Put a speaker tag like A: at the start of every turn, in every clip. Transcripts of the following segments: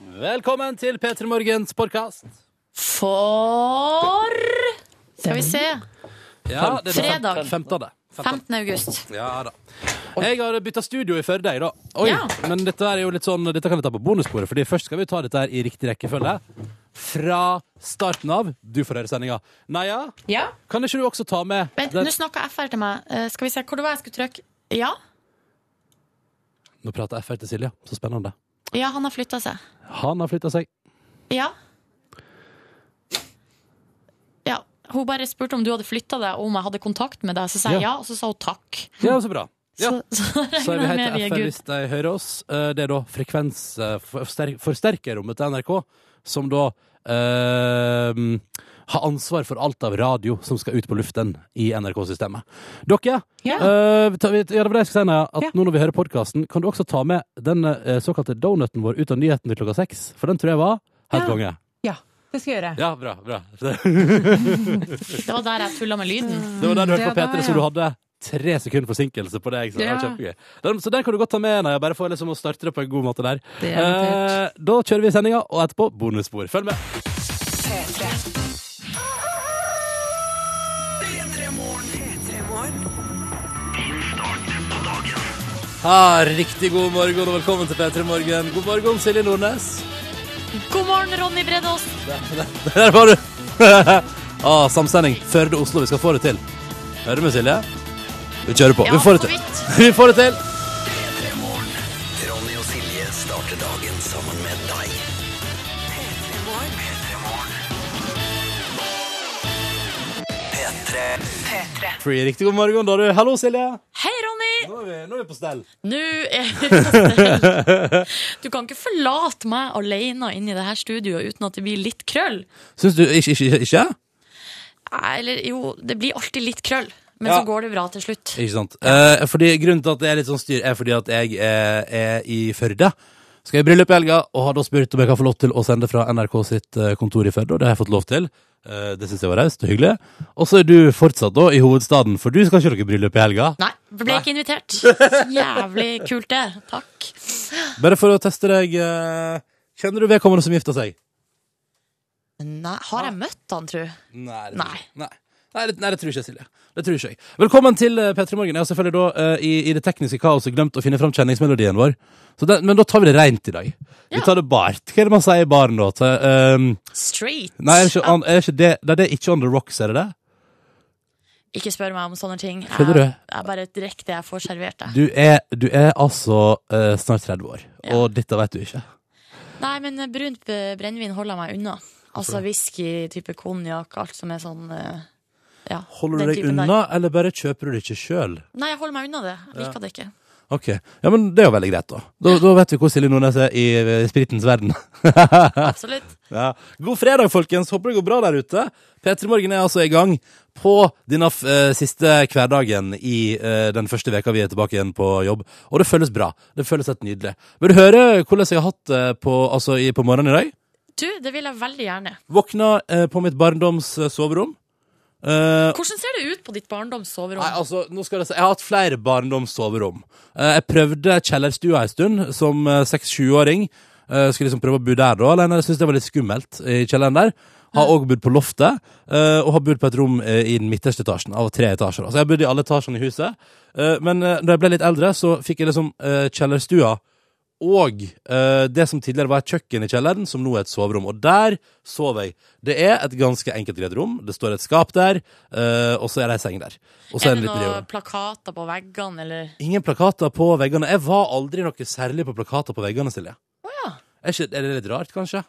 A: Velkommen til P3 Morgens podkast.
B: For Skal vi se.
A: Ja, det er den
B: Fredag.
A: fem- Femtende.
B: 15. august.
A: Ja da. Jeg har bytta studio i Førde, jeg, da. Oi,
B: Ja.
A: Men dette er jo litt sånn Dette kan vi ta på bonussporet, Fordi først skal vi ta dette her i riktig rekkefølge. Fra starten av. Du får høre sendinga. Naja,
C: Ja.
A: kan ikke du også ta med
B: Vent,
A: den-
B: nå snakka FR til meg. Eh, skal vi se hvor det var jeg skulle trykke. Ja,
A: Nå prater FR til Silje. Så spennende.
B: ja han har flytta seg.
A: Han har flytta seg.
B: Ja. ja. Hun bare spurte om du hadde flytta deg, og om jeg hadde kontakt med deg. Så sa jeg ja,
A: Ja.
B: og så sa hun takk.
A: Ja, så bra. Ja.
B: Så, så
A: Så er
B: regner
A: vi
B: jeg
A: helt
B: med vi
A: til
B: er
A: FN
B: good.
A: hvis de hører oss. Eh, Det er da eh, frekvensforsterkerrommet til NRK, som da eh, har ansvar for alt av radio som skal ut på luften i NRK-systemet. Dere,
C: Ja.
A: eh, vi tar- vi- ja, det var det jeg skulle si, Naja, at
C: Ja.
A: nå når vi hører podkasten, kan du også ta med den eh, såkalte donuten vår ut av nyhetene klokka seks? For den tror jeg var helt
C: Ja.
A: konge.
C: ja. Det skal jeg gjøre.
A: Ja, bra. bra.
B: Det var der jeg tulla med lyden.
A: Det var den du hørte
C: Ja,
A: på P3,
C: der,
A: så
C: ja.
A: du hadde tre sekunder forsinkelse på det. Ikke sant? Det var
C: Ja.
A: kjempegøy. Den, så den kan du godt ta med deg, bare for liksom å starte det på en god måte der.
C: Det er notert.
A: Eh, da kjører vi sendinga, og etterpå bonusspor. Følg med. Ah, riktig god morgen og velkommen til P3 Morgen. God morgen, Silje Nordnes.
B: God morgen, Ronny Bredås.
A: Der var du! ah, samsending Førde-Oslo. Vi skal få det til. Hører du med, Silje? Vi kjører på.
B: Ja,
A: vi får det
B: for
A: til.
B: vidt.
A: Vi får det til.
D: Ronny og Silje starter dagen sammen med deg. P3
A: Free. Riktig god morgen, da, du. Hallo, Silje.
B: Hei, Ronny!
A: Nå er vi, nå er vi på stell.
B: Nå er vi på stell. Du kan ikke forlate meg alene inn i det her studioet uten at det blir litt krøll.
A: Syns du Ikke? Ikke? ikke?
B: Nei, Eller jo, det blir alltid litt krøll, men
A: Ja.
B: så går det bra til slutt.
A: ikke sant. Eh, fordi Grunnen til at det er litt sånn styr, er fordi at jeg eh, er i Førde. Skal i bryllup i helga, og har da spurt om jeg kan få lov til å sende fra NRK sitt eh, kontor i Førde, og det har jeg fått lov til. Eh, det syns jeg var raust og hyggelig. Og så er du fortsatt da i hovedstaden, for du skal ikke ha noe bryllup i helga.
B: Nei, ble ikke invitert. Så jævlig kult, det. Takk.
A: Bare for å teste deg eh, Kjenner du vedkommende som gifter seg?
B: Nei, har jeg møtt han, tru?
A: Nei. det tror
B: Nei.
A: jeg ikke. Nei. Nei, det, nei, det tror jeg ikke, Silje. Det tror ikke jeg. Velkommen til eh, P3 Morgen. Jeg har selvfølgelig da eh, i, i det tekniske kaoset glemt å finne fram kjenningsmelodien vår. Så den, men da tar vi det rent i dag. Vi tar det bart. Hva er det man sier i baren da? Til, ehm,
B: Straight.
A: nei, er det, ikke, on, er det, ikke det, nei, det er ikke On The Rocks, er det det?
B: Ikke spør meg om sånne ting.
A: Skjønner du?
B: Jeg, jeg bare drikker det jeg får servert. jeg.
A: Du er, du er altså eh, snart 30 år,
B: Ja.
A: og dette vet du ikke.
B: Nei, men eh, brunt b- brennevin holder jeg meg unna. Altså whisky, type konjakk, alt som er sånn eh, ja,
A: Holder
B: den
A: du deg
B: typen der.
A: unna, eller bare kjøper du det ikke sjøl?
B: Nei, jeg holder meg unna det. Jeg liker det ikke.
A: Ok, ja, men det er jo veldig greit, da. Da, da vet vi hvor Silje Nordnes er i eh, spritens verden.
B: Absolutt.
A: Ja. God fredag, folkens. Håper det går bra der ute. P3 Morgen er altså i gang på denne eh, siste hverdagen i eh, den første veka vi er tilbake igjen på jobb. Og det føles bra. Det føles helt nydelig. Vil du høre hvordan jeg har hatt det på, altså, i, på morgenen i dag?
B: Du, det vil jeg veldig gjerne.
A: Våkna eh, på mitt barndoms eh, soverom. Eh,
B: Hvordan ser det ut på ditt barndoms soverom?
A: Nei, altså, nå skal jeg si Jeg har hatt flere barndomssoverom. Eh, Jeg prøvde kjellerstua en stund, som eh, 6-7-åring. Eh, Skulle liksom prøve å bo der da, alene. Jeg syntes det var litt skummelt i kjelleren der. Har òg bodd på loftet, eh, og har bodd på et rom eh, i den midterste etasjen av tre etasjer. da. Så jeg har bodd i alle etasjene i huset. Eh, Men eh, da jeg ble litt eldre, så fikk jeg liksom eh, kjellerstua og eh, det som tidligere var et kjøkken i kjelleren, som nå er et soverom. Og der sov jeg. Det er et ganske enkelt greit rom. Det står et skap der, eh, og så er det ei seng der. Og så er det altså,
B: er det
A: en liten
B: noen
A: rio.
B: plakater på veggene, eller?
A: Ingen plakater på veggene. Jeg var aldri noe særlig på plakater på veggene, Silje.
B: Å ja.
A: Er, ikke, er det litt rart, kanskje?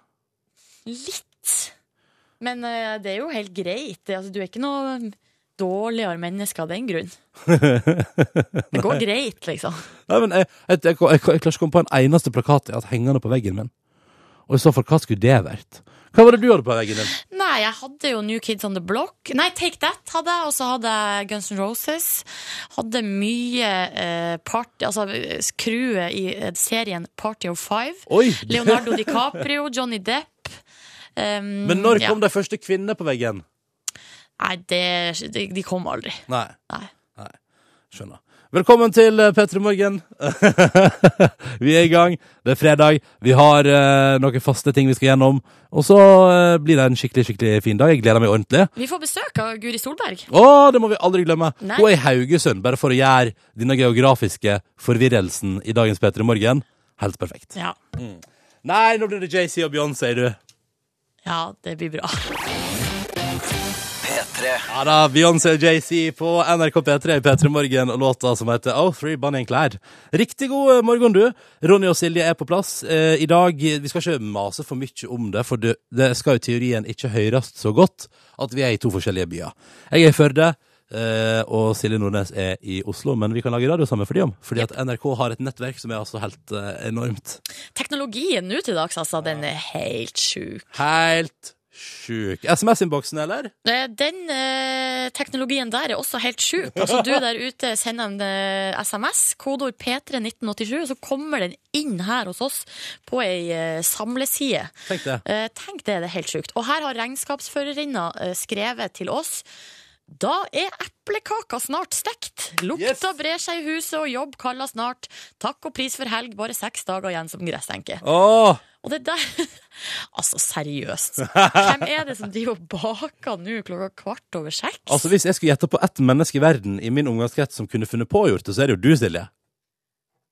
B: Litt. Men eh, det er jo helt greit. Det, altså, du er ikke noe dårligere menneske av den grunn. Det går greit, liksom.
A: Nei, men jeg, jeg, jeg, jeg, jeg klarer ikke å komme på en eneste plakat jeg har hatt hengende på veggen min. Og i så fall, hva skulle det vært? Hva var det du hadde på veggen din?
B: Nei, jeg hadde jo New Kids on the Block. Nei, Take That hadde jeg, og så hadde jeg Guns N' Roses. Hadde mye eh, part... Altså crewet i eh, serien Party of Five.
A: Oi!
B: Leonardo DiCaprio, Johnny Depp. Um,
A: Men når
B: ja.
A: kom de første kvinnene på veggen?
B: Nei, det, de, de kom aldri.
A: Nei.
B: Nei.
A: Skjønner. Velkommen til eh, P3 Morgen. vi er i gang. Det er fredag. Vi har eh, noen faste ting vi skal gjennom. Og så eh, blir det en skikkelig skikkelig fin dag. Jeg gleder meg ordentlig.
B: Vi får besøk av Guri Solberg.
A: Å, det må vi aldri glemme!
B: Nei.
A: Hun er i Haugesund, bare for å gjøre denne geografiske forvirrelsen i dagens P3 Morgen helt perfekt.
B: Ja,
A: Nei, nå blir det JC og Beyoncé, du.
B: ja det blir bra.
D: P3
A: Ja da, Beyoncé og JC på NRK P3 i P3 Morgen og låta som heter Oh, Three Bunny and Clyde. Riktig god eh, morgen, du. Ronny og Silje er på plass. Eh, I dag Vi skal ikke mase for mye om det, for det, det skal jo i teorien ikke høres så godt at vi er i to forskjellige byer. Jeg er i Førde. eh, og Silje Nordnes er i Oslo, men vi kan lage radio sammen for de om. Fordi at NRK har et nettverk som er altså helt eh, enormt.
B: Teknologien nå til dags, altså, den er helt sjuk.
A: Helt sjuk. SMS-innboksen, eller?
B: Eh, Den eh, teknologien der er også helt sjuk. Altså, du der ute sender en eh, SMS, kodeord P31987, og så kommer den inn her hos oss på ei eh, samleside.
A: Tenk det.
B: Eh, tenk det, det er helt sjukt. Og her har regnskapsførerinna eh, skrevet til oss. Da er eplekaka snart stekt. Lukta
A: Yes.
B: brer seg i huset, og jobb kaller snart. Takk og pris for helg, bare seks dager igjen som gressenke.
A: Åh,
B: Og det der Altså, seriøst. Hvem er det som driver og baker nå klokka kvart over seks?
A: Altså Hvis jeg skulle gjette på ett menneske i verden i min omgangskrets som kunne funnet på å gjort det, så er det jo du, Silje.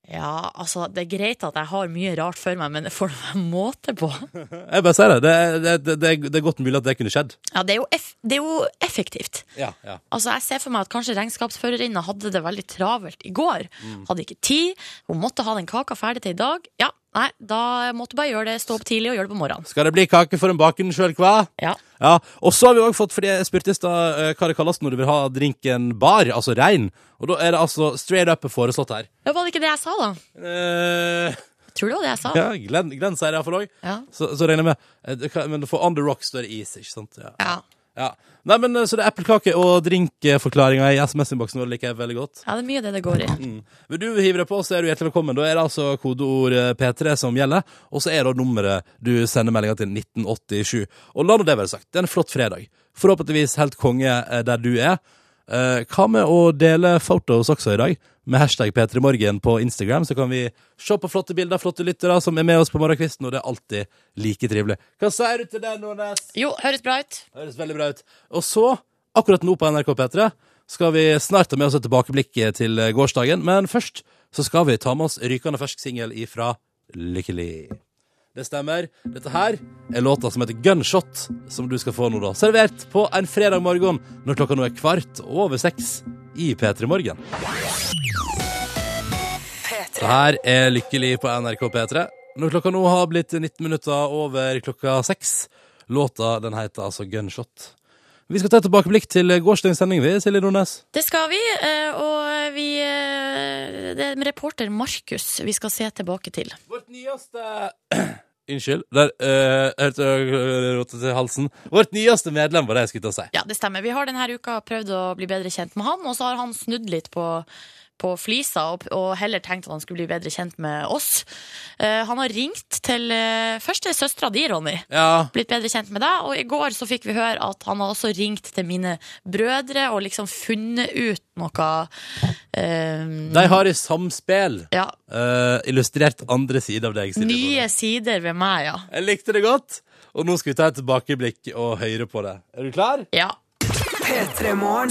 B: Ja, altså, det er greit at jeg har mye rart for meg, men det får det være måte på.
A: Jeg bare sier det. Det, er- det, det, det, er- det er godt mulig at det kunne skjedd.
B: Ja, det er jo, eff det er jo effektivt.
A: Ja, ja.
B: Altså, jeg ser for meg at kanskje regnskapsførerinna hadde det veldig travelt i går.
A: Mm.
B: Hadde ikke tid, hun måtte ha den kaka ferdig til i dag. Ja, nei, da måtte hun bare gjøre det, stå opp tidlig og gjøre det på morgenen.
A: Skal det bli kake for en baken sjøl, hva?
B: Ja.
A: Ja, Og så har vi òg fått, fordi jeg spurte i stad eh, hva det kalles når du vil ha drinken bar, altså rein. Og da er det altså straight up foreslått her.
B: Ja, Var det ikke det jeg sa, da?
A: Eh,
B: Jeg tror det var det jeg sa.
A: ja, Glenn, Glenn sier det iallfall òg.
B: Ja.
A: Så, så regner jeg med eh, det kan- Men du får on the rock større is, ikke sant? Ja.
B: Ja.
A: ja. Nei, men eh, Så det er eplekake og drinkforklaringa i SMS-innboksen vår liker jeg veldig godt.
B: ja, det er mye det det går i.
A: Vil du hive deg på, så er du hjertelig velkommen. Da er det altså kodeord eh, P3 som gjelder, og så er det nummeret du sender meldinga til 1987. Og la nå det være sagt, det er en flott fredag. Forhåpentligvis helt konge eh, der du er. Eh, Hva med å dele photos også i dag, med hashtag P3morgen på Instagram, så kan vi se på flotte bilder, flotte lyttere som er med oss på morgenkvisten, og det er alltid like trivelig. Hva sier du til det, Nordnes?
B: Jo, høres bra ut.
A: Høres veldig bra ut. Og så, akkurat nå på NRK P3, skal vi snart ta med oss et tilbakeblikk til gårsdagen. Men først så skal vi ta med oss rykende fersk singel ifra Lykkelig. Det stemmer. Dette her er låta som heter Gunshot, som du skal få nå, da. Servert på en fredag morgen når klokka nå er kvart over seks i P3 Morgen. Det her er Lykkelig på NRK P3. Når klokka nå har blitt 19 minutter over klokka seks. Låta den heter altså Gunshot. Vi skal ta et tilbakeblikk til gårsdagens sending, vi, Silje Nordnes.
B: Det skal vi, eh, og vi eh, Det er reporter Markus vi skal se tilbake til.
A: Vårt nyeste Unnskyld. Der eh, hørte jeg rotet til halsen. Vårt nyeste medlem, var det jeg skulle til å si.
B: Ja, det stemmer. Vi har denne uka prøvd å bli bedre kjent med han, og så har han snudd litt på, på flisa og, og heller tenkt at han skulle bli bedre kjent med oss. Eh, han har ringt til uh, først til søstera di, Ronny.
A: Ja.
B: Blitt bedre kjent med deg. Og i går så fikk vi høre at han har også ringt til mine brødre og liksom funnet ut noe eh,
A: De har i samspill
B: ja,
A: eh, illustrert andre side av deg, Silje.
B: nye sider ved meg, ja.
A: Jeg likte det godt. Og nå skal vi ta et tilbakeblikk og høre på det. Er du klar?
B: ja.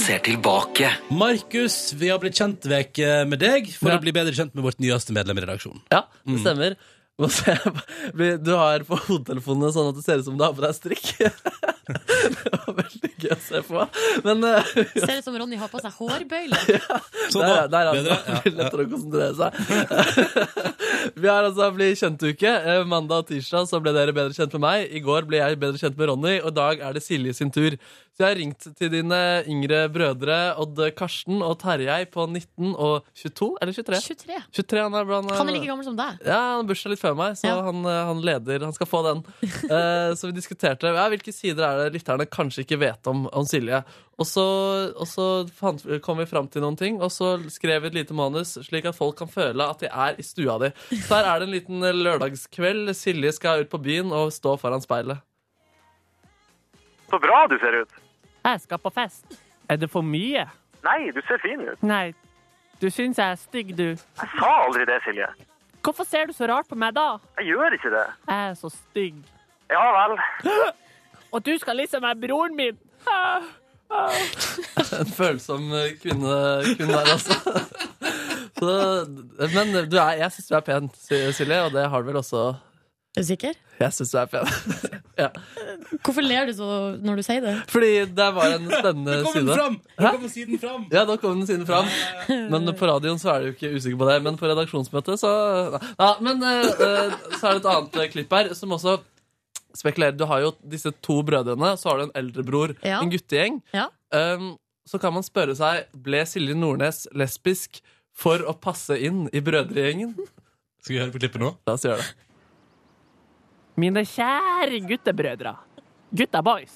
D: ser tilbake
A: Markus, vi har blitt kjent veke med deg for å bli bedre kjent med vårt nyeste medlem i redaksjonen.
E: Ja,
A: Mm.
E: det stemmer. Må se- Du har på hodetelefonene sånn at det ser ut som du har på deg strikk. Det var veldig gøy å se på. Men eh,
B: Ser ut som Ronny har på seg hårbøyle.
E: der,
B: altså.
E: der er det
A: bedre. Ja,
E: Blir lettere å konsentrere seg. Vi har altså blitt kjent-uke. Eh, Mandag og tirsdag så ble dere bedre kjent med meg. I går ble jeg bedre kjent med Ronny, og i dag er det Silje sin tur. Så jeg har ringt til dine yngre brødre Odd Karsten og Terjei på 19 og 22, eller 23?
B: 23.
E: 23 han er blant eh,
B: Han er like gammel som deg.
E: Ja, han har bursdag litt før meg, så
B: Ja.
E: han, eh, han leder. Han skal få den. Eh, så vi diskuterte ja, hvilke sider er det lytterne kanskje ikke vet om, om Silje. Og så, og så fant, kom vi fram til noen ting, og så skrev vi et lite manus slik at folk kan føle at de er i stua di. Så her er det en liten eh, lørdagskveld. Silje skal ut på byen og stå foran speilet.
F: Så bra du ser ut.
G: Jeg skal på fest.
H: Er det for mye?
F: Nei, du ser fin ut.
H: Nei,
G: Du syns jeg er stygg, du.
F: Jeg sa aldri det, Silje.
G: Hvorfor ser du så rart på meg da?
F: Jeg gjør ikke det.
G: Jeg er så stygg.
F: Ja vel.
G: Og du skal liksom være broren min! Ah, ah.
E: En følsom eh, kvinne, kvinne der, altså. Så, men du er, jeg syns du er pen, Sil- Silje, og det har du vel også.
B: Er du sikker?
E: Jeg syns du er pen.
B: Hvorfor ler du så når du sier det?
E: Fordi det var en spennende side. Hæ? Ja, da kom den siden fram. Men på radioen så er du ikke usikker på det. Men på redaksjonsmøtet så Ja, men eh, eh, så er det et annet eh, klipp her som også spekulerer. Du har jo disse to brødrene, så har du en eldrebror.
B: Ja.
E: En guttegjeng.
B: Ja.
E: Um, så kan man spørre seg Ble Silje Nordnes lesbisk for å passe inn i brødregjengen?
A: Skal vi høre på klippet nå?
E: La oss gjøre det.
G: Mine kjære guttebrødre. Gutta boys.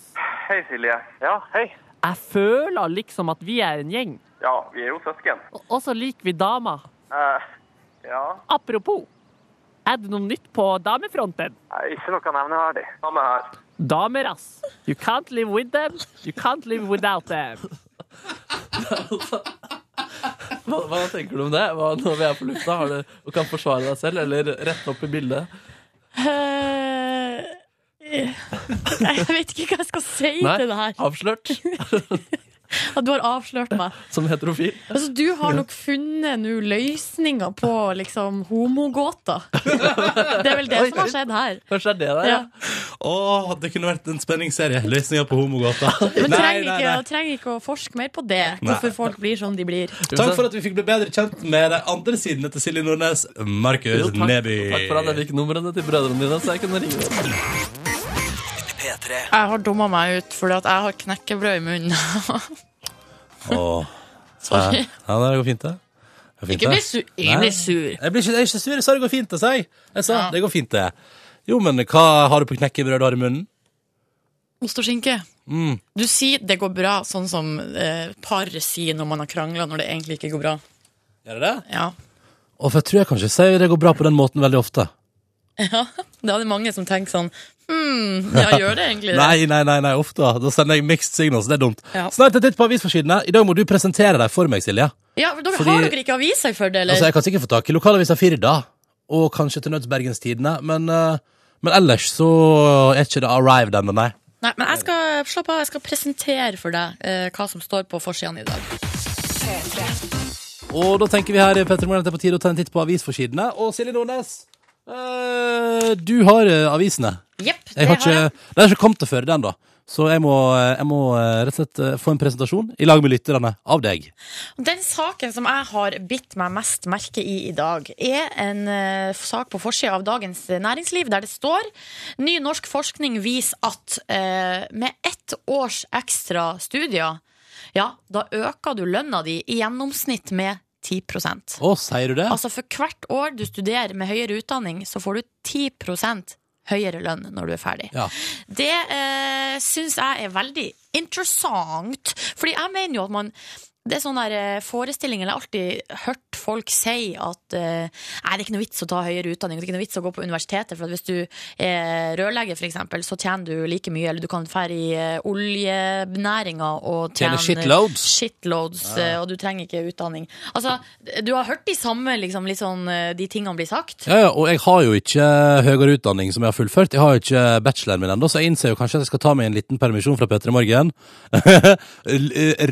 F: Hei, Silje. Ja, hei.
G: Jeg føler liksom at vi er en gjeng.
F: Ja, vi er jo søsken.
G: Og- Og så liker vi damer.
F: Eh, ja,
G: Apropos, er det noe nytt på damefronten?
F: Nei, ikke noe nevneverdig. Samme her.
G: Damer, ass. You can't live with them. You can't live without them.
E: Hva, hva tenker du om det? Hva, når vi er på lufta, har du, og kan forsvare deg selv eller rette opp i bildet?
B: Eh, Nei, jeg vet ikke hva jeg skal si til det her.
E: avslørt
B: At du har avslørt meg.
E: som heterofil.
B: Altså, du har nok funnet nå løsninger på liksom homogåta. Det er vel det
E: Oi,
B: som har skjedd her.
E: Kanskje det er det der,
B: Ja.
E: ja.
A: Åh, det kunne vært en spenningsserie. Løsninger på homogata.
B: Men
A: Nei, nei,
B: trenger ikke,
A: nei.
B: trenger ikke å forske mer på det. Hvorfor folk blir som de blir.
A: Takk for at vi fikk bli bedre kjent med de andre sidene til Silje Nordnes. Markus
E: Jo, takk,
A: Neby.
E: takk for at jeg fikk numrene til brødrene dine, så jeg kunne ringe dem.
D: P3.
B: Jeg har dumma meg ut fordi at jeg har knekkebrød i munnen.
A: Åh. Ja, Ja, det går fint, det. Det går fint,
B: Ikke
A: det.
B: bli sur. Jeg
A: Nei.
B: blir sur.
A: Jeg blir ikke, jeg er ikke sur, jeg sa det går fint, jeg sa jeg. Jeg sa
B: Ja.
A: det går fint, det. Jo, men hva har du på knekkebrød du har i munnen?
B: Ost og skinke.
A: Mm.
B: Du sier det går bra, sånn som eh, par sier når man har krangla, når det egentlig ikke går bra.
A: Gjør det det?
B: Ja.
A: Og for jeg tror jeg kanskje sier det går bra på den måten veldig ofte.
B: Det er det mange som tenker sånn Hm, ja, gjør det egentlig det?
A: Nei, nei, nei, nei, ofte. Da sender jeg mixed signals, det er dumt.
B: Ja.
A: Snart et titt på avisforsidene. I dag må du presentere deg for meg, Silje.
B: Ja, for dere
A: Fordi-
B: Har dere ikke aviser for det, eller?
A: Altså, jeg kan sikkert få tak i lokalavisa Firda, og kanskje til nøds Bergenstidene, men, eh, men ellers så er ikke det arrived ennå, nei.
B: Nei, men jeg skal, slapp av, jeg skal presentere for deg eh, hva som står på forsidene i dag.
A: Og da tenker vi her i Petter Morgen at det er på tide å ta en titt på avisforsidene. Og Silje Nordnes, eh, du har eh, avisene.
B: Jepp, det
A: Jeg har ikke,
B: jeg.
A: det har ikke kommet til før den da Så jeg må, jeg må eh, rett og slett eh, få en presentasjon I lag med lytterne av deg
B: Den saken som jeg har bitt meg mest merke i i dag, er en eh, sak på forsida av Dagens Næringsliv der det står Ny norsk forskning viser at eh, med ett års ekstra studier, ja, da øker du lønna di i gjennomsnitt med 10
A: Å, sier du det?
B: Altså for hvert år du studerer med høyere utdanning, så får du 10 høyere lønn når du er ferdig.
A: Ja.
B: Det eh, syns jeg er veldig interessant, fordi jeg mener jo at man det er sånn der eh, forestilling, eller jeg har alltid hørt folk si at eh, Nei, det er ikke noe vits å ta høyere utdanning, det er ikke noe vits å gå på universitetet, for at hvis du er rørlegger, for eksempel, så tjener du like mye, eller du kan fære i eh, oljenæringa og
A: Tjener
B: tjene
A: shitloads.
B: shitloads, eh, og du trenger ikke utdanning. Altså, du har hørt de samme, liksom, litt sånn, eh, de tingene bli sagt.
A: ja, ja, og jeg har jo ikke høyere utdanning som jeg har fullført Jeg har jo ikke bacheloren min enda Så jeg innser jo kanskje at jeg skal ta meg en liten permisjon fra Petter i morgen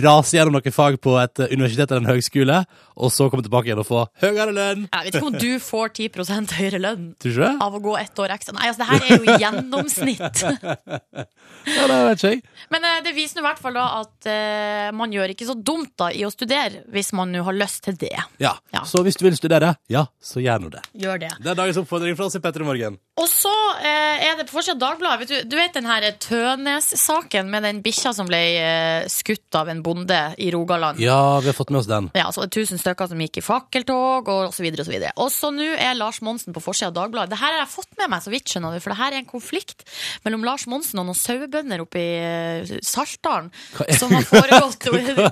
A: Rase gjennom noen fag på et eh, universitet eller en høgskole Og så komme tilbake igjen og få høyere lønn
B: Jeg vet ikke om du får 10 høyere lønn
A: Tror du ikke det?
B: av å gå ett år ekstra. Nei, altså, det her er jo gjennomsnitt.
A: Ja, det vet ikke jeg
B: Men eh, det viser nå i hvert fall da at eh, man gjør ikke så dumt da i å studere, hvis man nå har lyst til det.
A: ja.
B: Ja.
A: så hvis du vil studere, ja, så gjør nå det
B: Gjør det.
A: Det er dagens oppfordring fra oss i Petter i morgen
B: Og så eh, er det på forsida av Dagbladet. Vet du, du vet den her Tønes-saken med den bikkja som ble eh, skutt av en bonde i Rogaland?
A: Ja, vi har fått med oss den
B: Ja, så det er tusen stykker som gikk i fakkeltog og så videre og så videre. Og så nå er Lars Monsen på forsida av Dagbladet. Det her har jeg fått med meg, så vidt skjønner du, for det her er en konflikt mellom Lars Monsen og noen sauebønder oppe i eh, Saltdalen som har foregått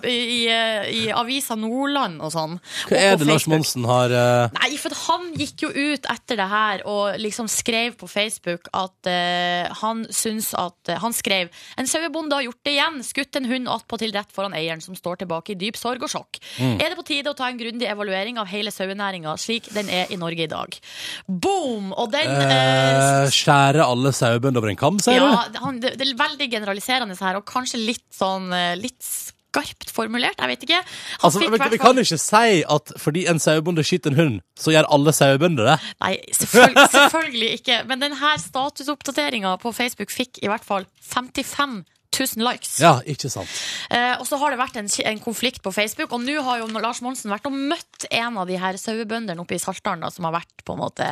B: i, i, eh, i avisa Nordland og sånn.
A: Hva
B: Og
A: er
B: på
A: det Lars
B: Facebook.
A: Monsen har eh,
B: Nei, for han gikk jo ut etter det her og liksom skrev skrev på Facebook at eh, han syns at eh, Han skrev En sauebonde har gjort det igjen. Skutt en hund attpåtil rett foran eieren, som står tilbake i dyp sorg og sjokk.
A: Mm.
B: Er det på tide å ta en grundig evaluering av hele sauenæringa slik den er i Norge i dag? Boom! Og den eh,
A: Eh, skjære alle sauebønder over en kam, sier
B: ja,
A: du?
B: det- han, det, det er veldig generaliserende her, og kanskje litt sånn eh, Litt skarpt formulert, jeg vet ikke. Han
A: Altså,
B: fikk
A: vi, vi
B: hvertfall-
A: kan ikke si at fordi en sauebonde skyter en hund, så gjør alle sauebønder det.
B: Nei, selvfølgelig, selvfølgelig ikke. Men denne statusoppdateringa på Facebook fikk i hvert fall 55 000 likes.
A: Ja, ikke sant.
B: Eh, og så har det vært en, en konflikt på Facebook, og nå har jo Lars Monsen vært og møtt en av de her sauebøndene oppe i Saltdalen, da, som har vært på en måte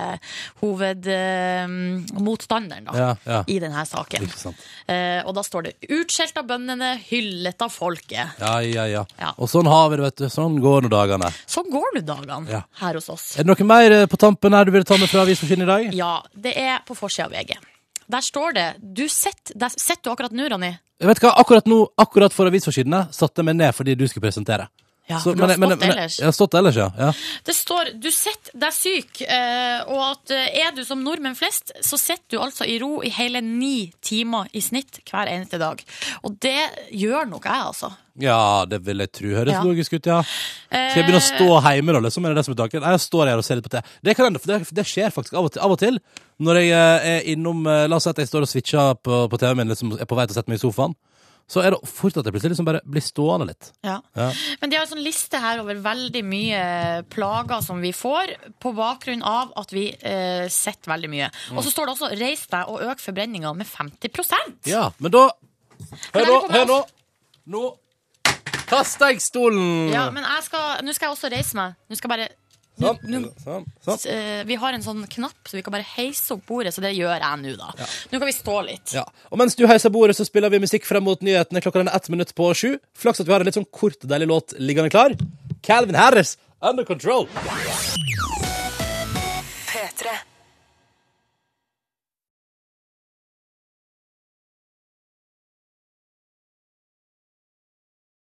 B: hovedmotstanderen da,
A: Ja, ja.
B: i denne saken.
A: Ikke sant.
B: Eh, og da står det 'Utskjelt av bøndene, hyllet av folket'.
A: Ja, ja, ja.
B: Ja.
A: Og sånn har vi det, vet du. Sånn går nå dagene.
B: Sånn går nå dagene
A: Ja.
B: her hos oss.
A: Er det noe mer eh, på tampen her du vil ta med fra avisforsynet i dag?
B: Ja, det er på forsida av VG. Der står det Du sitter der sitter du akkurat nå, Ronny.
A: Jeg vet hva, akkurat nå, akkurat for avisforsidene, satte jeg meg ned fordi du skulle presentere.
B: Ja,
A: Så-
B: du har
A: men- men-
B: stått
A: men-
B: ellers.
A: Jeg har stått ellers, ja. ja.
B: Det står 'du sitter deg syk', eh, og at eh, er du som nordmenn flest, så sitter du altså i ro i hele ni timer i snitt hver eneste dag. Og det gjør nok jeg, altså.
A: Ja, det vil jeg tro. Høres
B: Ja.
A: logisk ut, ja. Skal jeg begynne å stå hjemme, da? liksom? Er det det som er tanken? Jeg står her og ser litt på TV. Det, kan hende, for det, det skjer faktisk av og, til, av og til. Når jeg eh, er innom eh, La oss si at jeg står og switcher på, på TV-en min, liksom, er på vei til å sette meg i sofaen. Så er det fort at jeg plutselig liksom bare blir stående litt.
B: Ja.
A: Ja.
B: Men de har en sånn liste her over veldig mye eh, plager som vi får på bakgrunn av at vi eh, sitter veldig mye. Og så står det også 'reis deg og øk forbrenninga med 50
A: Ja, men da
B: Men
A: Hør
B: der
A: nå,
B: kommer
A: hør nå!
B: oss.
A: Nå kaster jeg stolen!
B: Ja, men jeg skal, nå skal jeg også reise meg. Nå skal jeg bare
A: Sånn,
B: nå-
A: sånn, sånn.
B: eh, Vi har en sånn knapp, så vi kan bare heise opp bordet. Så det gjør jeg nå, da. Nå kan vi stå litt.
A: Ja. Og mens du heiser bordet, så spiller vi musikk frem mot nyhetene. Klokka den er ett minutt på sju. Flaks at vi har en litt sånn kort, deilig låt liggende klar. Calvin Harris, Under Control.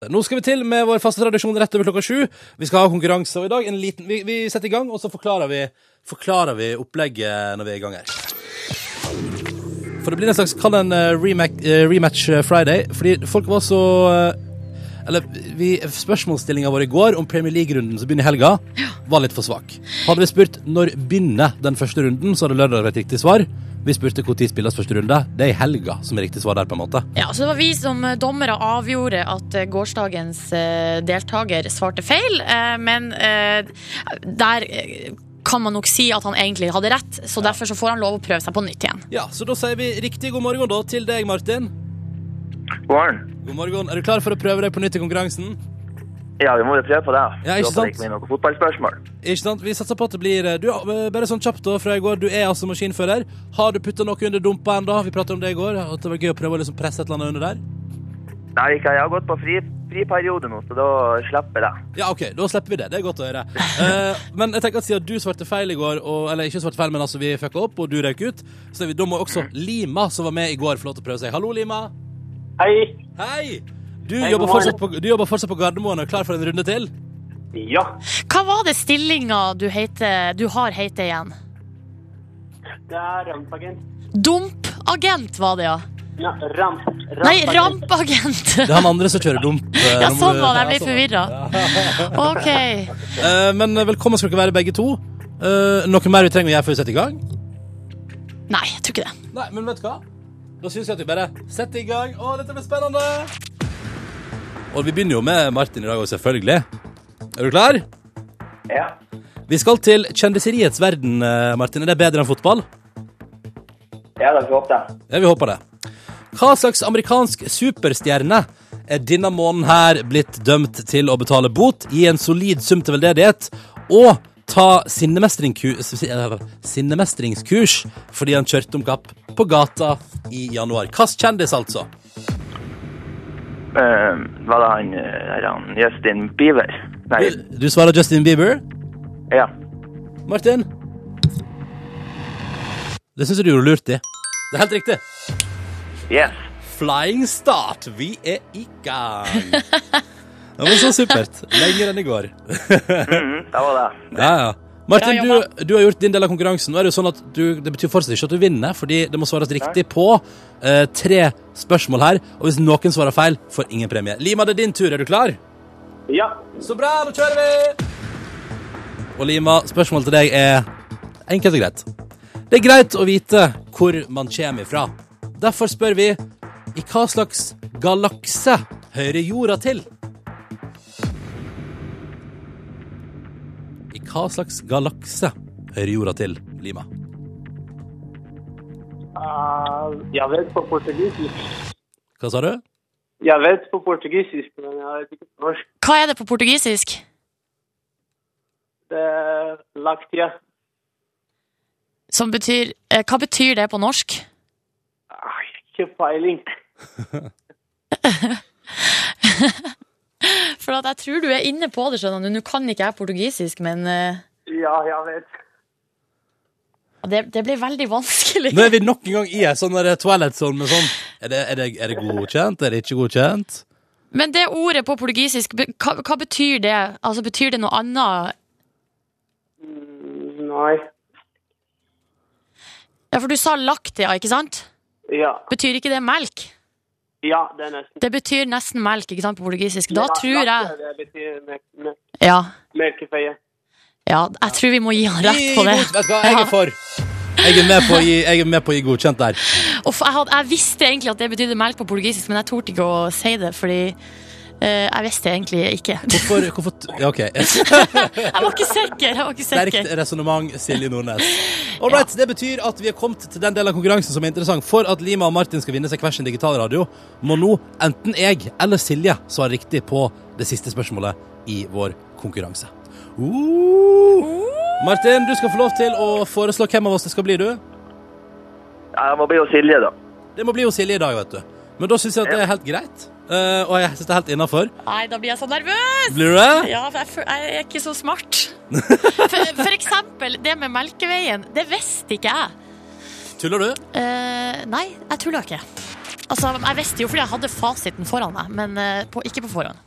A: Nå skal vi til med vår faste tradisjon rett over klokka sju. Vi skal ha konkurranse, og i dag en liten Vi, vi setter i gang, og så forklarer vi, forklarer vi opplegget når vi er i gang her. For det blir en slags kall en eh, rematch, eh, rematch eh, Friday, fordi folk var så eh, eller vi- Spørsmålsstillinga vår i går om Premier League-runden som begynner i helga, var litt for svak. Hadde vi spurt når begynner den første runden, så hadde lørdag vært riktig svar. Vi spurte når spilles første runde. Det er i helga som er riktig svar der, på en måte.
B: Ja, så Det var vi som eh, dommere avgjorde at eh, gårsdagens eh, deltaker svarte feil. eh, Men eh, der eh, kan man nok si at han egentlig hadde rett, så derfor så får han lov å prøve seg på nytt igjen.
A: Ja, så da sier vi riktig god morgen da til deg, Martin.
F: Warren?
A: God morgen. Er du klar for å prøve deg på nytt i konkurransen?
F: Ja, vi må jo prøve på det.
A: Ja, ikke
F: Håper det
A: sant?
F: ikke blir noe fotballspørsmål.
A: Ikke sant? Vi satser på at det blir eh, du, eh, Bare sånn kjapt da fra i går. Du er altså maskinfører. Har du putta noe under dumpa ennå? Vi pratet om det i går. At det var gøy å prøve å liksom presse et eller annet under der.
F: Nei, ikke. jeg har gått på fri, friperiode nå, så da slipper jeg det.
A: Ja, OK, da slipper vi det. Det er godt å høre. Eh, men jeg tenker at siden du svarte feil i går, og, eller ikke svarte feil, men altså vi fucka opp, og du røyk ut, så er vi, da må også Lima, som var med i går, få lov til å prøve seg. Hallo, Lima.
H: Hei!
A: Hei! Du,
H: Hei,
A: jobber
H: god morgen.
A: fortsatt på, du jobber fortsatt på Gardermoen og er klar for en runde til?
H: Ja,
B: Hva var det stillinga du, heter- du har hete igjen?
H: det er rampagent.
B: Dumpagent var det, ja.
H: Ja, ramp, rampagent.
B: Nei, rampagent!
A: Det er han andre som kjører dump. eh,
B: Ja,
A: nå må
B: sånn
A: du-
B: var det. Jeg
A: Ja,
B: ble
A: sånn var det.
B: forvirra. OK.
A: Eh, Men velkommen skal dere være begge to. Eh, noe mer vi trenger å gjøre før vi setter i gang?
B: Nei, jeg tror ikke det.
A: Nei, men vet du hva? Da syns jeg at vi bare setter i gang. Å, dette blir spennende! Og vi begynner jo med Martin i dag òg, selvfølgelig. Er du klar?
F: Ja.
A: Vi skal til kjendiseriets verden, eh, Martin. Er det bedre enn fotball?
F: Ja, da får vi håpe det.
A: Ja, vi håper det. Hva slags amerikansk superstjerne er denne måneden her blitt dømt til å betale bot, gi en solid sum til veldedighet og ta sinnemestringku- si- eh, sinnemestringskurs fordi han kjørte om kapp på gata i januar? Hvilken kjendis, altså?
F: Eh, var det han, eh, er han Justin Bieber? Nei,
A: Du, du svarer Justin Bieber.
F: ja.
A: Martin? Det syns jeg du gjorde lurt i. Det er helt riktig.
F: Yes.
A: Flying start. Vi er i gang. Det var så supert. Lenger enn i går.
F: Mm, det var det.
A: Ja, ja. Martin,
B: Bra
A: du, du har gjort din del av konkurransen. Nå er Det jo sånn at du, det betyr fortsatt ikke at du vinner, fordi det må svares riktig på eh, tre spørsmål her. Og hvis noen svarer feil, får ingen premie. Lima, det er din tur. Er du klar?
H: Ja.
A: Så bra, da kjører vi! Og Lima, spørsmålet til deg er enkelt og greit. Det er greit å vite hvor man kommer ifra. Derfor spør vi i hva slags galakse hører jorda til? I hva slags galakse hører jorda til, Lima?
H: Ah, jeg vet på portugisisk.
A: Hva sa du?
H: Jeg vet på portugisisk, men jeg vet ikke på norsk.
B: Hva er det på portugisisk?
H: Det er Laktia.
B: Som betyr eh, Hva betyr det på norsk?
H: Ah, ikke peiling.
B: For at jeg tror du er inne på det, skjønner du. Nå kan ikke jeg portugisisk, men eh,
H: Ja, jeg vet.
B: det, det ble veldig vanskelig.
A: Nå er vi nok en gang i en sånn der Twilight Zone med sånn er det, er, det, er det godkjent? Er det ikke godkjent?
B: Men det ordet på portugisisk, be- hva, hva betyr det? Altså, betyr det noe annet?
H: Nei.
B: Ja, for du sa laktia, ikke sant?
H: Ja.
B: Betyr ikke det melk?
H: Ja, det er nesten.
B: Det betyr nesten melk, ikke sant, på portugisisk. Da tror jeg
H: Det betyr mer- mer-
B: Ja.
H: melkefeie.
B: ja jeg tror vi må gi han rett på
A: Gi
B: det.
A: god- Vet du hva, jeg er for. Jeg er med på å gi, jeg er med på å gi godkjent der.
B: Uff, jeg, hadde, jeg visste egentlig at det betydde melk på portugisisk, men jeg torde ikke å si det, fordi eh, jeg visste egentlig ikke.
A: Hvorfor, hvorfor t- ja, OK. Et
B: Jeg var ikke sikker. jeg var ikke
A: sterkt
B: sikker.
A: resonnement, Silje Nordnes. All right, Det betyr at vi er kommet til den delen av konkurransen som er interessant. For at Lima og Martin skal vinne seg hver sin digitalradio, må nå enten jeg eller Silje svare riktig på det siste spørsmålet i vår konkurranse. Uh. Martin, du skal få lov til å foreslå hvem av oss det skal bli, du.
F: Ja, Jeg må bli hos Silje, da.
A: Det må bli jo Silje i dag, vet du. Men da syns jeg at det er helt greit. eh, og jeg syns det er helt innafor.
B: Nei, da blir jeg så nervøs!
A: Blir du det?
B: Ja, for jeg, fø- jeg er ikke så smart. For, for eksempel det med Melkeveien. Det visste ikke jeg.
A: Tuller du?
B: Eh, nei, jeg tuller ikke. Altså, Jeg visste jo fordi jeg hadde fasiten foran meg, men eh, på, ikke på forhånd.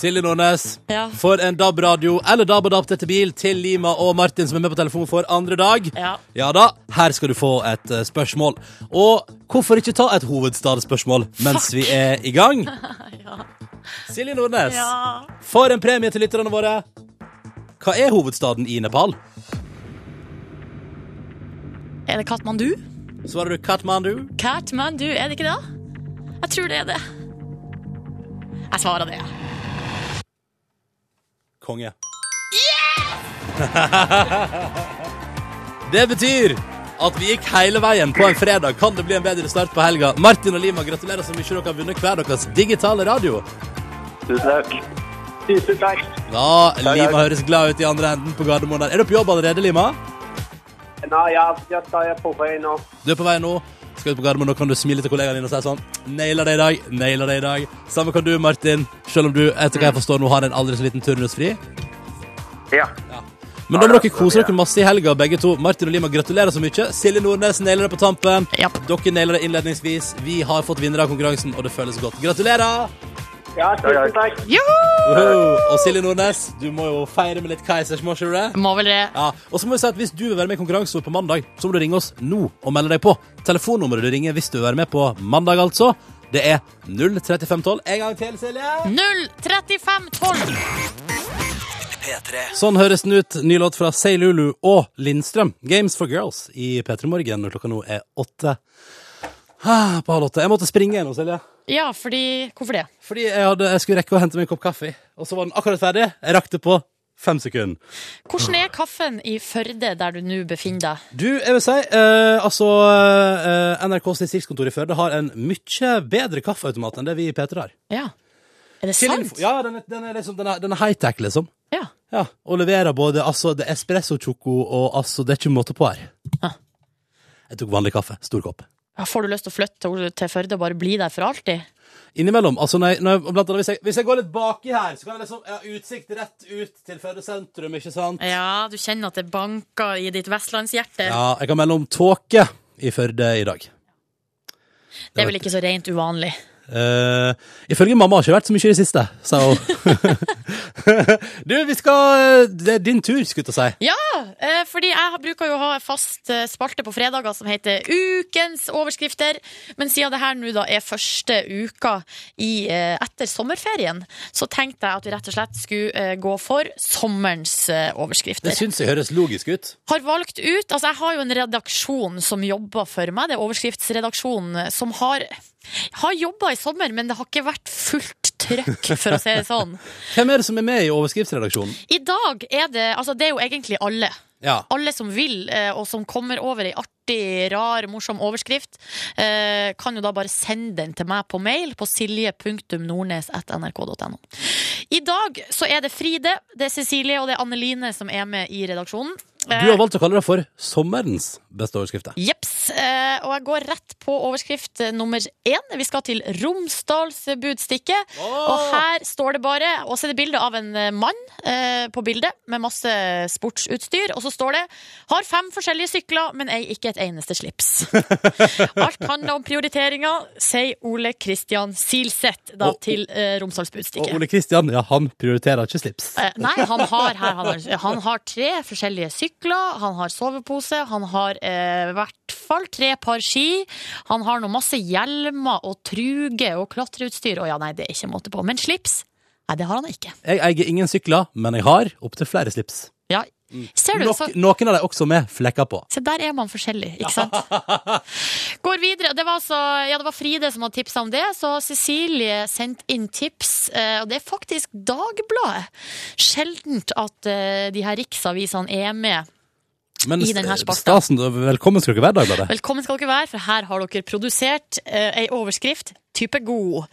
A: Silje Nordnes,
B: Ja.
A: for en DAB-radio eller DAB-adapter til bil til Lima og Martin, som er med på telefon for andre dag.
B: Ja.
A: Ja da, her skal du få et eh, spørsmål. Og hvorfor ikke ta et hovedstadsspørsmål mens vi er i gang? Silje Nordnes, for en premie til lytterne våre. Hva er hovedstaden i Nepal?
B: Er det Katmandu?
A: Svarer du Katmandu?
B: Katmandu, er det ikke det? Jeg tror det er det. Jeg svarer det. ja.
A: Konge. det betyr at vi gikk hele veien på en fredag. Kan det bli en bedre start på helga? Martin og Lima, gratulerer så mye dere har vunnet hver deres digitale radio.
F: Tusen takk.
H: Tusen takk.
A: Ja, Lima høres glad ut i andre enden på Gardermoen der. Er du på jobb allerede, Lima?
H: Nei, jeg, jeg tar jeg på vei nå.
A: Du er på vei nå. Skal ut på Gardermoen, nå kan du smile til kollegaen din og si sånn Naila det i dag, naila det i dag. Samme kan du, Martin. Selv om du etter hva jeg forstår nå har en aldri så liten turnusfri.
F: Ja.
A: Men da må dere kose dere masse i helga, begge to. Martin og Lima, gratulerer så mye. Silje Nordnes nailer det på tampen.
B: Japp.
A: Dere nailer det innledningsvis. Vi har fått vinnere av konkurransen, og det føles godt. Gratulerer!
H: Ja, tusen takk.
A: Woho! Og Silje Nordnes, du må jo feire med litt Keisers, må ikke du det?
B: Må vel det.
A: Ja, og så må vi si at Hvis du vil være med i konkurransen på mandag, så må du ringe oss nå og melde deg på. Telefonnummeret du ringer hvis du vil være med på mandag, altså, det er 03512. En gang til, Silje.
B: 03512.
D: P3.
A: Sånn høres den ut. Ny låt fra Say Lulu og Lindstrøm. Games for Girls i P3 Morgen når klokka nå er åtte. Ah, på halv åtte. Jeg måtte springe igjen, Silje.
B: Ja, fordi Hvorfor det?
A: Fordi jeg, hadde, jeg skulle rekke å hente meg en kopp kaffe. Og så var den akkurat ferdig. Jeg rakk det på fem sekunder.
B: Hvordan er kaffen i Førde, der du nå befinner deg?
A: Du, jeg vil si eh, altså eh, NRKs distriktskontor i Førde har en mye bedre kaffeautomat enn det vi i P3 har.
B: Ja. Er det
A: Til
B: sant?
A: info- Ja, den er, den er, liksom, den er, den er high-tech, liksom.
B: Ja.
A: Ja, og leverer både altså, det er espresso choco og altså, det er ikke måte på her.
B: Ah.
A: Jeg tok vanlig kaffe. Stor kopp.
B: Ja, Får du lyst til å flytte til- til Førde og bare bli der for alltid?
A: Innimellom. altså når jeg, når jeg, blant annet, hvis, jeg, hvis jeg går litt baki her, så kan jeg liksom jeg har utsikt rett ut til Førde sentrum, ikke sant?
B: Ja, du kjenner at det banker i ditt vestlandshjerte.
A: Ja, jeg kan melde om tåke i Førde i dag.
B: det er vel ikke så rent uvanlig.
A: Eh, ifølge mamma har det ikke vært så mye i det siste, sa hun. du, vi skal eh, Det er din tur, skulle jeg til å si.
B: Ja, eh, fordi jeg bruker jo å ha en fast eh, spalte på fredager som heter Ukens overskrifter. Men siden det her nå da er første uka i, eh, etter sommerferien, så tenkte jeg at vi rett og slett skulle eh, gå for sommerens eh,
A: Det
B: overskrifter
A: syns jeg høres logisk ut.
B: har valgt ut Altså, jeg har jo en redaksjon som jobber for meg. Det er overskriftsredaksjonen som har, har jobba i sommer, men det har ikke vært fullt trøkk, for å si det sånn.
A: Hvem er det som er med i overskriftsredaksjonen?
B: I dag er det Altså, det er jo egentlig alle.
A: Ja.
B: Alle som vil, eh, og som kommer over ei artig, rar, morsom overskrift, eh, kan jo da bare sende den til meg på mail på silje.nordnes.nrk.no. I dag så er det Fride, det er Cecilie og det er Anneline som er med i redaksjonen.
A: Du har valgt å kalle det for sommerens beste overskrifter.
B: Jeps. Eh, og jeg går rett på overskrift eh, nummer én. Vi skal til Romsdalsbudstikke. Og her står det bare Og så er det bilde av en eh, mann eh, på bildet med masse sportsutstyr. Og så står det 'Har fem forskjellige sykler, men ei ikke et eneste slips'. Alt handler om prioriteringer, sier Ole Kristian Silseth da
A: Og-
B: til eh,
A: Og
B: Romsdalsbudstikke.
A: Ole Kristian ja, han prioriterer ikke slips.
B: Eh, Nei, han har, her, han, har, han har tre forskjellige sykler, han har sovepose, han har eh, i hvert fall tre par ski. Han har nå masse hjelmer og truger og klatreutstyr. Å ja, nei, det er ikke måte på. Men slips, nei, det har han ikke.
A: Jeg eier ingen sykler, men jeg har opptil flere slips.
B: Ja. Ser du,
A: Nok,
B: så,
A: noen av dem også med flekker på.
B: se, der er man forskjellig, ikke sant? Går videre. Det var, altså, ja, det var Fride som hadde tipsa om det, så Cecilie sendte inn tips. eh, Og det er faktisk Dagbladet. Sjeldent at eh, de her riksavisene er med.
A: Men
B: I den her
A: st-
B: spalta.
A: stasen, velkommen skal dere være, Dagbladet.
B: Velkommen skal dere være, for her har dere produsert eh, ei overskrift type god.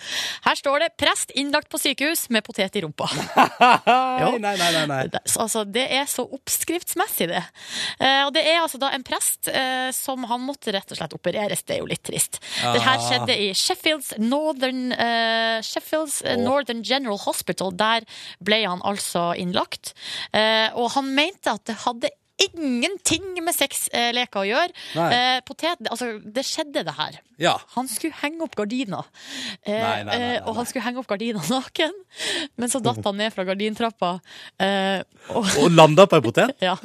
B: Her står det 'Prest innlagt på sykehus med potet i rumpa'.
A: Nei, nei, nei, nei, nei.
B: Det, altså, det er så oppskriftsmessig, det. Eh, og det er altså da en prest eh, som han måtte rett og slett opereres. Det er jo litt trist. Det her skjedde i Sheffields Northern, eh, Sheffields eh, Northern General Hospital. Der ble han altså innlagt. Eh, og han mente at det hadde ingenting med sexleker å gjøre.
A: Nei.
B: Eh, potet, altså, det skjedde, det her.
A: Ja.
B: Han skulle henge opp gardina. Eh,
A: Nei, nei, nei, nei,
B: eh, Og han skulle henge opp gardina naken, men så datt han ned fra gardintrappa. Eh, og
A: Og landa på en potet?
B: ja.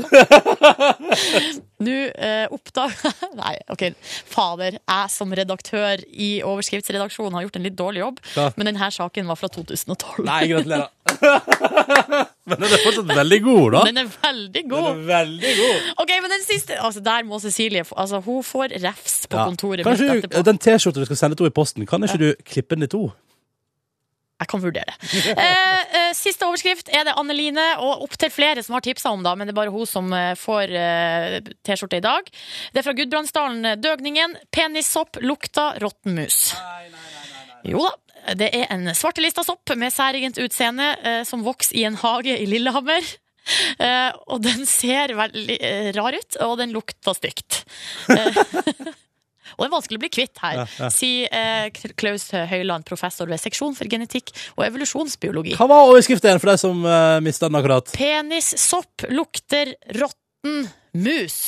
B: Nå eh, oppdaga Nei, OK. Fader, jeg som redaktør i overskriftsredaksjonen har gjort en litt dårlig jobb,
A: Ja.
B: men denne saken var fra 2012.
A: Nei, gratulerer. Men den er fortsatt veldig god, da.
B: Den er veldig god.
A: Den er veldig god.
B: Ok, men den siste Altså, der må Cecilie få altså, Hun får refs på
A: Ja.
B: kontoret mitt
A: Kanskje
B: etterpå.
A: du, den T-skjorta du skal sende til henne i posten, kan ikke du klippe den i to?
B: Jeg kan vurdere det. Eh, eh, siste overskrift er det Anneline og opptil flere som har tipsa om, da, men det er bare hun som eh, får eh, T-skjorte i dag. Det er fra Gudbrandsdalen. eh, Døgningen. Penissopp lukta råtten mus. Jo da. Det er en svartelista sopp med særegent utseende eh, som vokser i en hage i Lillehammer. Eh, og den ser veldig eh, rar ut, og den lukter stygt. Eh, og det er vanskelig å bli kvitt her, sier eh, K- Klaus Høyland, professor ved seksjon for genetikk og evolusjonsbiologi.
A: Hva var overskriften igjen for deg som uh, mista den akkurat?
B: Penissopp lukter råtten mus.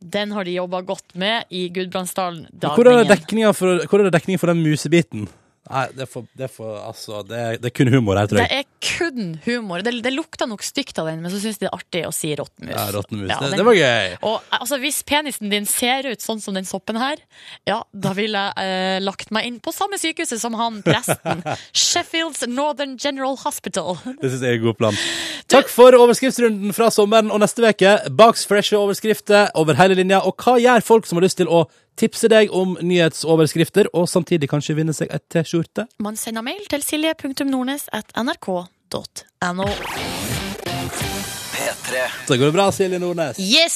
B: Den har de jobba godt med i Gudbrandsdalen.
A: Hvor er,
B: Dagningen.
A: dekningen for, hvor er det dekning for den musebiten? Nei, det er for, det er for altså, det er, det er kun humor her, tror
B: Det
A: jeg.
B: er kun humor. Det, det lukta nok stygt av den, men så syns de det er artig å si råtten mus.
A: Ja, Råtten mus.
B: Ja,
A: det,
B: den-
A: det var gøy.
B: Og altså, hvis penisen din ser ut sånn som den soppen her, ja, da ville jeg eh, lagt meg inn på samme sykehuset som han presten. Sheffields Northern General Hospital.
A: Det syns jeg er en god plan. Takk for overskriftsrunden fra sommeren og neste uke. Baks freshe overskrifter over hele linja. Og hva gjør folk som har lyst til å tipse deg om nyhetsoverskrifter, og samtidig kanskje vinne seg et T-skjorte?
B: Man sender mail til silje.nordnes.nrk.no.
D: P3.
A: Så går det bra, Silje Nordnes.
B: Yes,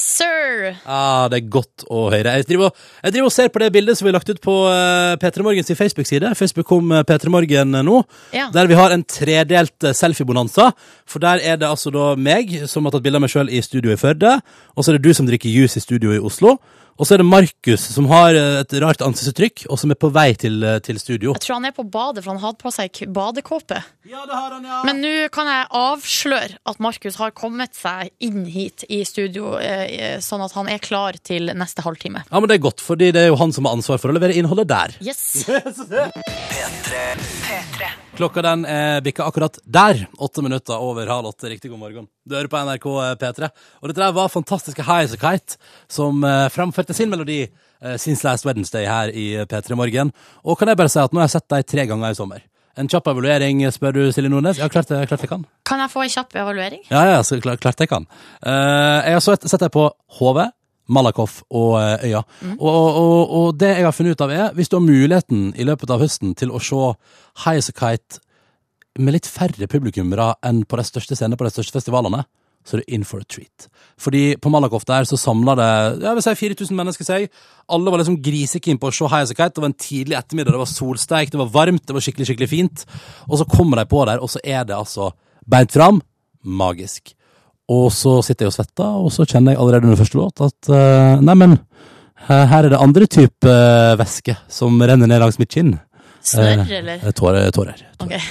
A: Ja,
B: sir!
A: Ah, det er godt å høre. Jeg driver, og- jeg driver og ser på det bildet som vi har lagt ut på eh, P3 Morgens Facebook-side. Facebook kom eh, P3 Morgen eh, nå.
B: Ja.
A: Der vi har en tredelt eh, selfie-bonanza. For der er det altså da meg som har tatt bilde av meg sjøl i studio i Førde. Og så er det du som drikker juice i studio i Oslo. Og så er det Markus, som har eh, et rart ansiktsuttrykk, og som er på vei til, eh, til studio.
B: Jeg tror han er på badet, for han hadde på seg k- badekåpe. Men nå kan jeg avsløre at Markus har kommet seg inn hit i studio, eh, eh, sånn at han er klar til neste halvtime.
A: Ja, men det er godt, fordi det er jo han som har ansvar for å levere innholdet der.
B: Yes!
A: Klokka den er bikka akkurat der. Åtte minutter over halv åtte. Riktig god morgen. Du hører på NRK P3. Og dette der var fantastiske Highas a Kite, som eh, framførte sin melodi eh, Since Last Wednesday her i P3 Morgen. Og kan jeg bare si at nå har jeg sett dem tre ganger i sommer. En kjapp evaluering, eh, spør du Silje Nordnes. Ja, klart jeg, klart jeg kan.
B: Kan jeg få en kjapp evaluering?
A: Ja, ja, så klart, klart jeg kan. Eh, jeg har så et- sett deg på HV, Malakoff og eh, Øya. Og, og, og det jeg har funnet ut av er, hvis du har muligheten i løpet av høsten til å se Highas a Kite med litt færre publikummere enn på de største scenene på de største festivalene, så er du in for a treat. Fordi på Malakoff der så samla det jeg vil si 4000 mennesker seg. Alle var liksom grisekeen på å se Highas a Kite. Det var en tidlig ettermiddag, det var solsteik, det var varmt, det var skikkelig, skikkelig fint. Og så kommer de på der, og så er det altså beint fram. Magisk. Og så sitter jeg og svetter, og så kjenner jeg allerede under første låt at eh, nei, men her her er det andre type eh, væske som renner ned langs mitt kinn.
B: Snørr,
A: Eh,
B: eller?
A: eh, Tårer. tårer.
B: Ok.
A: Ta det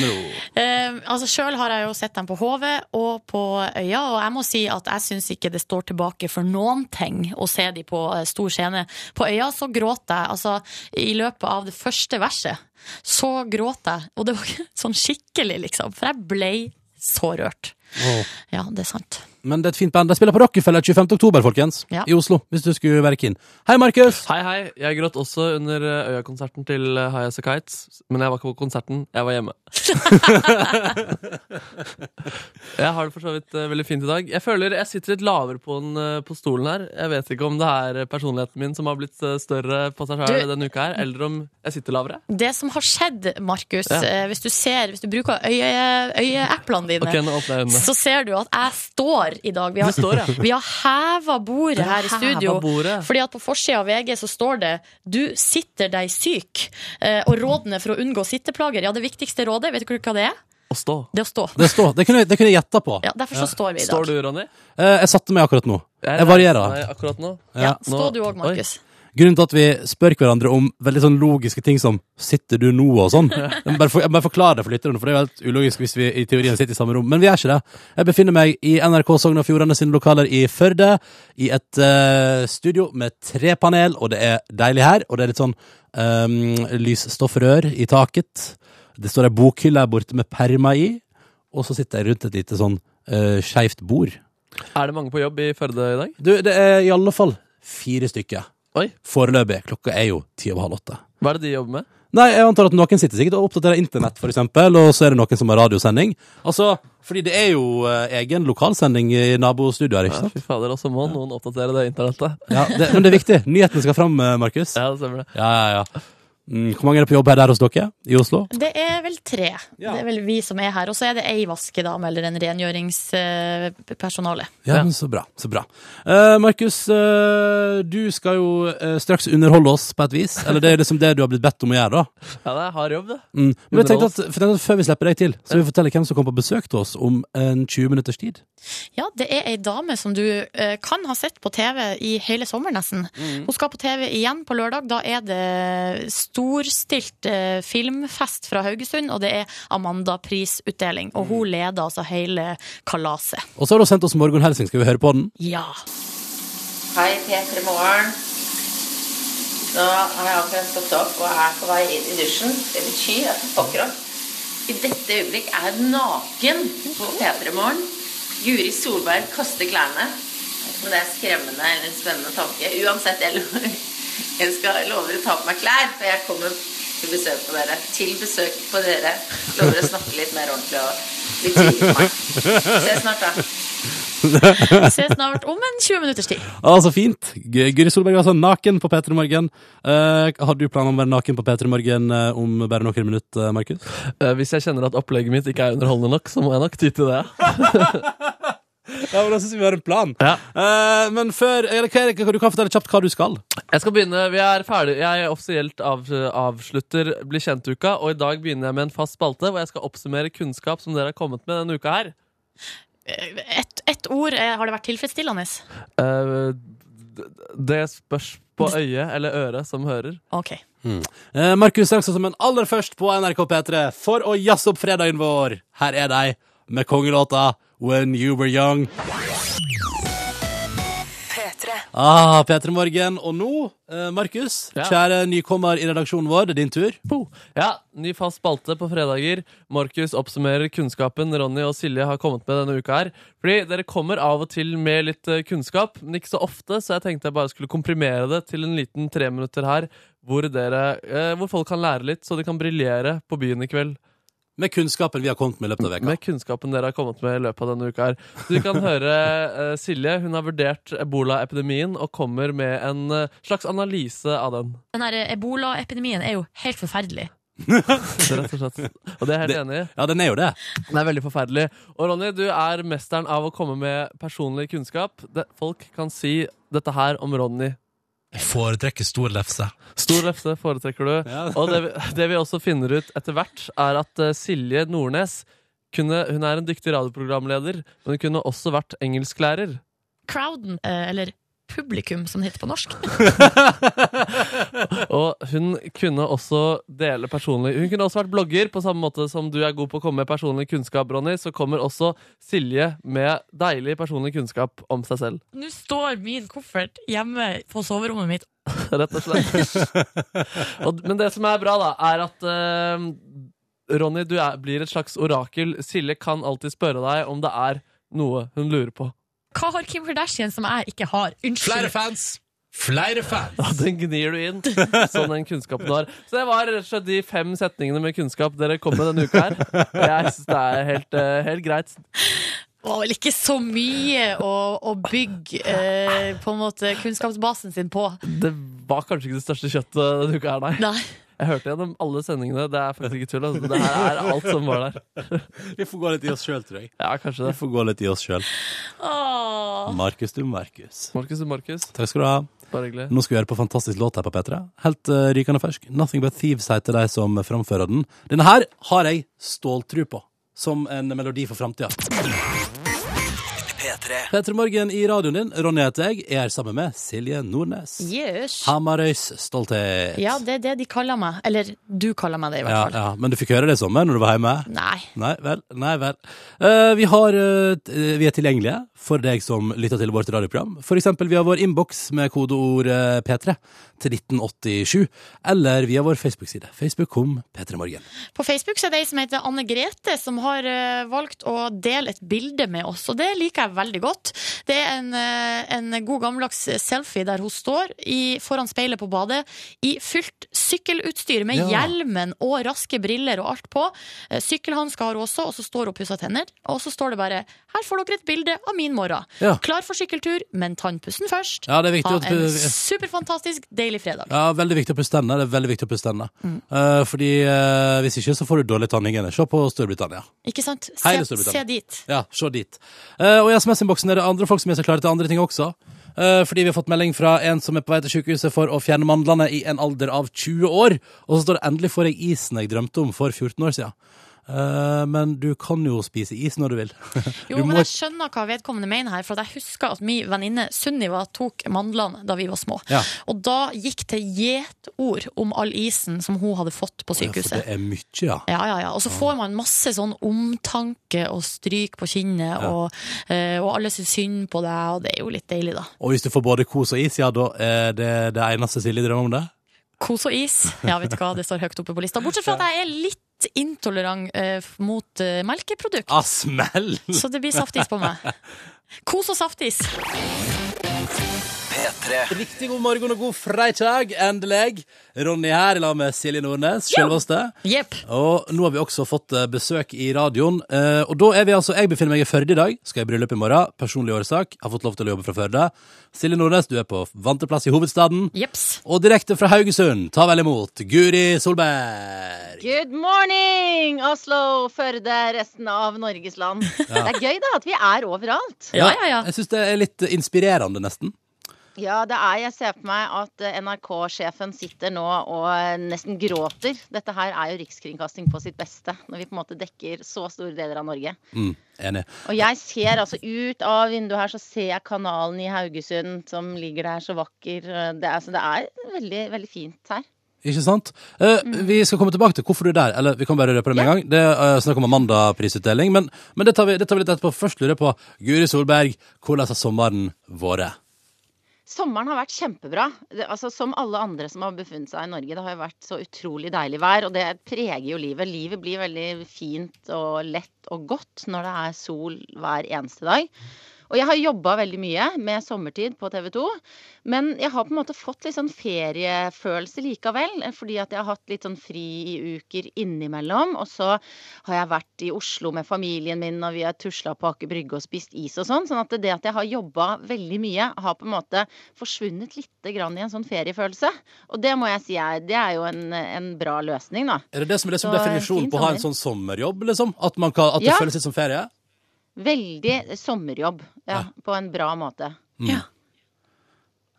A: med ro.
B: Eh, altså Sjøl har jeg jo sett dem på HV og på Øya, og jeg må si at jeg syns ikke det står tilbake for noen ting å se dem på eh, stor scene. På Øya så gråt jeg altså i løpet av det første verset. Så gråt jeg, og det var ikke sånn skikkelig, liksom. For jeg ble så rørt.
A: Åh.
B: Ja, det er sant.
A: Men det er et fint band. De spiller på Rockefeller 25. oktober, folkens.
B: Ja.
A: I Oslo, hvis du skulle være keen. Hei, Markus!
E: Hei, hei. Jeg gråt også under eh, Øya-konserten til eh, High As A Kites. Men jeg var ikke på konserten, jeg var hjemme. jeg har det for så vidt eh, veldig fint i dag. Jeg føler jeg sitter litt lavere på, den, eh, på stolen her. Jeg vet ikke om det er eh, personligheten min som har blitt eh, større på seg sjøl
B: Du-
E: denne uka her, eller om jeg sitter lavere.
B: Det som har skjedd, Markus,
E: Ja.
B: eh, hvis du ser, hvis du bruker øye- øyeappene dine
E: Ok, nå åpner jeg øynene.
B: så ser du at jeg står i dag. Vi har,
E: Du står, ja.
B: vi har heva bordet her i studio.
E: Heva bordet.
B: Fordi at på forsida av VG så står det 'Du sitter deg syk'. Eh, og rådene for å unngå sitteplager. Ja, det viktigste rådet, vet du hva det er?
E: Å stå.
B: Det er å stå.
A: Det, står, det, kunne, jeg- det kunne jeg gjetta på.
B: Ja, derfor så står vi i dag.
E: Står du, Ronny?
A: Eh, jeg satte meg akkurat nå.
E: Jeg
A: Jeg varierer.
E: Nei, akkurat nå.
B: Ja,
E: Nå-
B: står du òg,
E: Oi.
B: Markus.
A: Grunnen til at vi spør hverandre om veldig sånn logiske ting som 'sitter du nå' og sånn. Jeg må bare, for, jeg må bare forklare det for lytterne, for det er jo helt ulogisk hvis vi i teorien sitter i samme rom. Men vi gjør ikke det. Jeg befinner meg i NRK Sogn og Fjordane sine lokaler i Førde, i et eh, studio med tre panel, og det er deilig her. Og det er litt sånn eh, lysstoffrør i taket. Det står ei bokhylle her borte med perma i, og så sitter jeg rundt et lite sånn uh, skeivt bord.
E: Er det mange på jobb i Førde i dag?
A: Du, det er i alle fall fire stykker.
E: Oi.
A: Foreløpig. Klokka er jo ti over halv åtte.
E: Hva er det de jobber med?
A: Nei, jeg antar at noen sitter sikkert og oppdaterer internett, for eksempel, og så er det noen som har radiosending. Altså, fordi det er jo eh, egen lokalsending i nabostudioer, ikke
E: Ja,
A: sant?
E: fy fader, også må noen oppdatere det internettet.
A: Ja, det, men det er viktig. Nyhetene skal fram, eh, Markus. Ja,
E: Ja, det stemmer det.
A: ja, ja. Mm, hvor mange er det på jobb her der hos dere? I Oslo?
B: Det er vel tre. Det er vel vi som er her. Og så er det ei vaskedame eller en rengjøringspersonale.
A: Ja, men så bra. Så bra. Eh, Markus, eh, du skal jo eh, straks underholde oss på et vis. Eller det er liksom det du har blitt bedt om å gjøre, da.
E: Ja, det er hard jobb, det.
A: Mm. Men jeg tenkte at, for jeg tenkte at før vi slipper deg til, så vil vi fortelle hvem som kommer på besøk til oss om en 20 minutters tid.
B: Ja, det er ei dame som du eh, kan ha sett på TV i hele sommeren, nesten. Hun skal på TV igjen på lørdag. Da er det storstilt eh, filmfest fra Haugesund, og det er Amanda-prisutdeling. Og hun leder altså hele kalaset.
A: Og så har du sendt oss morgenhelsing. Skal vi høre på den?
B: Ja.
I: Hei, Peter Morgen. Nå har jeg akkurat stått opp og er på vei inn i dusjen. Det betyr at jeg pokker opp. I dette øyeblikk er jeg naken på P3 Morgen. Guri Solberg kaster klærne. Jeg vet ikke om det er skremmende eller en spennende tanke. Uansett, jeg, lover, jeg skal lover å ta på meg klær, for jeg kommer til besøk på dere. Til besøk på dere. Lover å snakke litt mer ordentlig og litt tidlig på meg. Ses snart, da.
B: Vi ses snart om en 20 minutters tid.
A: Ah, så fint. G- Guri Solberg er altså naken på P3 Morgen. Eh, har du planer om å være naken på P3 Morgen eh, om bare noen minutter, Markus?
E: Eh, Hvis jeg kjenner at opplegget mitt ikke er underholdende nok, så må jeg nok ty til det.
A: Ja, men Da syns vi har en plan. Eh, men før eller, hva er det, Du kan fortelle kjapt hva du skal.
E: Jeg skal begynne, vi er ferdig Jeg offisielt av, avslutter Bli kjent-uka, og i dag begynner jeg med en fast spalte hvor jeg skal oppsummere kunnskap som dere har kommet med denne uka her.
B: Eh, Ett et ord. eh, Har det vært tilfredsstillende?
E: Eh, Det spørs på øyet eller øret som hører.
B: Ok.
A: Eh, Markus Saksson som en aller først på NRK P3 for å jazze opp fredagen vår. Her er de med kongelåta When You Were Young. Ah, P3 Morgen. Og nå, eh, Markus,
E: Ja.
A: kjære nykommer i redaksjonen vår, det er din tur.
E: Ja, ny fast spalte på fredager. Markus oppsummerer kunnskapen Ronny og Silje har kommet med denne uka her. Fordi dere kommer av og til med litt eh, kunnskap, men ikke så ofte, så jeg tenkte jeg bare skulle komprimere det til en liten treminutter her, hvor, dere, eh, hvor folk kan lære litt, så de kan briljere på byen i kveld.
A: Med kunnskapen vi har kommet med i løpet av veka.
E: Med kunnskapen dere har kommet med i løpet av denne uka her. Så vi kan høre eh, Silje, hun har vurdert ebolaepidemien og kommer med en eh, slags analyse av den.
B: Den her eh, ebolaepidemien er jo helt forferdelig.
E: Rett og slett. Og det er jeg helt enig i.
A: Ja, den er jo det.
E: Det er veldig forferdelig. Og Ronny, du er mesteren av å komme med personlig kunnskap. Det- folk kan si dette her om Ronny.
A: Jeg foretrekker stor lefse.
E: Stor løfte foretrekker du.
A: Ja.
E: Og det, vi- det vi også finner ut etter hvert, er at eh, Silje Nordnes kunne, hun er en dyktig radioprogramleder, men hun kunne også vært engelsklærer.
B: Crowden, eh, eller publikum som det heter på norsk.
E: Og hun kunne også dele personlig Hun kunne også vært blogger, på samme måte som du er god på å komme med personlig kunnskap, Ronny. Så kommer også Silje med deilig personlig kunnskap om seg selv.
B: Nå står min koffert hjemme på soverommet mitt.
E: rett og slett. og, men det som er bra, da, er at eh, Ronny, du er, blir et slags orakel. Silje kan alltid spørre deg om det er noe hun lurer på.
B: Hva har Kim Kardashian som jeg ikke har? Unnskyld.
A: fans! Flere fans!
E: Ja, Den gnir du inn, sånn den kunnskapen du har. Så det var rett og slett de fem setningene med kunnskap dere kom med denne uka her. Og Jeg synes det er helt, eh, helt greit.
B: Det var vel ikke så mye å, å bygge eh, på en måte kunnskapsbasen sin på.
E: Det var kanskje ikke det største kjøttet denne uka her, nei.
B: Nei.
E: Jeg hørte gjennom alle sendingene. Det er faktisk ikke tull. Altså. Det her er alt som var der.
A: Vi får gå litt i oss sjøl, tror jeg.
E: Ja, kanskje
A: Vi
E: det.
A: får gå litt i oss sjøl.
B: Åh.
A: Markus du Markus.
E: Markus og Markus,
A: Takk skal du ha.
E: bare hyggelig.
A: Nå skal vi høre på fantastisk låt her på P3. Helt eh, rykende fersk. 'Nothing But Thieves' heter de som framfører den. Denne her har jeg ståltru på som en melodi for framtida.
D: P3.
A: Petter Morgen i radioen din. Ronny heter jeg. Jeg er sammen med Silje Nordnes.
B: Jøss.
A: Hamarøys stolthet.
B: Ja, det er det de kaller meg. Eller du kaller meg det, i hvert
A: ja,
B: fall.
A: ja. Men du fikk høre det i sommer når du var hjemme?
B: Nei.
A: Nei vel. Nei vel. Eh, vi, har, eh, t- eh, vi er tilgjengelige for deg som lytter til vårt radioprogram. For eksempel via vår innboks med kodeord eh, P3 til 1987, eller via vår Facebook-side. Facebook.com P3morgen.
B: På Facebook så er det ei som heter Anne Grete, som har eh, valgt å dele et bilde med oss. Og det liker jeg veldig godt. Det er en, eh, en god gammeldags selfie der hun står i, foran speilet på badet i fullt sykkelutstyr med
A: Ja.
B: hjelmen og raske briller og alt på. Eh, Sykkelhansker har hun også, og så står hun og pusser tenner. Og så står det bare 'Her får dere et bilde av min morgen'.
A: Ja.
B: Klar for sykkeltur, men tannpussen først.
A: Ja, det er viktig
B: Ha
A: at
B: en superfantastisk, deilig fredag.
A: ja, veldig viktig å pusse tennene. Det er veldig viktig å pusse tennene. Eh, fordi eh, hvis ikke, så får du dårlig tannhygiene. Se på Storbritannia.
B: Ikke sant?
A: Hele
B: Se,
A: Storbritannia.
B: se dit.
A: Ja, se dit. Eh, og i SMS-innboksen er det andre folk som gjør seg klare til andre ting også. Eh, fordi vi har fått melding fra en som er på vei til sykehuset for å fjerne mandlene i en alder av 20 år. Og så står det 'endelig får jeg isen jeg drømte om for 14 år siden'. Eh, men du kan jo spise is når du vil.
B: Jo,
A: Du
B: men
A: må-
B: jeg skjønner hva vedkommende mener her, for at jeg husker at min venninne Sunniva tok mandlene da vi var små.
A: Ja.
B: Og da gikk det gjetord om all isen som hun hadde fått på
A: For det
B: sykehuset.
A: er mye, ja.
B: Ja, ja, ja. Og så får man masse sånn omtanke og stryk på kinnet, og, eh, og alle syns synd på deg, og det er jo litt deilig, da.
A: Og hvis du får både kos og is, ja, da er det det eneste Silje drømmer om det.
B: Kos og is. Ja, vet du hva, det står høyt oppe på lista. Bortsett fra at jeg er litt intolerant eh, mot eh, melkeprodukt,
A: Ah, smell!
B: så det blir saftis på meg. Kos og saftis.
D: P3.
A: Riktig god morgen og god fredag, endelig. Ronny her, i lag med Silje Nordnes, selveste.
B: Jepp.
A: Og nå har vi også fått eh, besøk i radioen. eh, Og da er vi altså Jeg befinner meg i Førde i dag. Skal i bryllup i morgen. Personlig årsak. Har fått lov til å jobbe fra Førde. Silje Nordnes, du er på vante plass i hovedstaden.
B: Jeps.
A: Og direkte fra Haugesund, ta vel imot Guri Solberg.
J: Good morning, Oslo, Førde, resten av Norges land. Det er gøy da at vi er overalt.
B: Ja, ja, ja.
A: Jeg syns det er litt eh, inspirerende, nesten.
J: Ja, det er. Jeg ser på meg at eh, NRK-sjefen sitter nå og eh, nesten gråter. Dette her er jo rikskringkasting på sitt beste, når vi på en måte dekker så store deler av Norge.
A: Mm, enig.
J: Og jeg ser altså ut av vinduet her, så ser jeg kanalen i Haugesund som ligger der så vakker. Eh, Det er, så det er veldig, veldig fint her.
A: Ikke sant? Eh, Vi skal komme tilbake til hvorfor du er der. Eller vi kan bare røpe det med en gang. Det er eh, snakk om Amanda-prisutdeling. Men, men det, tar vi, det tar vi litt etterpå. Først lurer jeg på, Guri Solberg, hvordan har sommeren vært?
J: Sommeren har vært kjempebra. Det, altså, som alle andre som har befunnet seg i Norge. Det har jo vært så utrolig deilig vær, og det preger jo livet. Livet blir veldig fint og lett og godt når det er sol hver eneste dag. Og jeg har jobba veldig mye med sommertid på TV 2. Men jeg har på en måte fått litt sånn feriefølelse likevel. Fordi at jeg har hatt litt sånn fri i uker innimellom. Og så har jeg vært i Oslo med familien min, og vi har tusla på Aker Brygge og spist is og sånn. Sånn at det at jeg har jobba veldig mye, har på en måte forsvunnet lite grann i en sånn feriefølelse. Og det må jeg si er, det er jo en, en bra løsning, da.
A: Er det det som er liksom
J: Så,
A: definisjonen
J: fin
A: på å ha en
J: sommer.
A: sånn sommerjobb? liksom? At, man kan, at det
J: Ja.
A: føles litt som ferie?
J: Veldig sommerjobb, ja. På en bra måte.
A: Mm.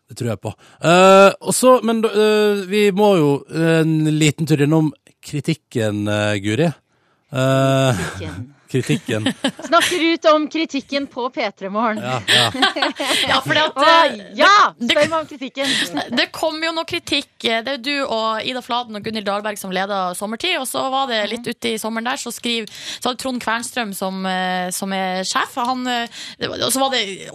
A: Det tror jeg på. Eh, og så, men eh, vi må jo eh, en liten tur innom kritikken, eh, Guri. Eh, kritikken.
J: Snakker ut om kritikken på P3 Morgen.
A: Ja, ja.
B: Ja, fordi at, eh,
J: Å, ja! Spør meg om kritikken.
B: Det kom jo noe kritikk. eh, Det er du og Ida Fladen og Gunhild Dahlberg som leda Sommertid. Og så var
J: Mhm.
B: det litt ute i sommeren der, så skriv Så hadde Trond Kvernstrøm som, eh, som er sjef. Han, eh, det var- og så var det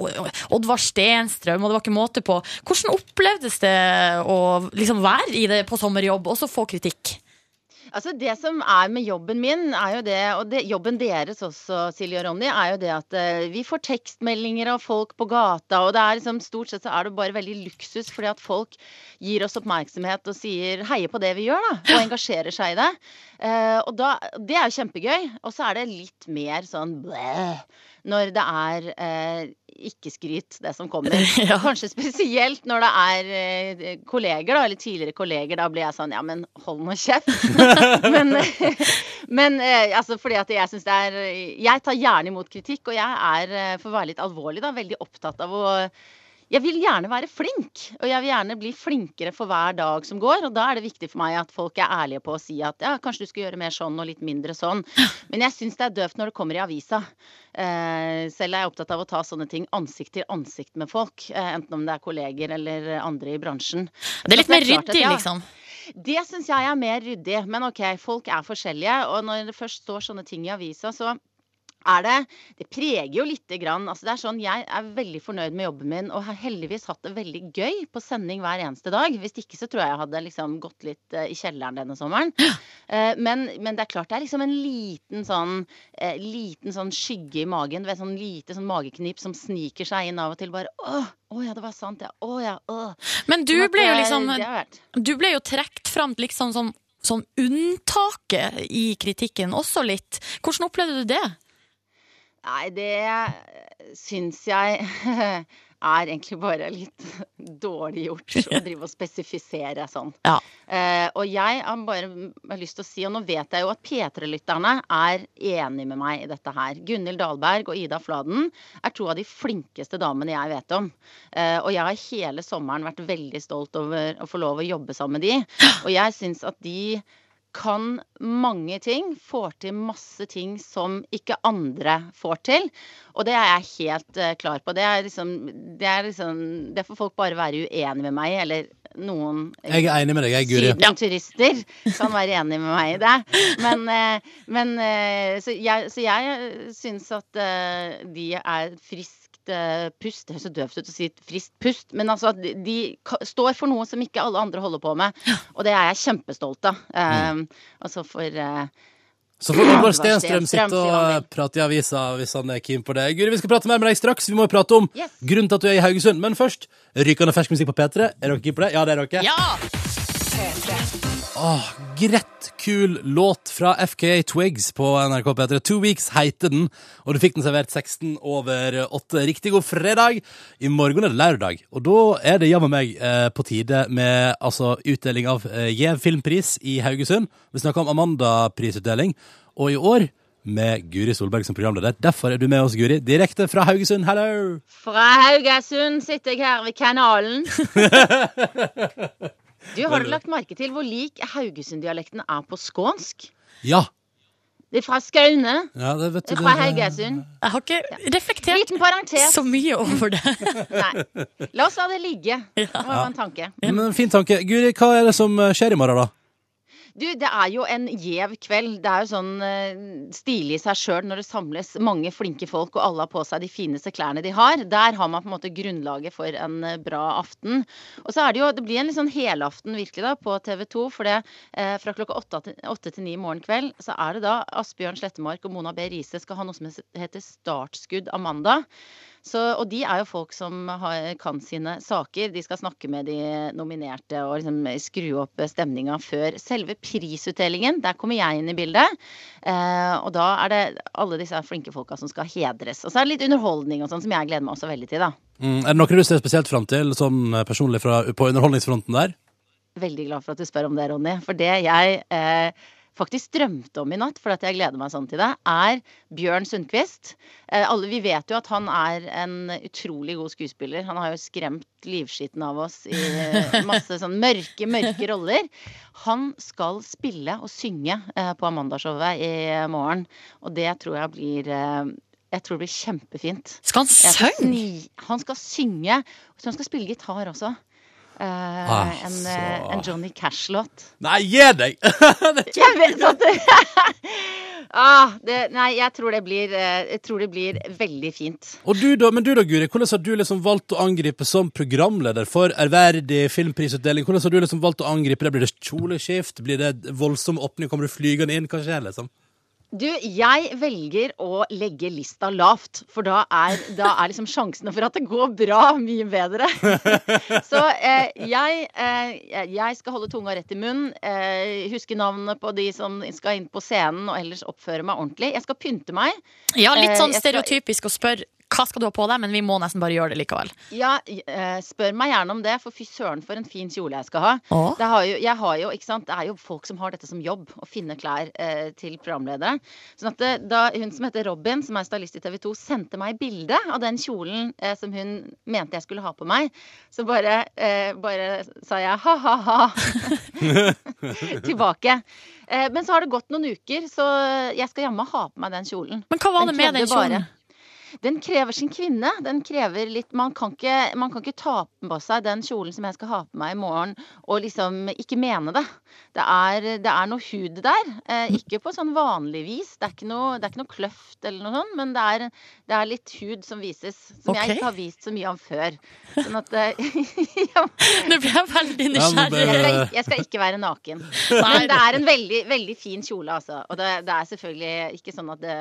B: Oddvar Stenstrøm, og det var ikke måte på. Hvordan opplevdes det å liksom være i det på sommerjobb, og så få kritikk?
J: Altså Det som er med jobben min, er jo det, og det, jobben deres også, Silje og Ronny, er jo det at eh, vi får tekstmeldinger av folk på gata, og det er liksom stort sett så er det bare veldig luksus fordi at folk gir oss oppmerksomhet og sier heier på det vi gjør, da, og engasjerer seg i det. Eh, og da, Det er jo kjempegøy. Og så er det litt mer sånn blæh når det er eh, ikke-skryt, det som kommer. Kanskje spesielt når det er eh, kolleger, da, eller tidligere kolleger. Da blir jeg sånn ja, men hold nå kjeft. men men eh, altså, fordi at jeg syns det er Jeg tar gjerne imot kritikk, og jeg er, eh, for å være litt alvorlig, da, veldig opptatt av å jeg vil gjerne være flink, og jeg vil gjerne bli flinkere for hver dag som går. Og da er det viktig for meg at folk er ærlige på å si at ja, kanskje du skal gjøre mer sånn og litt mindre sånn. Men jeg syns det er døvt når det kommer i avisa. Eh, selv er jeg opptatt av å ta sånne ting ansikt til ansikt med folk. Eh, enten om det er kolleger eller andre i bransjen.
B: Det er litt
J: Så
B: mer
J: klart at
B: ryddig,
J: ja,
B: liksom.
J: Det syns jeg er mer ryddig. Men OK, folk er forskjellige, og når det først står sånne ting i avisa, så er det Det preger jo lite grann. Altså det er sånn, jeg er veldig fornøyd med jobben min og har heldigvis hatt det veldig gøy på sending hver eneste dag. Hvis ikke så tror jeg jeg hadde liksom gått litt eh, i kjelleren denne sommeren. Eh, Men, men det er klart det er liksom en liten sånn, eh, liten sånn skygge i magen. du vet, Sånn lite sånn mageknip som sniker seg inn av og til. Bare åh, å ja, det var sant, ja. Å ja, åh.
B: Men du
J: Sånn at
B: ble jo
J: det-
B: liksom-
J: det har vært-
B: Du ble jo trukket fram liksom som, som unntaket i kritikken også litt. Hvordan opplevde du det?
J: Nei, det syns jeg er egentlig bare litt dårlig gjort å drive og spesifisere sånn.
B: Ja.
J: Eh, og jeg har bare har lyst til å si, og nå vet jeg jo at P3-lytterne er enig med meg i dette her. Gunhild Dahlberg og Ida Fladen er to av de flinkeste damene jeg vet om. Eh, og jeg har hele sommeren vært veldig stolt over å få lov å jobbe sammen med de. Og jeg syns at de kan mange ting, får til masse ting som ikke andre får til. Og det er jeg helt eh, klar på. Det, er liksom, det, er liksom, det får folk bare være uenig med meg i, eller noen eh,
A: Jeg er enig med deg, jeg, Guri.
J: Sydenturister kan være enig med meg i det. Men, eh, men eh, så jeg, så jeg syns at eh, de er friskt eh, pust. Det høres så døvt ut å si friskt pust, men altså at de- de ka- står for noe som ikke alle andre holder på med. Og det er jeg kjempestolt
A: Mm.
J: av. Eh, Og så får eh,
A: Så får Oddvar
J: Oddvar
A: Stenstrøm
J: Stenstrøm,
A: sitte
J: sier
A: og
J: han
A: eh, prate i avisa hvis han er keen på det. Guri, vi skal prate mer med deg straks. Vi må jo prate om grunnen til at du er i Haugesund. Men først, rykende fersk musikk på P3. Er dere keen på det? Ja, det er dere. Åh, greit kul låt fra FKA Twigs på NRK P3. Two Weeks heter den, og du fikk den servert 16 over 8. Riktig god fredag! I morgen er det lørdag, og da er det jammen meg eh, på tide med altså, utdeling av eh, Gjev filmpris i Haugesund. Vi snakker om Amanda-prisutdeling, og i år med Guri Solberg som programleder. Derfor er du med oss, Guri, direkte fra Haugesund. Hello!
J: Fra Haugesund sitter jeg her ved kanalen. Du, Har du lagt merke til hvor lik Haugesund-dialekten er på skånsk?
A: Ja.
J: Det er fra Skaune.
A: ja det vet
J: Det er
A: du,
J: fra
A: det-
J: Haugesund.
B: Jeg har ikke reflektert
J: Liten parentes.
B: så mye over det.
J: La oss la det ligge. Det var
A: Ja.
J: en tanke.
A: Men Fin tanke. Guri, hva er det som eh, skjer i morgen, da?
J: Du, det er jo en gjev kveld. Det er jo sånn eh, stilig i seg sjøl når det samles mange flinke folk, og alle har på seg de fineste klærne de har. Der har man på en måte grunnlaget for en eh, bra aften. Og så er det jo Det blir en litt sånn helaften virkelig da på TV 2, for det eh, fra klokka åtte til- åtte til ni i morgen kveld så er det da Asbjørn Slettemark og Mona B. Riise skal ha noe som heter Startskudd Amanda. Så, og de er jo folk som har, kan sine saker. De skal snakke med de nominerte og liksom skru opp stemninga før selve prisutdelingen. Der kommer jeg inn i bildet. Eh, og da er det alle disse flinke folka som skal hedres. Og så er det litt underholdning og sånn som jeg gleder meg også veldig til, da.
A: Mm, er det noe du ser spesielt fram til, sånn eh, personlig fra, på underholdningsfronten der?
J: Veldig glad for at du spør om det, Ronny. For det jeg eh, faktisk drømte om i natt, for at jeg gleder meg sånn til det, er Bjørn Sundquist. Eh, alle, vi vet jo at han er en utrolig god skuespiller. Han har jo skremt livskiten av oss i eh, masse sånn mørke, mørke roller. Han skal spille og synge eh, på Amandashowet i morgen, og det tror jeg blir eh, jeg tror det blir kjempefint.
B: Skal han
J: Jeg skal
B: synge?
J: sni- Han skal synge. Så han skal spille gitar også. Eh, en, eh, en Johnny Cash-låt.
A: Nei, gi deg!
J: Jeg vet at det ah, det, Nei, jeg tror det, blir, eh, jeg tror det blir veldig fint.
A: Og du da, men du da, Guri, hvordan har du liksom valgt å angripe som programleder for ærverdig filmprisutdeling? Hvordan har du liksom valgt å angripe det? Blir det kjoleskift? Blir det voldsom åpning? Kommer du flygende inn? Hva skjer, liksom?
J: Du, jeg velger å legge lista lavt, for da er, da er liksom sjansene for at det går bra, mye bedre. Så eh, jeg, eh, jeg skal holde tunga rett i munnen, eh, huske navnene på de som skal inn på scenen, og ellers oppføre meg ordentlig. Jeg skal pynte meg.
B: Ja, litt
J: Eh,
B: sånn
J: jeg skal-
B: stereotypisk å spørre hva skal du ha på deg, men vi må nesten bare gjøre det likevel.
J: Ja, eh, spør meg gjerne om det, for fy søren for en fin kjole jeg skal ha.
B: Åh.
J: Det, har jo, jeg har jo, ikke sant? det er jo folk som har dette som jobb, å finne klær eh, til programledere. Sånn at det, da hun som heter Robin, som er stylist i TV 2, sendte meg bilde av den kjolen eh, som hun mente jeg skulle ha på meg, så bare, eh, bare sa jeg ha-ha-ha tilbake. Eh, men så har det gått noen uker, så jeg skal jammen ha på meg den kjolen.
B: Men hva var det med
J: krevde
B: den kjolen?
J: bare- den krever sin kvinne. Den krever litt Man kan ikke, man kan ikke ta på seg den kjolen som jeg skal ha på meg i morgen, og liksom ikke mene det. Det er, det er noe hud der. Eh, ikke på sånn vanlig vis. Det er ikke noe, det er ikke noe kløft eller noe sånt, men det er, det er litt hud som vises. Som
B: Ok.
J: jeg ikke har vist så mye av før. Sånn at eh,
B: Nå ble jeg veldig
J: jeg, skal
B: nysgjerrig.
J: ikke, jeg skal ikke være naken. Men det er en veldig, veldig fin kjole, altså. Og det, det er selvfølgelig ikke sånn at det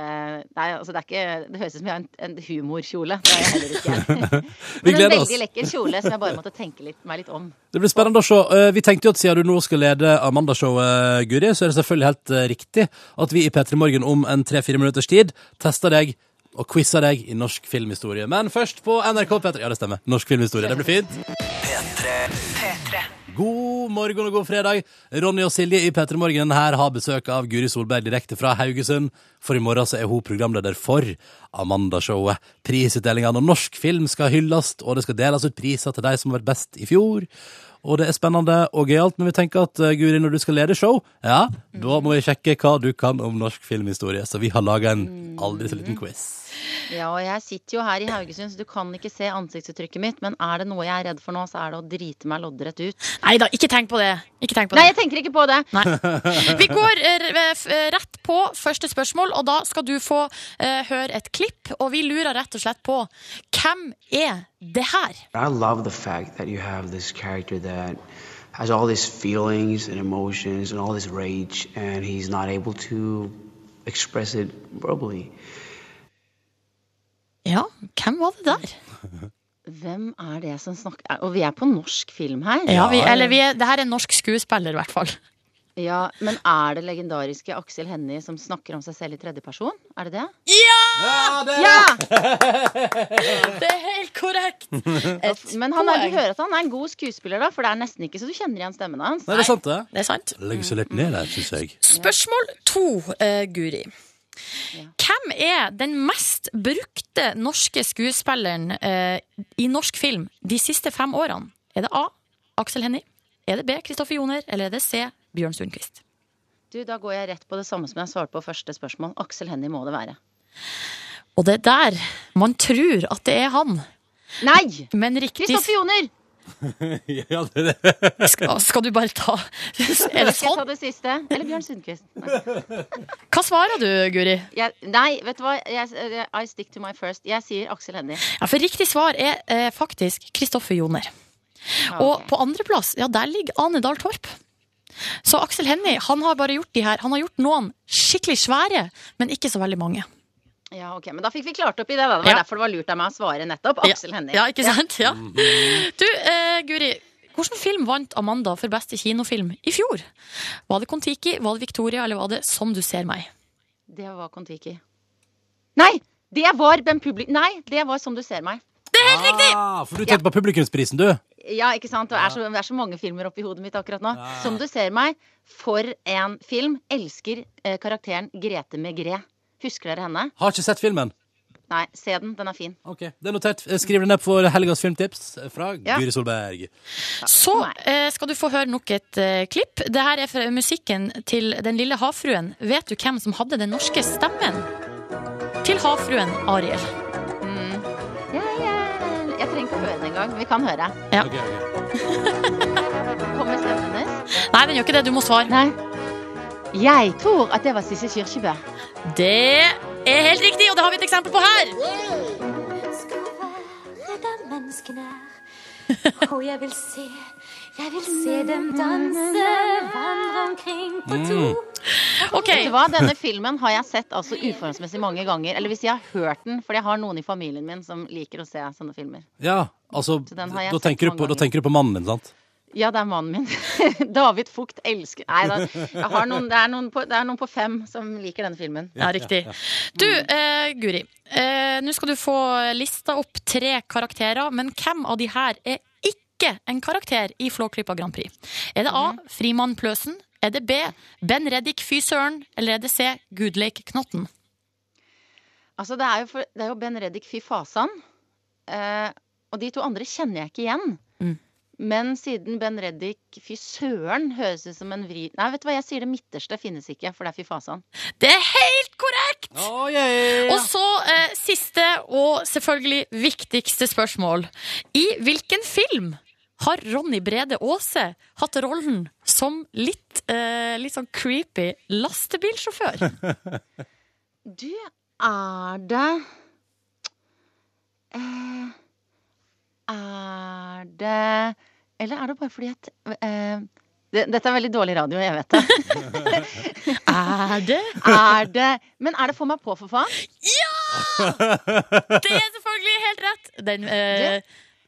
J: Nei, altså det er ikke Det høres ut som jeg har en, en humorkjole. Det er jeg heller ikke.
A: Vi
J: Men en
A: gleder oss.
J: veldig lekker kjole som jeg bare måtte tenke litt, meg litt om.
A: Det blir spennende å se. Eh, Vi tenkte jo at siden du nå skal lede Amandashowet, Guri, så er det selvfølgelig helt eh, riktig at vi i P3 Morgen om en tre-fire minutters tid tester deg og quizer deg i norsk filmhistorie. Men først på NRK P3. Ja, det stemmer. Norsk filmhistorie. Det blir fint. God morgen og god fredag. Ronny og Silje i P3 Morgen her har besøk av Guri Solberg direkte fra Haugesund. For i morgen så er hun programleder for Amandashowet. Prisutdelingene og norsk film skal hylles, og det skal deles ut priser til de som har vært best i fjor. Og det er spennende og gøyalt, men vi tenker at eh, Guri, når du skal lede show, ja, da må vi sjekke hva du kan om norsk filmhistorie. Så vi har laga en aldri så liten quiz.
J: Ja, og jeg sitter jo her i Haugesund, så du kan ikke se ansiktsuttrykket mitt. Men er det noe jeg er redd for nå, så er det å drite meg loddrett ut.
B: Nei da, ikke tenk på det. Ikke tenk på
J: Nei,
B: det.
J: jeg tenker ikke på det.
B: Vi går eh, r- f- eh, rett på første spørsmål, og da skal du få eh, høre et klipp. Og vi lurer rett og slett på hvem er det her?
K: I love the fact that you have this character that has all these feelings and emotions and all this rage, and he's not able to express it verbally.
B: Ja, hvem var det der?
J: Hvem er det som snakker Og vi er på norsk film her.
B: Ja, vi, eller vi er, det her er en norsk skuespiller, i hvert fall.
J: Ja, Men er det legendariske Aksel Hennie som snakker om seg selv i tredjeperson? Er det det?
B: Ja!
J: det
B: det
J: er
B: er, helt korrekt. Et
J: Men han er,
B: poeng.
J: du hører at han er en god skuesspiller, da, for det er nesten ikke så du kjenner igjen stemmen hans.
A: Nei, det er sant, det.
B: Det er sant.
A: Legger seg litt ned der, syns jeg.
B: Spørsmål to, eh, Guri. Hvem er den mest brukte norske skuespilleren eh, i norsk film de siste fem årene? Er det A. Aksel Hennie? Er det B. Kristoffer Joner? Eller er det C. Bjørn Sundquist?
J: Du, da går jeg rett på det samme som jeg svarte på første spørsmål. Aksel Hennie må det være.
B: Og det er der man tror at det er han.
J: Nei!
B: Men riktig
J: Kristoffer Joner!
A: ja, det, det.
B: Skal, skal du bare ta Er det
J: Skal jeg
B: sånn?
J: ta det siste? Eller Bjørn Sundquist?
B: Hva svarer du, Guri?
J: Jeg, nei, vet du hva? Jeg, eh, I stick to my first. Jeg sier Aksel Hennie.
B: Ja, for riktig svar er eh, faktisk Kristoffer Joner. Og på andreplass, ja, der ligger Ane Dahl Torp. Så Aksel Hennie, han har bare gjort de her. Han har gjort noen skikkelig svære, men ikke så veldig mange.
J: Ja, ok, Men da fikk vi klart opp i det. da. Det var
B: Ja.
J: derfor det var lurt av meg å svare nettopp. Aksel Hennie.
B: Ja, ikke sant? Ja. Du, eh, Guri, hvilken film vant Amanda for beste kinofilm i fjor? Var det Kon-Tiki, var det Victoria, eller var det Som du ser meg?
J: Det var Kon-Tiki. Nei! Det var den publi... Nei, det var Som du ser meg.
B: Det er helt
A: riktig! Ah, for du tenkte på publikumsprisen, du.
J: Ja, ikke sant? Det er, så, det er så mange filmer oppi hodet mitt akkurat nå. Som du ser meg, for en film. Elsker eh, karakteren Grete Megret. Husker dere henne?
A: Har ikke sett filmen.
J: Nei, se den. Den er fin.
A: Det er notert. Eh, Skriv det ned for helgas filmtips eh, fra
J: Ja.
A: Guri Solberg.
B: Så eh, skal du få høre nok et eh, klipp. Det her er fra musikken til Den lille havfruen. Vet du hvem som hadde den norske stemmen til havfruen Ariel?
J: Ja, ja, jeg trenger ikke høre den engang. Vi kan høre.
B: Ja.
J: Kommer stemmen hennes?
B: Nei, den gjør ikke det. Du må svare.
J: Jeg tror at det var Sissel Kyrkjebø.
B: Det er helt riktig, og det har vi et eksempel på her.
L: Og jeg vil se, jeg vil se
J: Mm.
L: dem danse, vandre omkring på
C: Mm.
L: to.
J: Vet du hva? Denne filmen har jeg sett altså uforholdsmessig mange ganger. Eller hvis jeg har hørt den, fordi jeg har noen i familien min som liker å se sånne filmer.
A: Ja, altså,
J: Så den har jeg
A: da
J: sett
A: tenker, du
J: mange
A: på, da
J: ganger.
A: tenker du på mannen din, sant?
J: Ja, det er mannen min. David Fugt elsker Nei da. Jeg har noen, det, er noen på, det er noen på fem som liker denne filmen.
B: Ja, riktig. Du, eh, Guri. Eh, Nå skal du få lista opp tre karakterer, men hvem av de her er ikke en karakter i Flåklypa Grand Prix? Er det A.
J: Mhm.
B: Frimann Pløsen? Er det B. Ben Reddik Fy Søren? Eller er det C. Gudleik Knotten?
J: Altså, det er jo, for, det er jo Ben Reddik Fy Fasan. Eh, og de to andre kjenner jeg ikke igjen.
B: Mm.
J: Men siden Ben Reddik Fy søren høres ut som en vri... Nei, vet du hva, jeg sier det midterste finnes ikke, for det er Fy Fasan.
B: Det er helt korrekt! Og så eh, siste og selvfølgelig viktigste spørsmål. I hvilken film har Ronny Brede Aase hatt rollen som litt, eh, litt sånn creepy lastebilsjåfør?
J: Du, er det eh, Er det Eller er det bare fordi jeg t- eh, det, Dette er veldig dårlig radio, jeg vet det.
B: er det?
J: Er det Men er det Få meg på, for faen?
B: Det er selvfølgelig helt rett! Den, eh,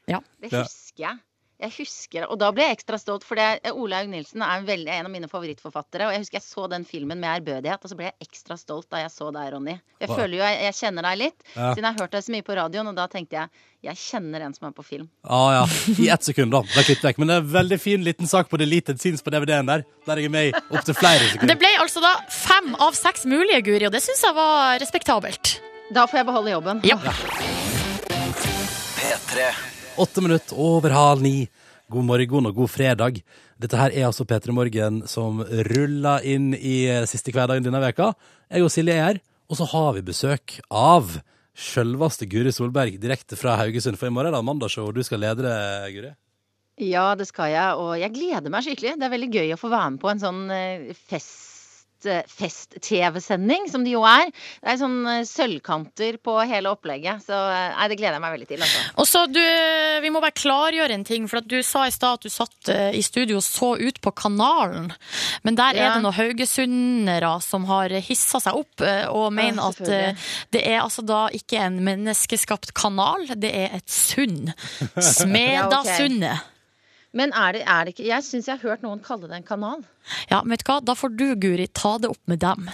B: ja.
J: Det husker jeg. Jeg husker, det, Og da ble jeg ekstra stolt, for det- Olaug Nilsen er en, veldig, en av mine favorittforfattere. Og jeg husker jeg så den filmen med ærbødighet, og så ble jeg ekstra stolt da jeg så deg, Ronny. Jeg
A: Wow.
J: føler jo, jeg, jeg kjenner deg litt,
A: Ja.
J: siden jeg har hørt deg så mye på radioen, og da tenkte jeg jeg kjenner en som er på film.
A: Ah, ja. I ett sekund, da. Det er klippet vekk. Men det er en veldig fin liten sak på Deleted Scenes på DVD-en der. Der jeg er med i opptil flere
B: Det
A: sekunder.
B: ble altså da fem av seks mulige, Guri, og det syns jeg var respektabelt.
J: Da får jeg beholde jobben.
B: Ja.
D: P3
A: Åtte minutter over halv ni. God morgen og god fredag. Dette her er altså P3 Morgen som ruller inn i eh, siste hverdagen denne veka. Jeg og Silje er her, og så har vi besøk av sjølveste Guri Solberg direkte fra Haugesund. For i morgen er det mandagsshow, og du skal lede det, Guri.
J: Ja, det skal jeg, og jeg gleder meg skikkelig. Det er veldig gøy å få være med på en sånn eh, fest eh, fest-TV-sending, som det jo er. Det er sånn eh, sølvkanter på hele opplegget. Så eh, nei, det gleder jeg meg veldig til. Altså.
B: Og så du, Vi må bare klargjøre en ting. For at Du sa i stad at du satt eh, i studio og så ut på kanalen. Men
J: Ja.
B: der er det noen haugesundere som har hissa seg opp eh, og mener at
J: selvfølgelig.
B: eh, det er altså da ikke en menneskeskapt kanal, det er et sund. Smedasundet.
J: Men er det, er det ikke Jeg syns jeg har hørt noen kalle det en kanal.
B: Ja, men vet du hva? Da får du, Guri, ta det opp med dem.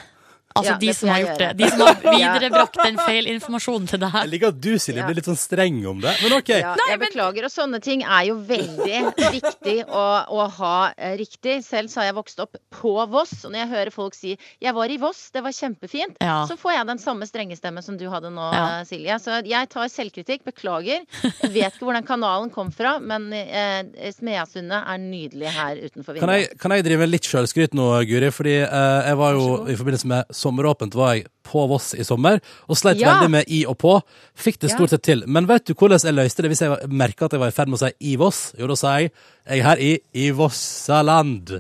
B: Altså
J: Ja,
B: de
J: det
B: som
J: får
B: har
J: jeg
B: gjort det.
J: gjøre.
B: De som har
J: Ja.
B: viderebrakt den feilinformasjonen til deg.
A: Jeg liker at du, Silje, blir litt sånn streng om det. Men OK.
J: Ja, jeg beklager, og sånne ting er jo veldig viktig å, å ha eh, riktig. Selv så har jeg vokst opp på Voss, og når jeg hører folk si 'jeg var i Voss, det var kjempefint',
B: Ja.
J: så får jeg den samme strenge stemmen som du hadde nå,
B: Ja.
J: eh, Silje. Så jeg tar selvkritikk, beklager. Jeg vet ikke hvor den kanalen kom fra, men eh, Smeasundet er nydelig her utenfor
A: Kan jeg,
J: vinduet.
A: kan jeg drive med litt sjølskryt nå, Guri? Fordi eh, jeg var jo i forbindelse med sommeråpent var jeg på Voss i sommer, og sleit
J: Ja.
A: veldig med i og på. Fikk det
J: Ja.
A: stort sett til. Men vet du hvordan jeg løste det hvis jeg merka at jeg var i ferd med å si i Voss? Jo, da sa jeg jeg er her i i Vossaland.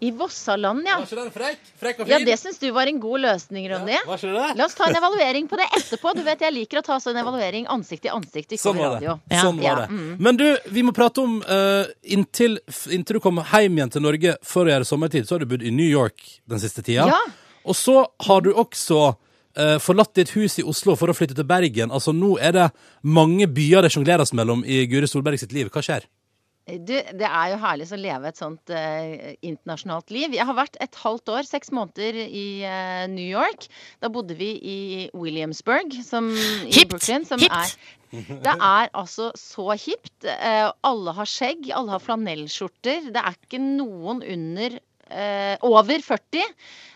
J: I Vossaland, ja.
A: og
J: Ja,
A: fin.
J: Det syns du var en god løsning, Ronny.
A: det?
J: La oss ta en evaluering på det etterpå. Du vet, Jeg liker å ta sånn evaluering ansikt til ansikt. Ikke
A: Sånn
J: over
A: var det.
J: radio.
A: Sånn
J: Ja,
A: var det.
J: mm.
A: Men du, vi må prate om eh, inntil, f- inntil du kom hjem igjen til Norge for å gjøre sommertid, så har du bodd i New York den siste tida.
J: Ja.
A: Og så har du også eh, forlatt ditt hus i Oslo for å flytte til Bergen. Altså Nå er det mange byer det sjongleres mellom i Guri Solberg sitt liv. Hva skjer?
J: Du, det er jo herlig å leve et sånt eh, internasjonalt liv. Jeg har vært et halvt år, seks måneder, i eh, New York. Da bodde vi i Williamsburg, som, i
B: Hipt!
J: Brooklyn. Som
B: Hipt!
J: Er, det er altså så hipt. Eh, alle har skjegg, alle har flanellskjorter. Det er ikke noen under eh, over 40.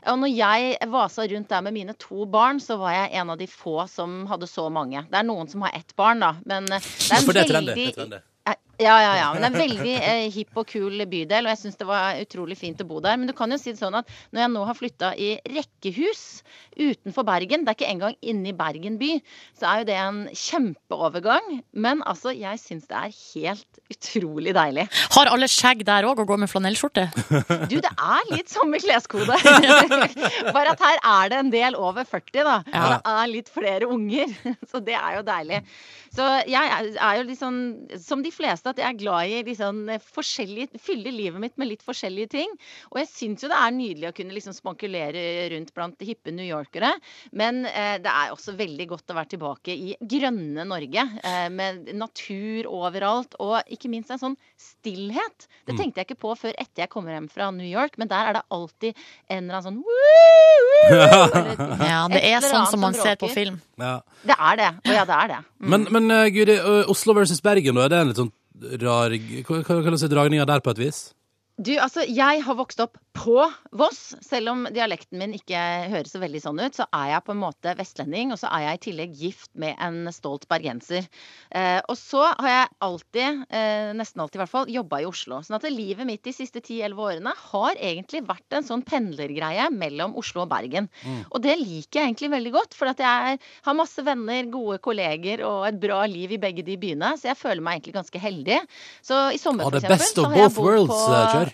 J: Og når jeg vasa rundt der med mine to barn, så var jeg en av de få som hadde så mange. Det er noen som har ett barn, da. Men eh, det er
A: For det er
J: en
A: trendy.
J: veldig
A: det er trendy.
J: Eh, ja, ja, ja. Men det er en veldig eh, hipp og kul bydel, og jeg syns det var utrolig fint å bo der. Men du kan jo si det sånn at når jeg nå har flytta i rekkehus utenfor Bergen, det er ikke engang inne i Bergen by, så er jo det en kjempeovergang. Men altså, jeg syns det er helt utrolig deilig.
B: Har alle skjegg der òg og går med flanellskjorte?
J: Du, det er litt som med kleskode. Bare at her er det en del over 40, da.
B: Ja.
J: Det er litt flere unger. Så det er jo deilig. Så jeg er er jo litt sånn, som de fleste, at jeg er glad i litt sånn forskjellige Fylle livet mitt med litt forskjellige ting. Og jeg syns jo det er nydelig å kunne liksom spankulere rundt blant hippe newyorkere. Men eh, det er også veldig godt å være tilbake i grønne Norge. Eh, med natur overalt, og ikke minst en sånn stillhet. Det
M: Mm.
J: tenkte jeg ikke på før etter jeg kommer hjem fra New York, men der er det alltid en eller annen sånn «Woo, woo», eller et
B: Ja, det er
J: eller
B: sånn
J: annet
B: som man ser på
J: bråker.
B: film.
A: Ja.
J: Det er det. Å ja, det er det.
A: Men, men eh, Guri, ø, Oslo versus Bergen, da, er det en litt sånn rar Hva hva- kan du si dragninga der, på et vis?
J: Du, altså, jeg har vokst opp på Voss. Selv om dialekten min ikke høres så veldig sånn ut, så er jeg på en måte vestlending, og så er jeg i tillegg gift med en stolt bergenser. Eh, og så har jeg alltid, eh, nesten alltid i hvert fall, jobba i Oslo. Sånn at livet mitt de siste 10-11 årene har egentlig vært en sånn pendlergreie mellom Oslo og Bergen.
M: Mm.
J: Og det liker jeg egentlig veldig godt, for at jeg har masse venner, gode kolleger og et bra liv i begge de byene, så jeg føler meg egentlig ganske heldig. Så i sommer,
A: Ah,
J: for
A: det er
J: eksempel,
A: best
J: så
A: of
J: har jeg
A: both
J: bodd
A: worlds,
J: på
A: eh, kjør.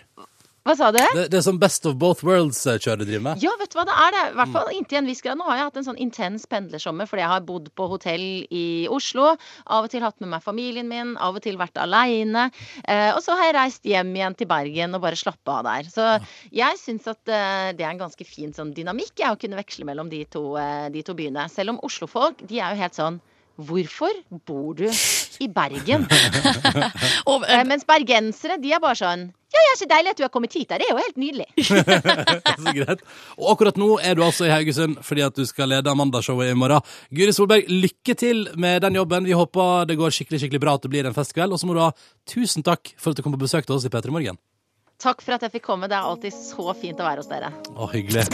J: Hva sa du?
A: Det, det er sånn best of both worlds-kjør du driver med?
J: Ja, vet du hva det er? Det er i hvert fall inntil en viss grad. Nå har jeg hatt en sånn intens pendlersommer fordi jeg har bodd på hotell i Oslo. Av og til hatt med meg familien min, av og til vært aleine. Eh, og så har jeg reist hjem igjen til Bergen og bare slappa av der. Så jeg syns at eh, det er en ganske fin sånn dynamikk jeg, å kunne veksle mellom de to, eh, de to byene. Selv om oslofolk, de er jo helt sånn Hvorfor bor du i Bergen? eh, mens bergensere, de er bare sånn Ja, ja, så deilig at du har kommet hit. da. Det er jo helt nydelig.
A: så greit. Og akkurat nå er du altså i Haugesund fordi at du skal lede Amandashowet i morgen. Guri Solberg, lykke til med den jobben. Vi håper det går skikkelig skikkelig bra at det blir en festkveld. Og så må du ha tusen takk for at du kom på besøk til oss i P3 Morgen.
J: Takk for at jeg fikk komme. Det er alltid så fint å være hos dere.
A: Å, hyggelig.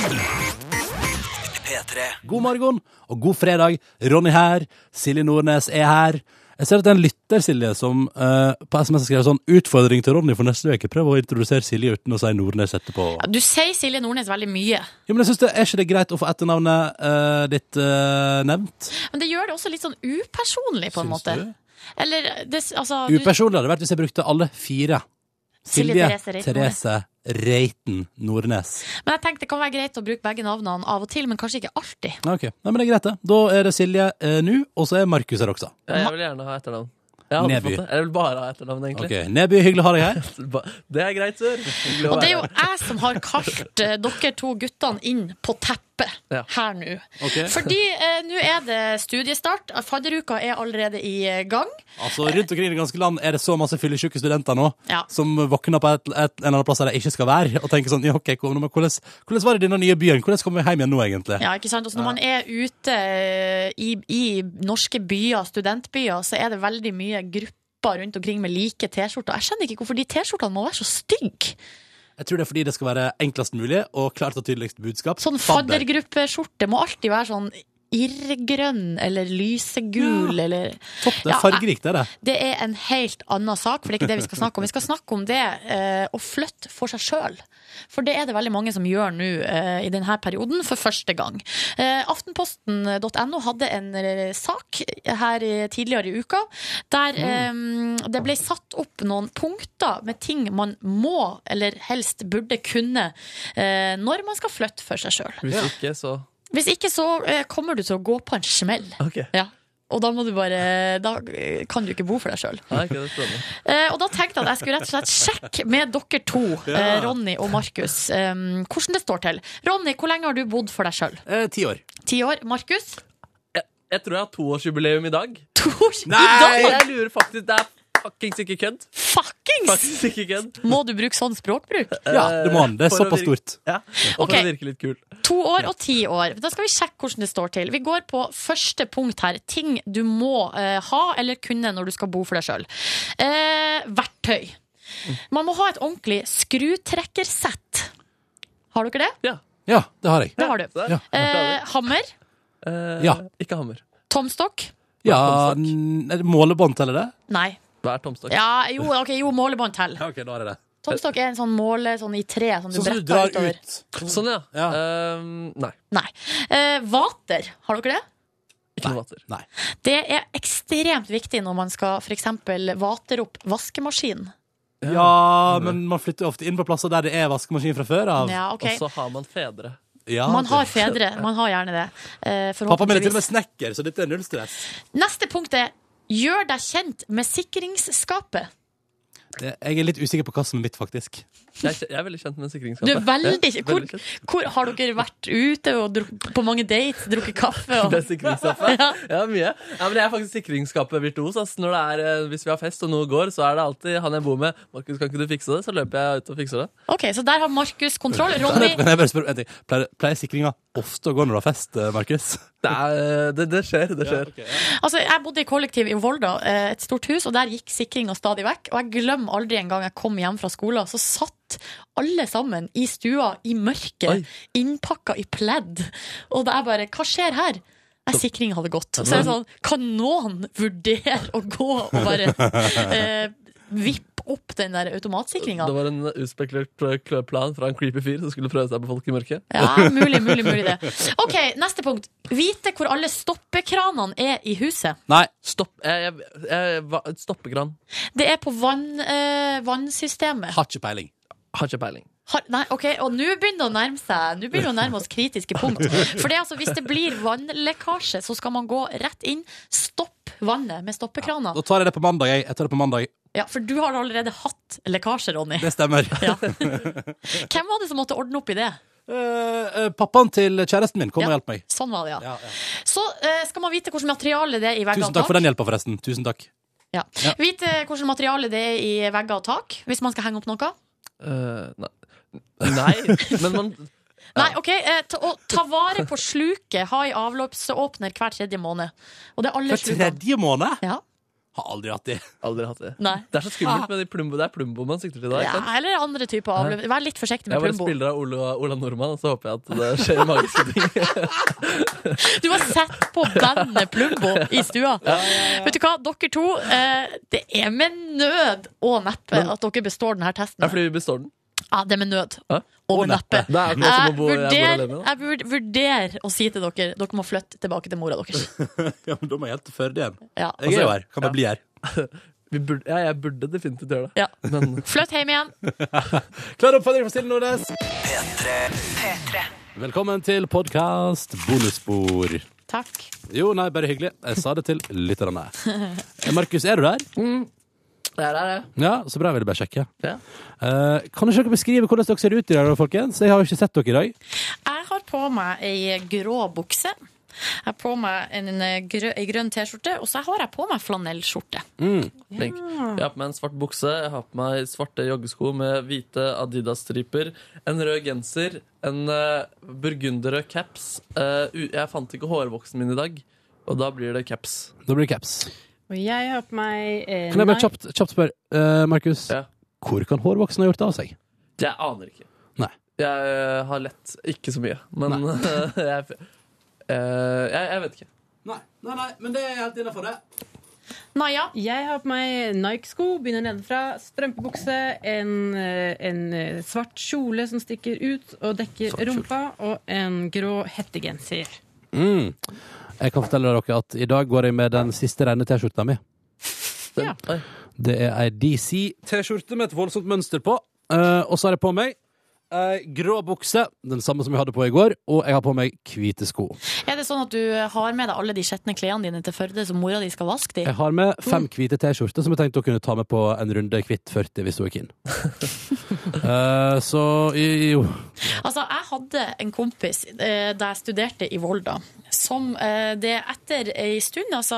A: God morgen og god fredag. Ronny her. Silje Nordnes er her. Jeg ser at det er en lytter, Silje, som eh, på SMS skrev sånn 'Utfordring til Ronny for neste uke'. Prøv å introdusere Silje uten å si Nordnes etterpå.
B: Du sier Silje Nordnes veldig mye.
A: Ja, men jeg synes det Er ikke det greit å få etternavnet eh, ditt eh, nevnt?
B: Men det gjør det også litt sånn upersonlig, på en
A: Syns
B: måte.
A: du?
B: Eller det, altså du-
A: Upersonlig hadde det vært hvis jeg brukte alle fire.
B: Silje
A: Silje
B: Therese Reiten
A: Therese Reiten Nordnes.
B: Men jeg tenkte det kan være greit å bruke begge navnene av og til, men kanskje ikke alltid.
A: Ja, Ok, Nei, men det er greit, det. Da er det Silje eh, nå, og så er Markus her også.
E: Ja, jeg vil gjerne ha etternavn. Jeg, hadde
A: Neby.
E: fått det. jeg vil bare ha etternavn, egentlig.
A: Ok, Neby, hyggelig å ha deg her.
E: Det er greit, sør. Hyggelig å
B: Og det er
E: være
B: jo jeg som har kalt eh, dere to guttene inn på teppet stoppe
E: Ja.
B: her nå.
A: Ok.
B: Fordi eh, nå er det studiestart. Fadderuka er allerede i eh, gang.
A: Altså, Rundt omkring i det ganske land er det så masse fyllesyke studenter nå
B: Ja.
A: som våkner på et, et, en eller annen plass der de ikke skal være, og tenker sånn ja, OK, hvordan, men hvordan, hvordan var det i denne nye byen? Hvordan kommer vi hjem igjen nå, egentlig?
B: Ja, ikke sant? Også når man er ute eh, i, i norske byer, studentbyer, så er det veldig mye grupper rundt omkring med like T-skjorter. Jeg skjønner ikke hvorfor de T-skjortene må være så stygge.
A: Jeg tror det er fordi det skal være enklest mulig og klart og tydeligst budskap.
B: Sånn Faddergruppeskjorte må alltid være sånn irrgrønn eller lysegul eller
A: Topp, det
B: Ja,
A: er fargerikt, det er det.
B: Det er en helt annen sak, for det er ikke det vi skal snakke om. Vi skal snakke om det eh, å flytte for seg sjøl. For det er det veldig mange som gjør nå eh, i denne perioden, for første gang. Eh, Aftenposten.no hadde en eh, sak her eh, tidligere i uka der eh, det ble satt opp noen punkter med ting man må, eller helst burde kunne, eh, når man skal flytte for seg sjøl.
E: Hvis ikke, så
B: Hvis ikke så eh, kommer du til å gå på en smell. Ja. Og da, må du bare, da eh, kan du ikke bo for deg sjøl.
E: Nei, ok, det er spennende.
B: Eh, og da tenkte jeg at jeg skulle rett og slett sjekke med dere to, eh, Ronny og Markus, eh, hvordan det står til. Ronny, hvor lenge har du bodd for deg sjøl?
A: Ti år.
B: Eh, Ti år. Markus?
E: Jeg tror jeg har toårsjubileum i dag.
B: Nei!
E: Jeg lurer faktisk Det er fuckings ikke kødd.
B: Fuckings?
E: ikke kødd.
B: Må du bruke sånn språkbruk?
A: Ja, det må han. Det er
E: For å
A: såpass
E: virke-
A: stort.
E: Ja, og
B: Ok.
E: for å virke litt kul.
B: To år og ti år. Da skal vi sjekke hvordan det står til. Vi går på første punkt her. Ting du må eh, ha eller kunne når du skal bo for deg sjøl. Eh, verktøy. Man må ha et ordentlig skrutrekkersett. Har dere det?
E: Ja.
A: Ja, det har jeg.
B: Det har du.
A: Ja.
B: Eh, hammer.
A: Ja.
E: Ikke hammer.
B: Tomstokk.
A: Ja, n- er det målebånd teller det?
B: Nei.
E: Hva er tomstokk?
B: Ja, jo, ok, jo målebånd teller.
A: Ok, da er det det.
B: Tomstokk er en sånn måle sånn i tre som du
E: Sånn som du
B: bretter
E: drar
B: utover.
E: Sånn, ja. Ehm, nei.
B: Nei. Eh, vater, har dere det?
E: Ikke noe vater.
A: Nei.
B: Det er ekstremt viktig når man skal f.eks. vater opp vaskemaskinen.
A: Ja, men man flytter jo ofte inn på plasser der det er vaskemaskin fra før av.
B: Ja, ok.
E: Og så har man fedre.
A: Ja,
B: man
A: det-
B: har fedre. Man har gjerne det. eh,
A: Pappa min er til og med
B: forhåpentligvis.
A: snekker, så dette er null stress.
B: Neste punkt er gjør deg kjent med sikringsskapet.
A: Det, jeg er litt usikker på hva som er mitt, faktisk.
E: Jeg, er kj- jeg er veldig kjent med sikringsskapet.
B: Du er veldig
E: Ja,
B: hvor,
E: veldig kjent.
B: hvor Har dere vært ute og drukket, på mange dates, drukket kaffe? Og,
E: Det er sikringsskapet. Ja, mye. Ja, men jeg er faktisk sikringsskapet virtuos. ass. Når det er, eh, hvis vi har fest og noe går, så er det alltid han jeg bor med. 'Markus, kan ikke du fikse det?' Så løper jeg ut og fikser det.
B: Ok, Så der har Markus kontroll. Ronny,
A: Men jeg bare spør om en ting. Pleier, pleier sikringa ofte å gå når du har fest, eh, Markus?
E: Det, er, eh, det, det skjer, det skjer.
B: Altså, jeg bodde i kollektiv i Volda, eh, et stort hus, og der gikk sikringa stadig vekk. Og jeg glemmer aldri en gang jeg kom hjem fra skolen, så satt alle sammen i stua i mørket, innpakka i pledd. Og da jeg bare Hva skjer her? Nei, sikring hadde gått. Så er det sånn, kan noen vurdere å gå og bare eh, vippe opp den der automatsikringa?
E: Det var en utspekulert eh, klø- plan fra en creepy fyr som skulle prøve seg på folk i mørket.
B: Ja, mulig, mulig, mulig det. OK, neste punkt. Vite hvor alle stoppekranene er i huset.
A: Nei.
E: Stopp. Jeg, jeg, jeg, hva- stoppekran.
B: Det er på vann, eh, vannsystemet.
A: Har ikke peiling.
E: Har ikke peiling.
B: Har, nei, ok, Og nå begynner det å nærme seg Nå begynner det å nærme oss kritiske punkt. For det er altså, hvis det blir vannlekkasje, så skal man gå rett inn, stopp vannet med stoppekrana.
A: Da tar jeg det på mandag, jeg. jeg tar det på mandag.
B: Ja, For du har allerede hatt lekkasje, Ronny.
A: Det stemmer.
B: Hvem var det som måtte ordne opp i det?
A: Eh, eh, Pappaen til kjæresten min kom og hjalp meg.
B: Sånn var det, ja.
A: Ja,
B: Så eh, skal man vite hvilket materiale det er i vegger
A: Tusen
B: og
A: takk for
B: tak.
A: den hjelpa, forresten. Tusen takk.
B: Ja.
A: Ja.
B: Vite hvilket materiale det er i vegger og tak, hvis man skal henge opp noe.
E: Eh, nei. nei, men man
B: Nei, ok, eh, ta, og ta vare på sluket. Ha i avløpsåpner hver tredje måned. Og det er alle
A: Hver
B: slukene.
A: tredje måned?
B: Ja.
A: Har aldri hatt det.
E: Aldri hatt det.
B: Nei.
E: Det er så skummelt med de plumbo. Det er plumbo man sikter til da. ikke
B: Ja,
E: sant?
B: eller andre typer avløp. Vær litt forsiktig
E: Jeg
B: med
E: bare
B: Plumbo.
E: spiller av Ola, Ola Nordmann, og så håper jeg at det skjer magiske ting.
B: Du har sett på bandet Plumbo i stua. Vet du hva, dere to, eh, det er med nød og neppe at dere består denne
E: Det
B: testen.
E: er fordi vi består den.
B: Ja, det er med nød.
E: Hæ?
B: Og med neppe.
E: Det er akkurat som å
B: Jeg
E: bo, jeg bor
B: vurderer
E: alene.
B: jeg vurd- vurderer å si til dere dere må flytte tilbake til mora deres.
A: ja, men da må jeg helt til Førde igjen.
B: Ja.
A: Jeg er jo her. Kan bare bli her.
E: Vi burde, ja, jeg burde definitivt gjøre det.
B: Ja.
E: Men
B: Flytt hjem igjen.
A: Klar oppfordring fra Silje Nordnes. Velkommen til podkast bonusspor.
B: Takk.
A: Jo, nei, bare hyggelig. Jeg sa det til lytterne. Eh, Markus, er du der?
E: der Mm. er det.
A: Ja, så bra. Jeg ville bare sjekke.
E: Ja.
A: Eh, kan ikke dere beskrive hvordan dere ser ut i dag, folkens? Jeg har jo ikke sett dere i dag.
B: Jeg har på meg ei grå bukse. Jeg har på meg en, eh, grø, ei grønn T-skjorte, og så har jeg på meg flanellskjorte.
E: Mm, flink.
B: Ja.
E: Jeg har på meg en svart bukse, jeg har på meg svarte joggesko med hvite Adidas-striper, en rød genser, en eh, burgunderrød caps. Eh, u- jeg fant ikke hårvoksen min i dag, og da blir det caps.
A: Da blir det caps.
C: Og jeg har på meg eh,
A: Kan jeg bare
C: nei.
A: kjapt, kjapt spørre, eh, Markus, hvor kan hårvoksen ha gjort det av seg?
E: Jeg aner ikke.
A: Nei.
E: Jeg eh, har lett ikke så mye, men jeg, eh, jeg, jeg vet ikke.
A: Nei, nei, men det er helt innafor, det.
B: Naja.
C: Jeg har på meg Nike-sko, begynner nedenfra, strømpebukse, en, eh, en eh, svart kjole som stikker ut og dekker rumpa, og en grå hettegenser.
A: Mm. Jeg kan fortelle dere at i dag går jeg med den siste rene T-skjorta mi. Det er ei DC-T-skjorte med et voldsomt mønster på. Eh, og så har jeg på meg ei grå bukse, den samme som jeg hadde på i går, og jeg har på meg hvite sko.
B: Er det sånn at du har med deg alle de skjetne klærne dine til Førde, så mora di skal vaske de?
A: Jeg har med fem hvite T-skjorter som jeg tenkte å kunne ta med på en runde kvitt 40 hvis hun er keen. Eh, så i- jo.
B: Altså, jeg hadde en kompis eh, da jeg studerte i Volda, som eh, det etter ei stund, altså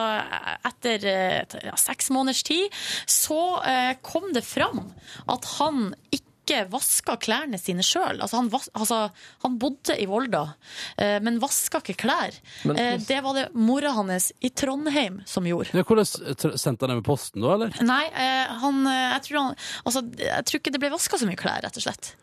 B: etter eh, t- ja, seks måneders tid, så eh, kom det fram at han ikke vaska klærne sine sjøl. Altså, han vas- altså, han bodde i Volda, eh, men vaska ikke klær.
A: Men-
B: Eh, det var det mora hans i Trondheim som gjorde.
A: Ja, hvordan tr- sendte han det med posten, da, eller?
B: Nei, eh, han, eh, jeg, tror han altså, jeg tror ikke det ble vaska så mye klær, rett og slett.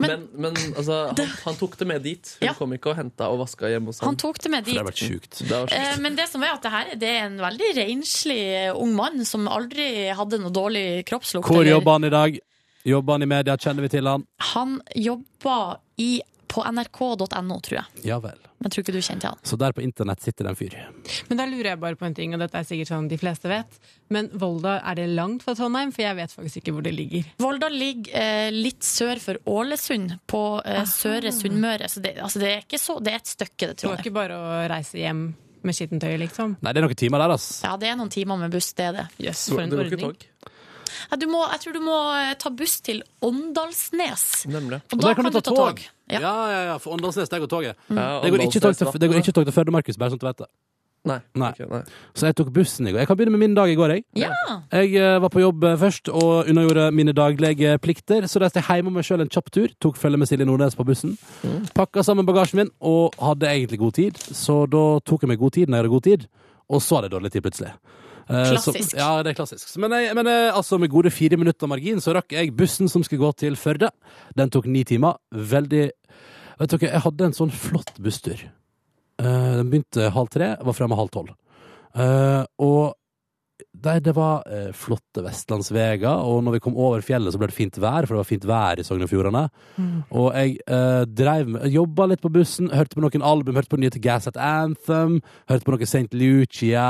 E: Men, men altså, han, han tok det med dit. Hun kom ikke og henta og vaska hjemme hos ham.
B: Han tok det med dit.
E: Det har vært sjukt. Det var
B: Eh, Men det som er at det her det er en veldig renslig eh, ung mann som aldri hadde noe dårlig kroppslukt.
A: Hvor
B: eller-
A: jobber han i dag? Jobber han i media? Kjenner vi til han?
B: Han jobba i, på nrk.no, tror jeg.
A: Ja vel.
B: Men jeg tror ikke du kjente han.
A: Så der på internett sitter det en fyr.
C: Men da lurer jeg bare på en ting, og dette er sikkert sånn de fleste vet. Men Volda, er det langt fra Trondheim? For jeg vet faktisk ikke hvor det ligger.
B: Volda ligger eh, litt sør for Ålesund, på eh, Søre Sunnmøre. Så det, altså, det er ikke så Det er et stykke, det
C: Det
B: tror
C: var
B: jeg.
C: ikke bare å reise hjem med skittentøyet, liksom.
A: Nei, det er noen timer der, ass.
B: Ja, det er noen timer med buss, det er det.
C: Jøss, for en Det går ikke ordning.
B: Ja, du må, jeg tror du må eh, ta buss til Åndalsnes.
E: Nemlig.
B: Og da kan du ta tog.
A: Ja, ja, ja, for Åndalsnes, der går toget.
B: Mm.
E: Ja,
A: det, går ikke tog til,
E: Åndalsnes, da.
A: det går ikke tog til Førde, Markus, bare sånn at du vet det.
E: Nei.
A: Så jeg tok bussen i går. Jeg kan begynne med min dag i går, jeg. Jeg eh, var på jobb eh, først og unnagjorde mine daglige eh, plikter, så reiste jeg hjem med meg sjøl en kjapp tur, tok følge med Silje Nordnes på bussen, pakka sammen bagasjen min og hadde egentlig god tid, så da tok jeg meg god tid når jeg hadde god tid, og så hadde jeg dårlig tid plutselig. Eh, så-
M: Klassisk.
A: ja, det er klassisk. Så, Men, jeg, men eh, altså, med gode fire minutter margin så rakk jeg bussen som skulle gå til Førde. Den tok ni timer. Veldig Vet dere, jeg hadde en sånn flott busstur. Eh, den begynte halv tre, var fremme halv tolv. Eh, og Nei, det var eh, flotte vestlandsveger, og når vi kom over fjellet så ble det fint vær, for det var fint vær i Sogn og Fjordane. Og jeg eh, dreiv med, jobba litt på bussen, hørte på noen album, hørte på nye til Gas at Anthem, hørte på noe St. Lucia,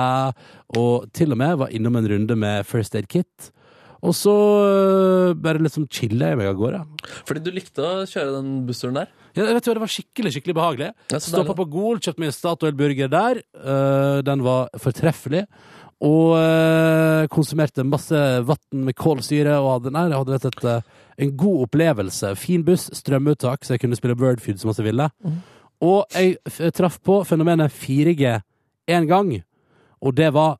A: og til og med var innom en runde med First Aid Kit. Og så eh, bare liksom chilla jeg meg av gårde.
E: Fordi du likte å kjøre den bussturen der?
A: Ja, vet du, hva, Det var skikkelig skikkelig behagelig.
E: så deilig.
A: Stoppa på Gol, kjøpte meg en Statoil-burger der. Eh, den var fortreffelig. Og eh, konsumerte masse vann med kålsyre. Og hadde, nei, jeg hadde rett og slett eh, en god opplevelse. Fin buss, strømuttak, så jeg kunne spille Wordfeud så masse jeg ville.
E: Mm.
A: Og jeg f traff på fenomenet 4G én gang, og det var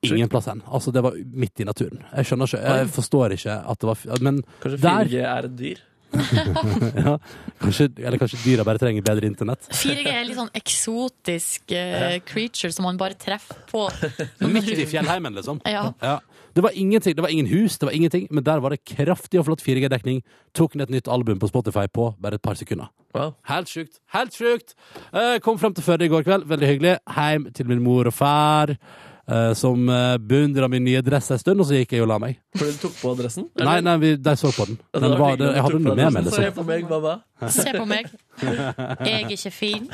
A: Ingen plass hen. Altså, det var midt i naturen. Jeg skjønner ikke, jeg forstår ikke at det var f- Men
E: Kanskje
A: der
E: 4G er et dyr?
A: ja, kanskje, eller kanskje dyra bare trenger bedre internett.
B: 4G er litt sånn eksotisk eh, creature som man bare treffer på.
A: Midt i fjellheimen, liksom.
B: Ja.
A: Det var ingenting, det var ingen hus, det var ingenting, men der var det kraftig og flott 4G-dekning. Tok ned et nytt album på Spotify på bare et par sekunder. Helt sjukt. Helt sjukt! Eh, kom frem til Førde i går kveld, veldig hyggelig. Heim til min mor og far, eh, som uh, beundra min nye dress en stund, og så gikk jeg og la meg.
E: Fordi du tok på adressen?
A: Nei, nei, vi, de så på den.
E: Ja, det
A: den
E: var
A: var,
E: hyggelig at
A: det,
E: du
A: jeg hadde
E: tok
A: den
E: på
A: med meg,
E: adressen.
A: liksom.
E: Se på meg, mamma.
B: Se på meg. Jeg er ikke fin.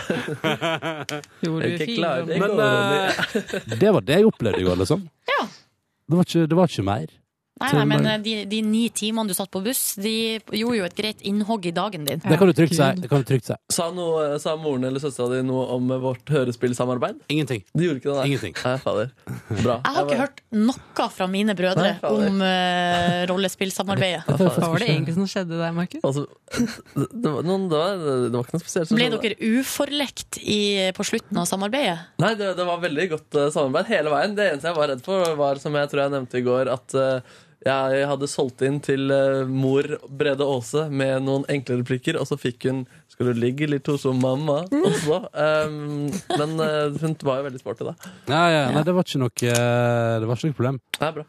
C: Jo,
E: du er fin, klar.
A: Men eh, det var det jeg opplevde i går, liksom. Det var ikke, det var ikke mer.
B: Nei, nei, men eh, de, de ni timene du satt på buss, de gjorde jo et greit innhogg i dagen din.
A: Det kan du trygt si. Det kan du trygt si.
E: Sa, noe, sa moren eller søstera di noe om vårt hørespillsamarbeid?
A: Ingenting.
E: De gjorde ikke det, nei. Nei, fader. Bra.
B: Jeg har ikke hørt noe fra mine brødre
E: Nei, fader.
B: om eh, rollespillsamarbeidet.
E: Hva var det egentlig
B: som skjedde der, Markus?
E: Altså, det, det, var noen, det, var, det var ikke noe spesielt. som
B: Ble
E: skjedde.
B: dere uforlekt i, på slutten av samarbeidet?
E: Nei, det, det var veldig godt eh, samarbeid hele veien. Det eneste jeg var redd for, var som jeg tror jeg nevnte i går, at eh, jeg hadde solgt inn til eh, mor Brede Aase med noen enkle replikker, og så fikk hun 'Skal du ligge litt hos hun mamma?' også. Um, men eh, hun var jo veldig sporty, da.
A: Ja, ja, nei, det var ikke noe, det var ikke noe problem.
E: Det er bra.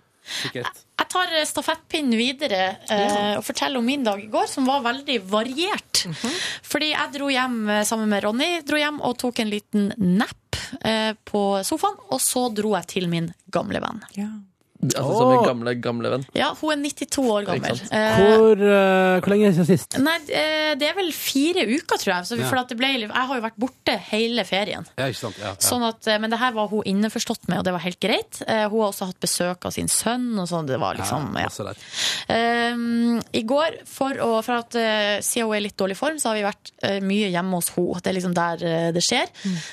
B: Jeg tar eh, stafettpinnen videre eh, og forteller om min dag i går, som var veldig variert.
A: Mhm.
B: Fordi jeg dro hjem eh, sammen med Ronny dro hjem og tok en liten napp eh, på sofaen. Og så dro jeg til min gamle venn. Ja,
E: Altså som min gamle, gamle venn.
B: Hun er 92 år gammel.
A: Ikke sant?
B: Eh,
A: Hvor, eh, hvor lenge er det siden sist?
B: Nei, eh, det er vel fire uker, tror jeg. Så,
A: Ja.
B: for at det ble, jeg har jo vært borte hele ferien.
A: Ja, ikke sant? Ja, ja.
B: Sånn at, eh, men det her var hun innforstått med, og det var helt greit. Eh, Hun har også hatt besøk av sin sønn. Og sånn, det var liksom,
A: Ja,
B: ja.
A: også der.
B: Ehm, I går, for, å, for at eh, siden hun er i litt dårlig form, så har vi vært eh, mye hjemme hos henne. Det er liksom der eh, det skjer.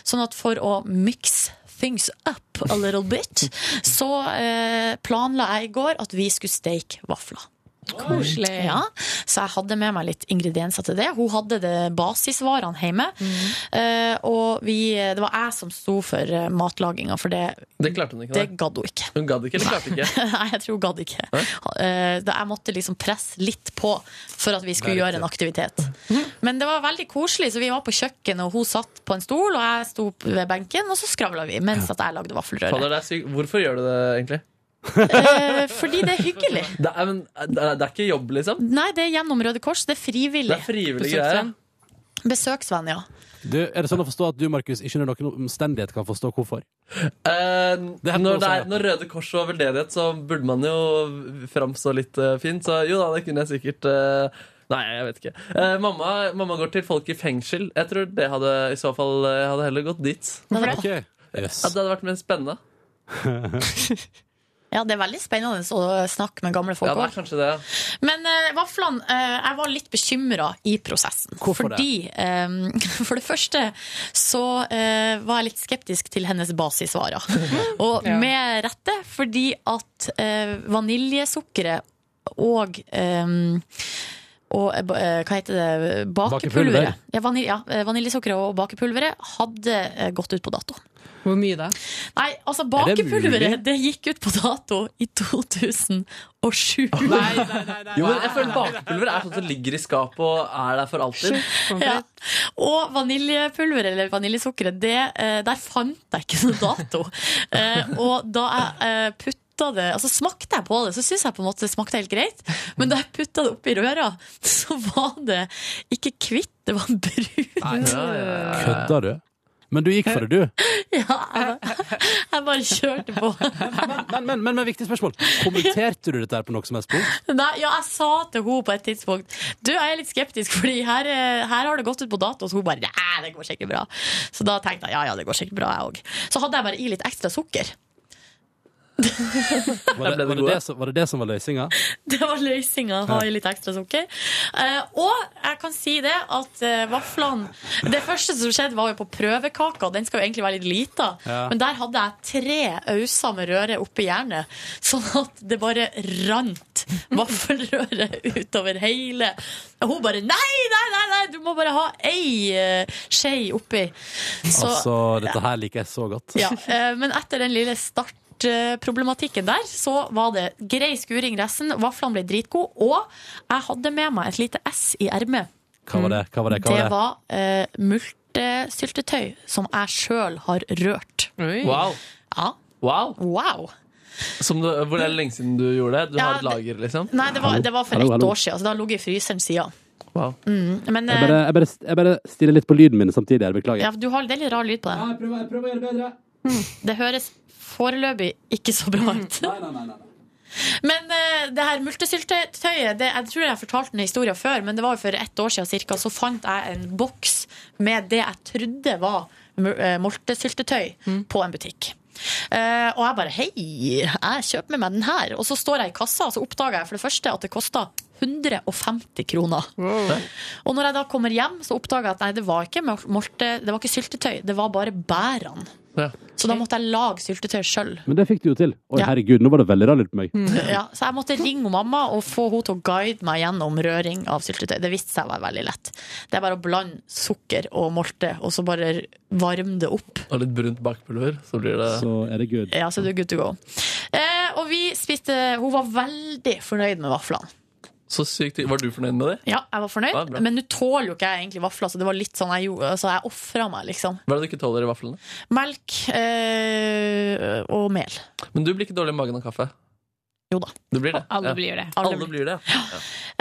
B: Sånn at for å mix things up a little bit, så eh, planla jeg i går at vi skulle steke vafler. Koselig. Ja, så jeg hadde med meg litt ingredienser til det. Hun hadde det basisvarene hjemme. Eh, og vi, det var jeg som sto for eh, matlaginga, for det
E: Det klarte hun ikke.
B: Det
E: nei.
B: gadd hun ikke.
E: Hun gadd ikke, eller klarte ikke.
B: Nei, jeg tror hun gadd ikke. Eh, da jeg måtte liksom presse litt på for at vi skulle
E: Det er
B: gjøre en aktivitet. Men det var veldig koselig, så vi var på kjøkkenet, og hun satt på en stol, og jeg sto opp ved benken, og så skravla vi mens at jeg lagde
E: Fader,
B: vaffelrøre.
E: det er sykt. Hvorfor gjør du det, egentlig?
B: Eh, fordi det er hyggelig.
E: Det er, men, eh, det er, det er ikke jobb, liksom.
B: Nei, det er gjennom Røde Kors. Det er frivillig.
E: Det er frivillig greier.
B: Besøksvenn, ja.
A: Du, er det sånn å forstå at du, Markus, ikke under noen omstendighet kan forstå hvorfor?
E: Eh, når,
A: også,
E: det
A: ja.
E: er, når Røde Kors og veldedighet, så burde man jo framstå litt eh, fint. Så jo da, det kunne jeg sikkert eh, Nei, jeg vet ikke. Eh, mamma, mamma går til folk i fengsel. Jeg tror det hadde i så fall eh, Jeg hadde heller gått dit.
B: Hvorfor det?
A: Ok. Yes.
E: At det hadde vært mer spennende.
B: Ja, Det er veldig spennende å snakke med gamle folk.
E: Ja, det er
B: også.
E: kanskje det. ja.
B: Men eh, vaflene, eh, jeg var litt bekymra i prosessen.
E: Hvorfor det?
B: fordi, eh, For det første så eh, var jeg litt skeptisk til hennes basisvarer. Og
M: Ja.
B: med rette, fordi at eh, vaniljesukkeret og eh, og eh, ba- eh, hva heter det?
M: Bakepulver.
B: Bakepulveret. Ja, vanil ja, eh, vaniljesukkeret og bakepulveret hadde eh, gått ut på dato. Hvor mye da? Nei,
M: Er
B: altså
M: det
B: Bakepulveret
M: mulig?
B: det gikk ut på dato i 2007.
E: Jo, men jeg føler bakepulver er sånn som ligger i skapet og er der for alltid.
B: Ja. Og vaniljepulver, eller vaniljesukkeret, det, eh, der fant jeg ikke noen dato. Eh, og da jeg eh, putta det, altså Smakte jeg på det, så syns jeg på en måte det smakte helt greit. Men da jeg putta det oppi røra, så var det ikke hvitt, det var brunt.
A: Kødder du? Men du gikk for det, du.
B: Ja, jeg bare- jeg bare kjørte på.
A: Men, men, men, men viktig spørsmål. Kommenterte du dette her på noe som helst punkt?
B: Nei, ja, jeg sa til henne på et tidspunkt Du, jeg er litt skeptisk, fordi her, eh, her har det gått ut på dato. Så hun bare Nei, det går sikkert bra. Så da tenkte jeg ja, ja, det går sikkert bra, jeg òg. Så hadde jeg bare i litt ekstra sukker.
A: Var det, var det, det, som, var det det som var løsninga?
B: Det var løsninga. Ha i litt ekstra sukker. Eh, og jeg kan si det at eh, vaflene Det første som skjedde, var jo på prøvekaka. Den skal jo egentlig være litt lita,
M: Ja.
B: men der hadde jeg tre auser med røre oppi jernet, sånn at det bare rant vaffelrøre utover hele. Og hun bare Nei, nei, nei, nei du må bare ha ei eh, skje oppi. Så-
A: Altså, dette her liker jeg så godt.
B: ja, eh, men etter den lille startproblematikken der, så var det grei skuring resten. Vaflene ble dritgode, og jeg hadde med meg et lite S i ermet.
A: Hva var det? Hva var det? Hva
B: Det
A: var det?
B: var eh, multesyltetøy som jeg sjøl har rørt.
A: Mm.
E: Wow.
B: Ja.
E: Wow.
B: wow.
E: Som du, hvor er det lenge siden du gjorde det? Du
B: Ja,
E: har et lager, liksom?
B: Nei, det var, det var for
A: Hallo,
B: ett
A: hallo.
B: år siden, så det har ligget i fryseren siden.
E: Wow.
B: Mm, men
A: Jeg bare,
B: eh,
A: jeg, bare, jeg bare stiller litt på lyden min samtidig. Jeg beklager.
B: ja, du har det er litt rar lyd på det.
A: jeg prøver, å gjøre det bedre.
B: Det høres foreløpig ikke så bra ut. Men eh, det her multesyltetøyet det, Jeg tror jeg har fortalt den historien før, men det var jo for ett år siden cirka, så fant jeg en boks med det jeg trodde var mul- eh, multesyltetøy på en butikk. Eh, og jeg bare hei, jeg kjøper med meg den her. Og så står jeg i kassa, og så oppdager jeg for det første at det koster 150 kroner. Og når jeg da kommer hjem, så oppdager jeg at nei, det var ikke, molte, det var ikke syltetøy, det var bare bærene.
A: Ja.
B: Så da måtte jeg lage syltetøy sjøl.
A: Men det fikk du jo til. Oi,
B: Ja.
A: herregud, nå var det veldig rallert på meg.
B: Ja, så jeg måtte ringe mamma og få henne til å guide meg gjennom røring av syltetøy. Det viste seg å være veldig lett. Det er bare å blande sukker og molte, og så bare varme det opp.
E: Og litt brunt bakpulver, så blir det
A: Så er det good.
B: Ja, så du er good to go. Eh, og vi spiste Hun var veldig fornøyd med vaflene.
E: Så sykt. Var du fornøyd med det?
B: Ja, jeg var fornøyd,
E: Ja, bra.
B: men nå tåler jo ikke jeg egentlig vafler, så det var litt sånn jeg gjorde, så jeg ofra meg, liksom.
E: Hva er det du ikke tåler i vaflene?
B: Melk eh, og mel.
E: Men du blir ikke dårlig i magen av kaffe?
B: Jo da.
E: Du blir det.
B: Alle
E: ja.
B: blir det.
E: Alle,
B: Alle
E: blir det. Ja.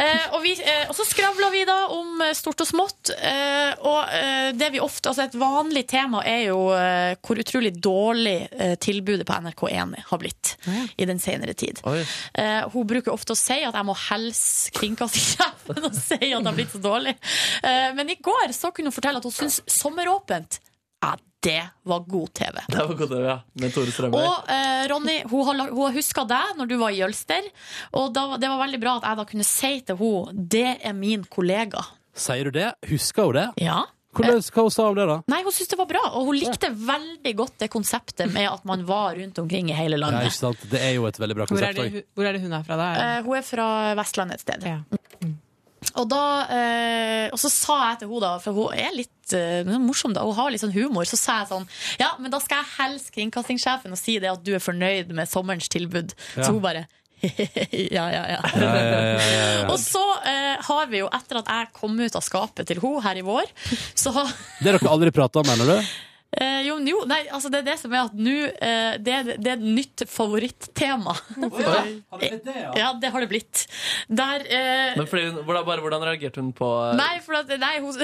B: Eh, og, vi, eh, og så skravla vi da om eh, stort og smått. Eh, og eh, det vi ofte, altså Et vanlig tema er jo eh, hvor utrolig dårlig eh, tilbudet på NRK1 har blitt i den senere tid. Eh, hun bruker ofte å si at jeg må helse kringkastingssjefen og si at det har blitt så dårlig. Eh, men i går så kunne hun fortelle at hun syns Sommeråpent ja, det var god TV.
E: Det var godt, ja. Med Tore Strømøy.
B: Og eh, Ronny, hun har, la- hun har huska deg når du var i Jølster. Og da, det var veldig bra at jeg da kunne si til henne det er min kollega.
A: Sier du det? Husker hun det?
B: Ja.
A: Hvordan, hva hun sa hun om det, da?
B: Nei, Hun syntes det var bra, og hun likte veldig godt det konseptet med at man var rundt omkring i hele
A: Ja,
B: landet.
A: ikke sant? Det er jo et veldig bra
C: Hvor er,
A: konsept
C: det,
A: òg.
C: hu- hvor er det hun er fra, da?
B: Eh, hun er fra Vestlandet et sted. Og, da, eh, og så sa jeg til henne, da, for hun er litt eh, hun er morsom, da, hun har litt sånn humor, så sa jeg sånn Ja, men da skal jeg helse kringkastingssjefen og si det at du er fornøyd med sommerens tilbud.
M: Ja.
B: Så hun bare ja, ja, ja. Og så eh, har vi jo, etter at jeg kom ut av skapet til henne her i vår, så har
A: Det har dere aldri prata om, mener du?
B: eh, Jo, men jo, nei, altså det er det som er at nå eh, det, er- det er et nytt favorittema.
E: Har
B: det blitt det, ja? Ja, det har det blitt. Der eh,
E: Men fordi, hun- hvordan, bare, hvordan reagerte hun på eh,
B: Nei, for at, nei hun,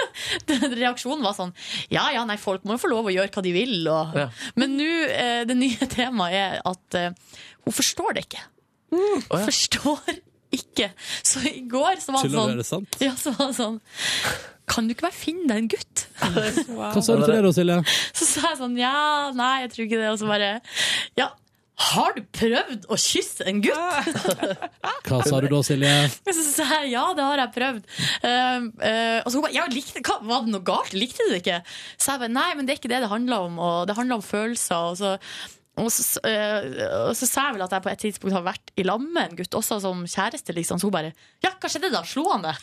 B: den reaksjonen var sånn Ja, ja, nei, folk må jo få lov å gjøre hva de vil. Og,
E: Ja.
B: Men nå, eh, det nye temaet er at eh, hun forstår det ikke.
E: Mm. Å, ja.
B: Forstår ikke. Så i går så var det
A: Tuller du,
B: sånn
A: er det sant?
B: Ja, så var det sånn Kan du ikke bare finne deg en gutt?
A: Hva sa du til det da, Silje?
B: Så sa jeg sånn Ja, nei, jeg tror ikke det. Og så bare Ja, har du prøvd å kysse en gutt?
A: Hva sa du da, Silje?
B: Men så sa jeg ja, det har jeg prøvd. Ehm, eh, og så hun bare ja, likte, hva, Var det noe galt? Likte du det ikke? Så jeg bare nei, men det er ikke det det handler om. Og det handler om følelser. Og så, og så, eh, og så sa jeg vel at jeg på et tidspunkt har vært i lag med en gutt, også som kjæreste, liksom. Så hun bare ja, hva skjedde da? Slo han deg?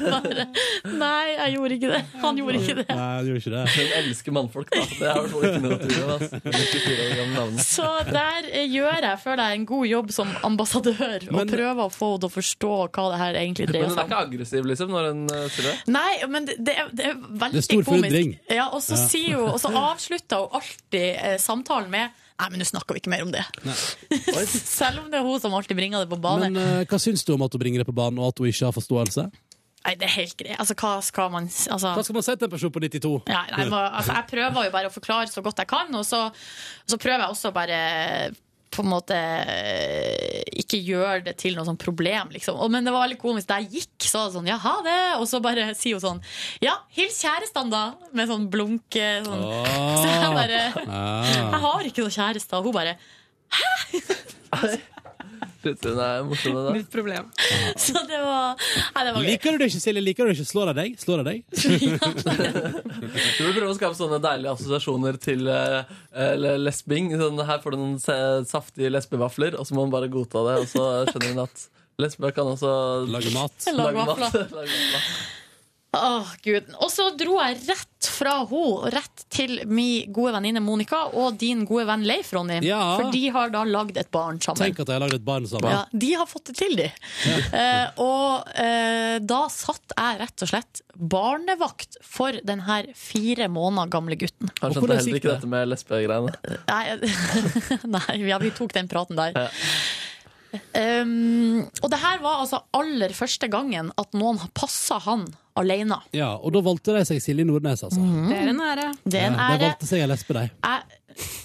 B: Nei, jeg gjorde ikke det. Han gjorde ikke det.
A: Nei, du gjorde ikke det.
E: Hun elsker mannfolk, da. Det er i hvert fall ikke noe tvil om. ass. 94 år gammel dame.
B: Så der eh, gjør jeg, føler jeg, en god jobb som ambassadør, og prøver å få henne til å forstå hva det her egentlig
E: Men
B: dreier
E: hun er
B: seg om.
E: ikke aggressiv, liksom, når hun eh, sier det?
B: Nei, men det, det, er, det er veldig
E: Det er stor
B: komisk.
E: forundring.
B: Ja, og så
E: Ja.
B: sier hun, og så avslutter hun alltid eh, samtalen med Nei, men nå snakker vi ikke mer om det. Selv om det er hun som alltid bringer det på bane.
A: Men eh, hva syns du om at hun bringer det på banen, og at hun ikke har forståelse?
B: nei, det er helt greit. Altså, hva skal man s- altså,
A: Hva skal man si til en person på 92?
B: Nei, nei, men, altså, jeg prøver jo bare å forklare så godt jeg kan, og så, så prøver jeg også bare på en måte eh, ikke gjøre det til noe sånn problem, liksom. Og, men det var veldig komisk. Da jeg gikk, så var det sånn ja, ha det. Og så bare sier hun sånn ja, hils kjæresten, da. Med sånn blunke. Sånn. Så jeg bare Jeg har ikke noe kjæreste. Og hun bare
E: Shit, Hun er morsom, hun, da.
C: Mitt problem.
B: Så det var Nei, det var gøy.
A: Liker du det ikke, Silje? Liker du det ikke? Slår jeg deg? Slår jeg deg?
E: Du vil prøve å skape sånne deilige assosiasjoner til eh, eh, lesbing. Sånn, her får du noen se- saftige lesbevafler, og så må hun bare godta det. Og så skjønner hun at lesber kan også
A: Lage mat.
B: Lage vafler. Åh, Gud. Og så dro jeg rett fra henne, rett til min gode venninne Monica og din gode venn Leif, Ronny.
A: Ja.
B: For de har da lagd et barn sammen.
A: Tenk at jeg har lagd et barn sammen.
B: Ja, de har fått det til, de. Eh, og eh, da satt jeg rett og slett barnevakt for den her fire måneder gamle gutten.
E: Han skjønte heller ikke dette med lesbegreiene.
B: Nei, nei ja, vi tok den praten der. Um, og det her var altså aller første gangen at noen passa han alene.
A: Ja, og da valgte de seg Silje Nordnes, altså.
C: Det er en ære.
B: Det er en
A: Ja, de
B: Mhm. ære.
A: valgte seg en lesbe, de.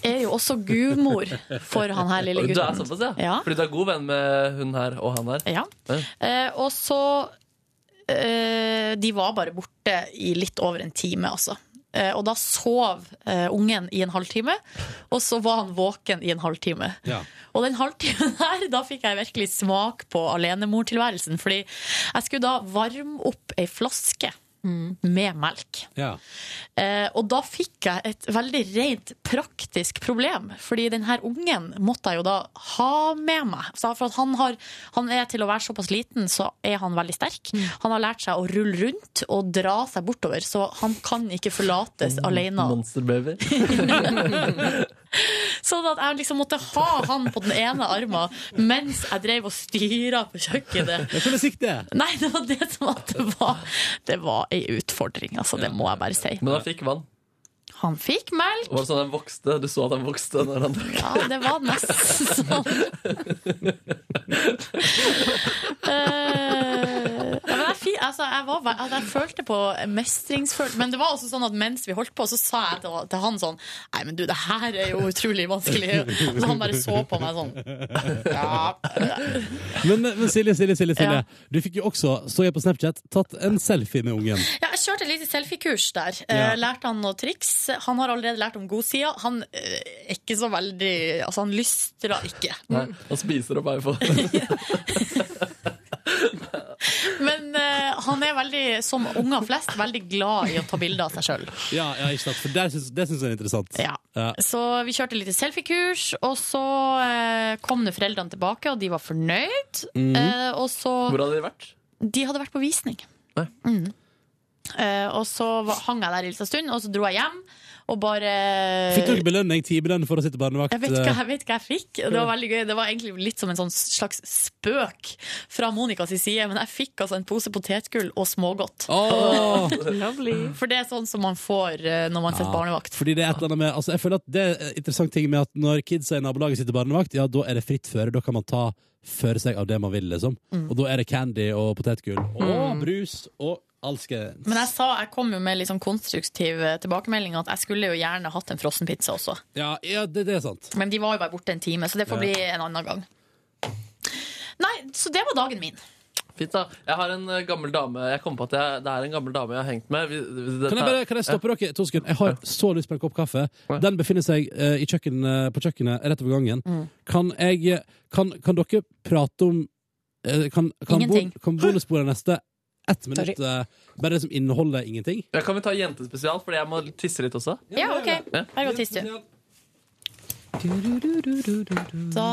B: Jeg er jo også gudmor for han her lille
E: Du er
B: gutten.
E: såpass, ja.
B: Ja.
E: Fordi du er god venn med hun her og han her.
B: Ja. Eh, og så eh, de var bare borte i litt over en time, altså. Eh, og da sov eh, ungen i en halvtime, og så var han våken i en halvtime. Og den halvtimen her, da fikk jeg virkelig smak på alenemortilværelsen. Fordi jeg skulle da varme opp ei flaske
E: Mm.
B: med melk.
A: Ja.
B: Eh, og da fikk jeg et veldig rent praktisk problem, fordi den her ungen måtte jeg jo da ha med meg. Så for at han, har, han er til å være såpass liten, så er han veldig sterk. Han har lært seg å rulle rundt og dra seg bortover, så han kan ikke forlates alene.
E: Monsterbaby.
B: Sånn at jeg liksom måtte ha han på den ene armen mens jeg drev og styra på kjøkkenet.
A: Hvor musikk det?
B: Nei, det var det som at det var Det var ei utfordring, altså. Det må jeg bare si.
E: Men han fikk vann.
B: Han fikk melk.
E: Var det sånn den vokste? Du så at den vokste når han drakk?
B: Ja, det var nesten sånn. Eh, ja, men jeg, fi- altså, jeg, var, ve- altså, jeg følte på mestringsfølelse. Men det var også sånn at mens vi holdt på, så sa jeg til, til han sånn Nei, men du, det her er jo utrolig vanskelig. Og så han bare så på meg sånn. Ja.
A: Men, men Silje, Silje, Silje, Silje.
B: Ja.
A: Du fikk jo også, så jeg på Snapchat, tatt en selfie med ungen.
B: Ja, jeg kjørte et lite selfie-kurs der.
A: Ja.
B: Eh, Lærte han noen triks. Han har allerede lært om godsida. Han eh, er ikke så veldig Altså, han lystrer ikke.
E: Nei, han spiser opp iPhone.
B: Men eh, han er veldig, som unger flest, veldig glad i å ta bilder av seg sjøl.
A: Ja, ja, ikke sant? For det syns det syns jeg er interessant.
B: Ja.
A: Ja.
B: Så vi kjørte litt selfiekurs, og så eh, kom det foreldrene tilbake, og de var fornøyd.
E: Mhm.
B: Eh, og så
E: Hvor hadde de vært?
B: De hadde vært på visning.
E: Nei.
B: Mhm. Eh, og så var- hang jeg der en liten stund, og så dro jeg hjem og bare
A: Fikk dere belønning, timebelønning, for å sitte barnevakt? eh.
B: jeg vet, ikke, jeg vet ikke hva jeg fikk. Det var veldig gøy. Det var egentlig litt som en sånn slags spøk fra Monicas side, men jeg fikk altså en pose potetgull og smågodt.
E: Ah.
A: Åh!
B: For det er sånn som man får eh, når man
A: Ja,
B: født barnevakt.
A: Fordi det er et eller annet med altså Jeg føler at det er en interessant ting med at når kidsa i nabolaget sitter barnevakt, ja, da er det fritt føre. Da kan man ta føre seg av det man vil, liksom.
B: Mm.
A: Og da er det candy og potetgull og
B: Mm.
A: brus og alskens.
B: Men jeg sa, jeg kom jo med litt sånn konstruktiv eh, tilbakemelding at jeg skulle jo gjerne hatt en frossenpizza også.
A: Ja, ja det, det er sant.
B: Men de var jo bare borte en time, så det får
A: Ja.
B: bli en annen gang. Nei, så det var dagen min.
E: Fint da, Jeg har en eh, gammel dame Jeg kom på at jeg, det er en gammel dame jeg har hengt med. Vi, vi- dette-
A: Kan jeg, bare, kan jeg stoppe dere to sekunder? Jeg har så lyst på en kopp kaffe. Den befinner seg eh, i kjøkken, eh, på kjøkkenet rett over gangen.
E: Mm.
A: Kan, jeg, kan, kan dere prate om eh, Kan, kan,
E: Ingenting.
A: kan bonusbordet neste ett minutt eh, bare liksom inneholde ingenting?
E: Ja, kan vi ta jentespesial, fordi jeg må tisse litt også?
B: Ja, OK. Her går tiss, du. Da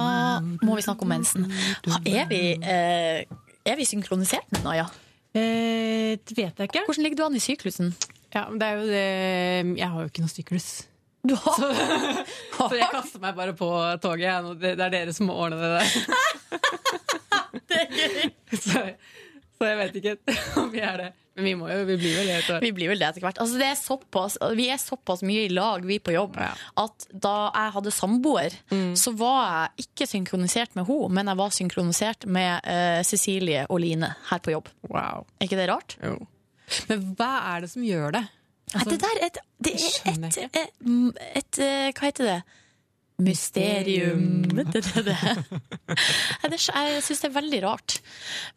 B: må vi snakke om mensen. Ha- Er vi, eh, er vi synkronisert nå, Naja?
C: Eh, Det vet jeg ikke.
B: Hvordan ligger du an i syklusen?
C: Ja, men det er jo det Jeg har jo ikke noe syklus.
B: Du har
C: Så, så jeg kaster meg bare på toget. Jeg. nå. Det, det er dere som må ordne det der. så, så jeg vet ikke om vi er det. Men vi må jo, vi blir vel det. etter hvert.
B: Vi blir vel det etter hvert. Altså, det er såpass, vi er såpass mye i lag, vi på jobb, at da jeg hadde samboer,
C: Mm.
B: så var jeg ikke synkronisert med henne, men jeg var synkronisert med eh, Cecilie og Line her på jobb. Er ikke det rart?
C: Men hva er det som gjør det?
B: Nei,
C: altså,
B: det der er et, det er et, eh, m- et eh, Hva heter det? Mysterium. Det er det. Nei, det er- Jeg syns det er veldig rart.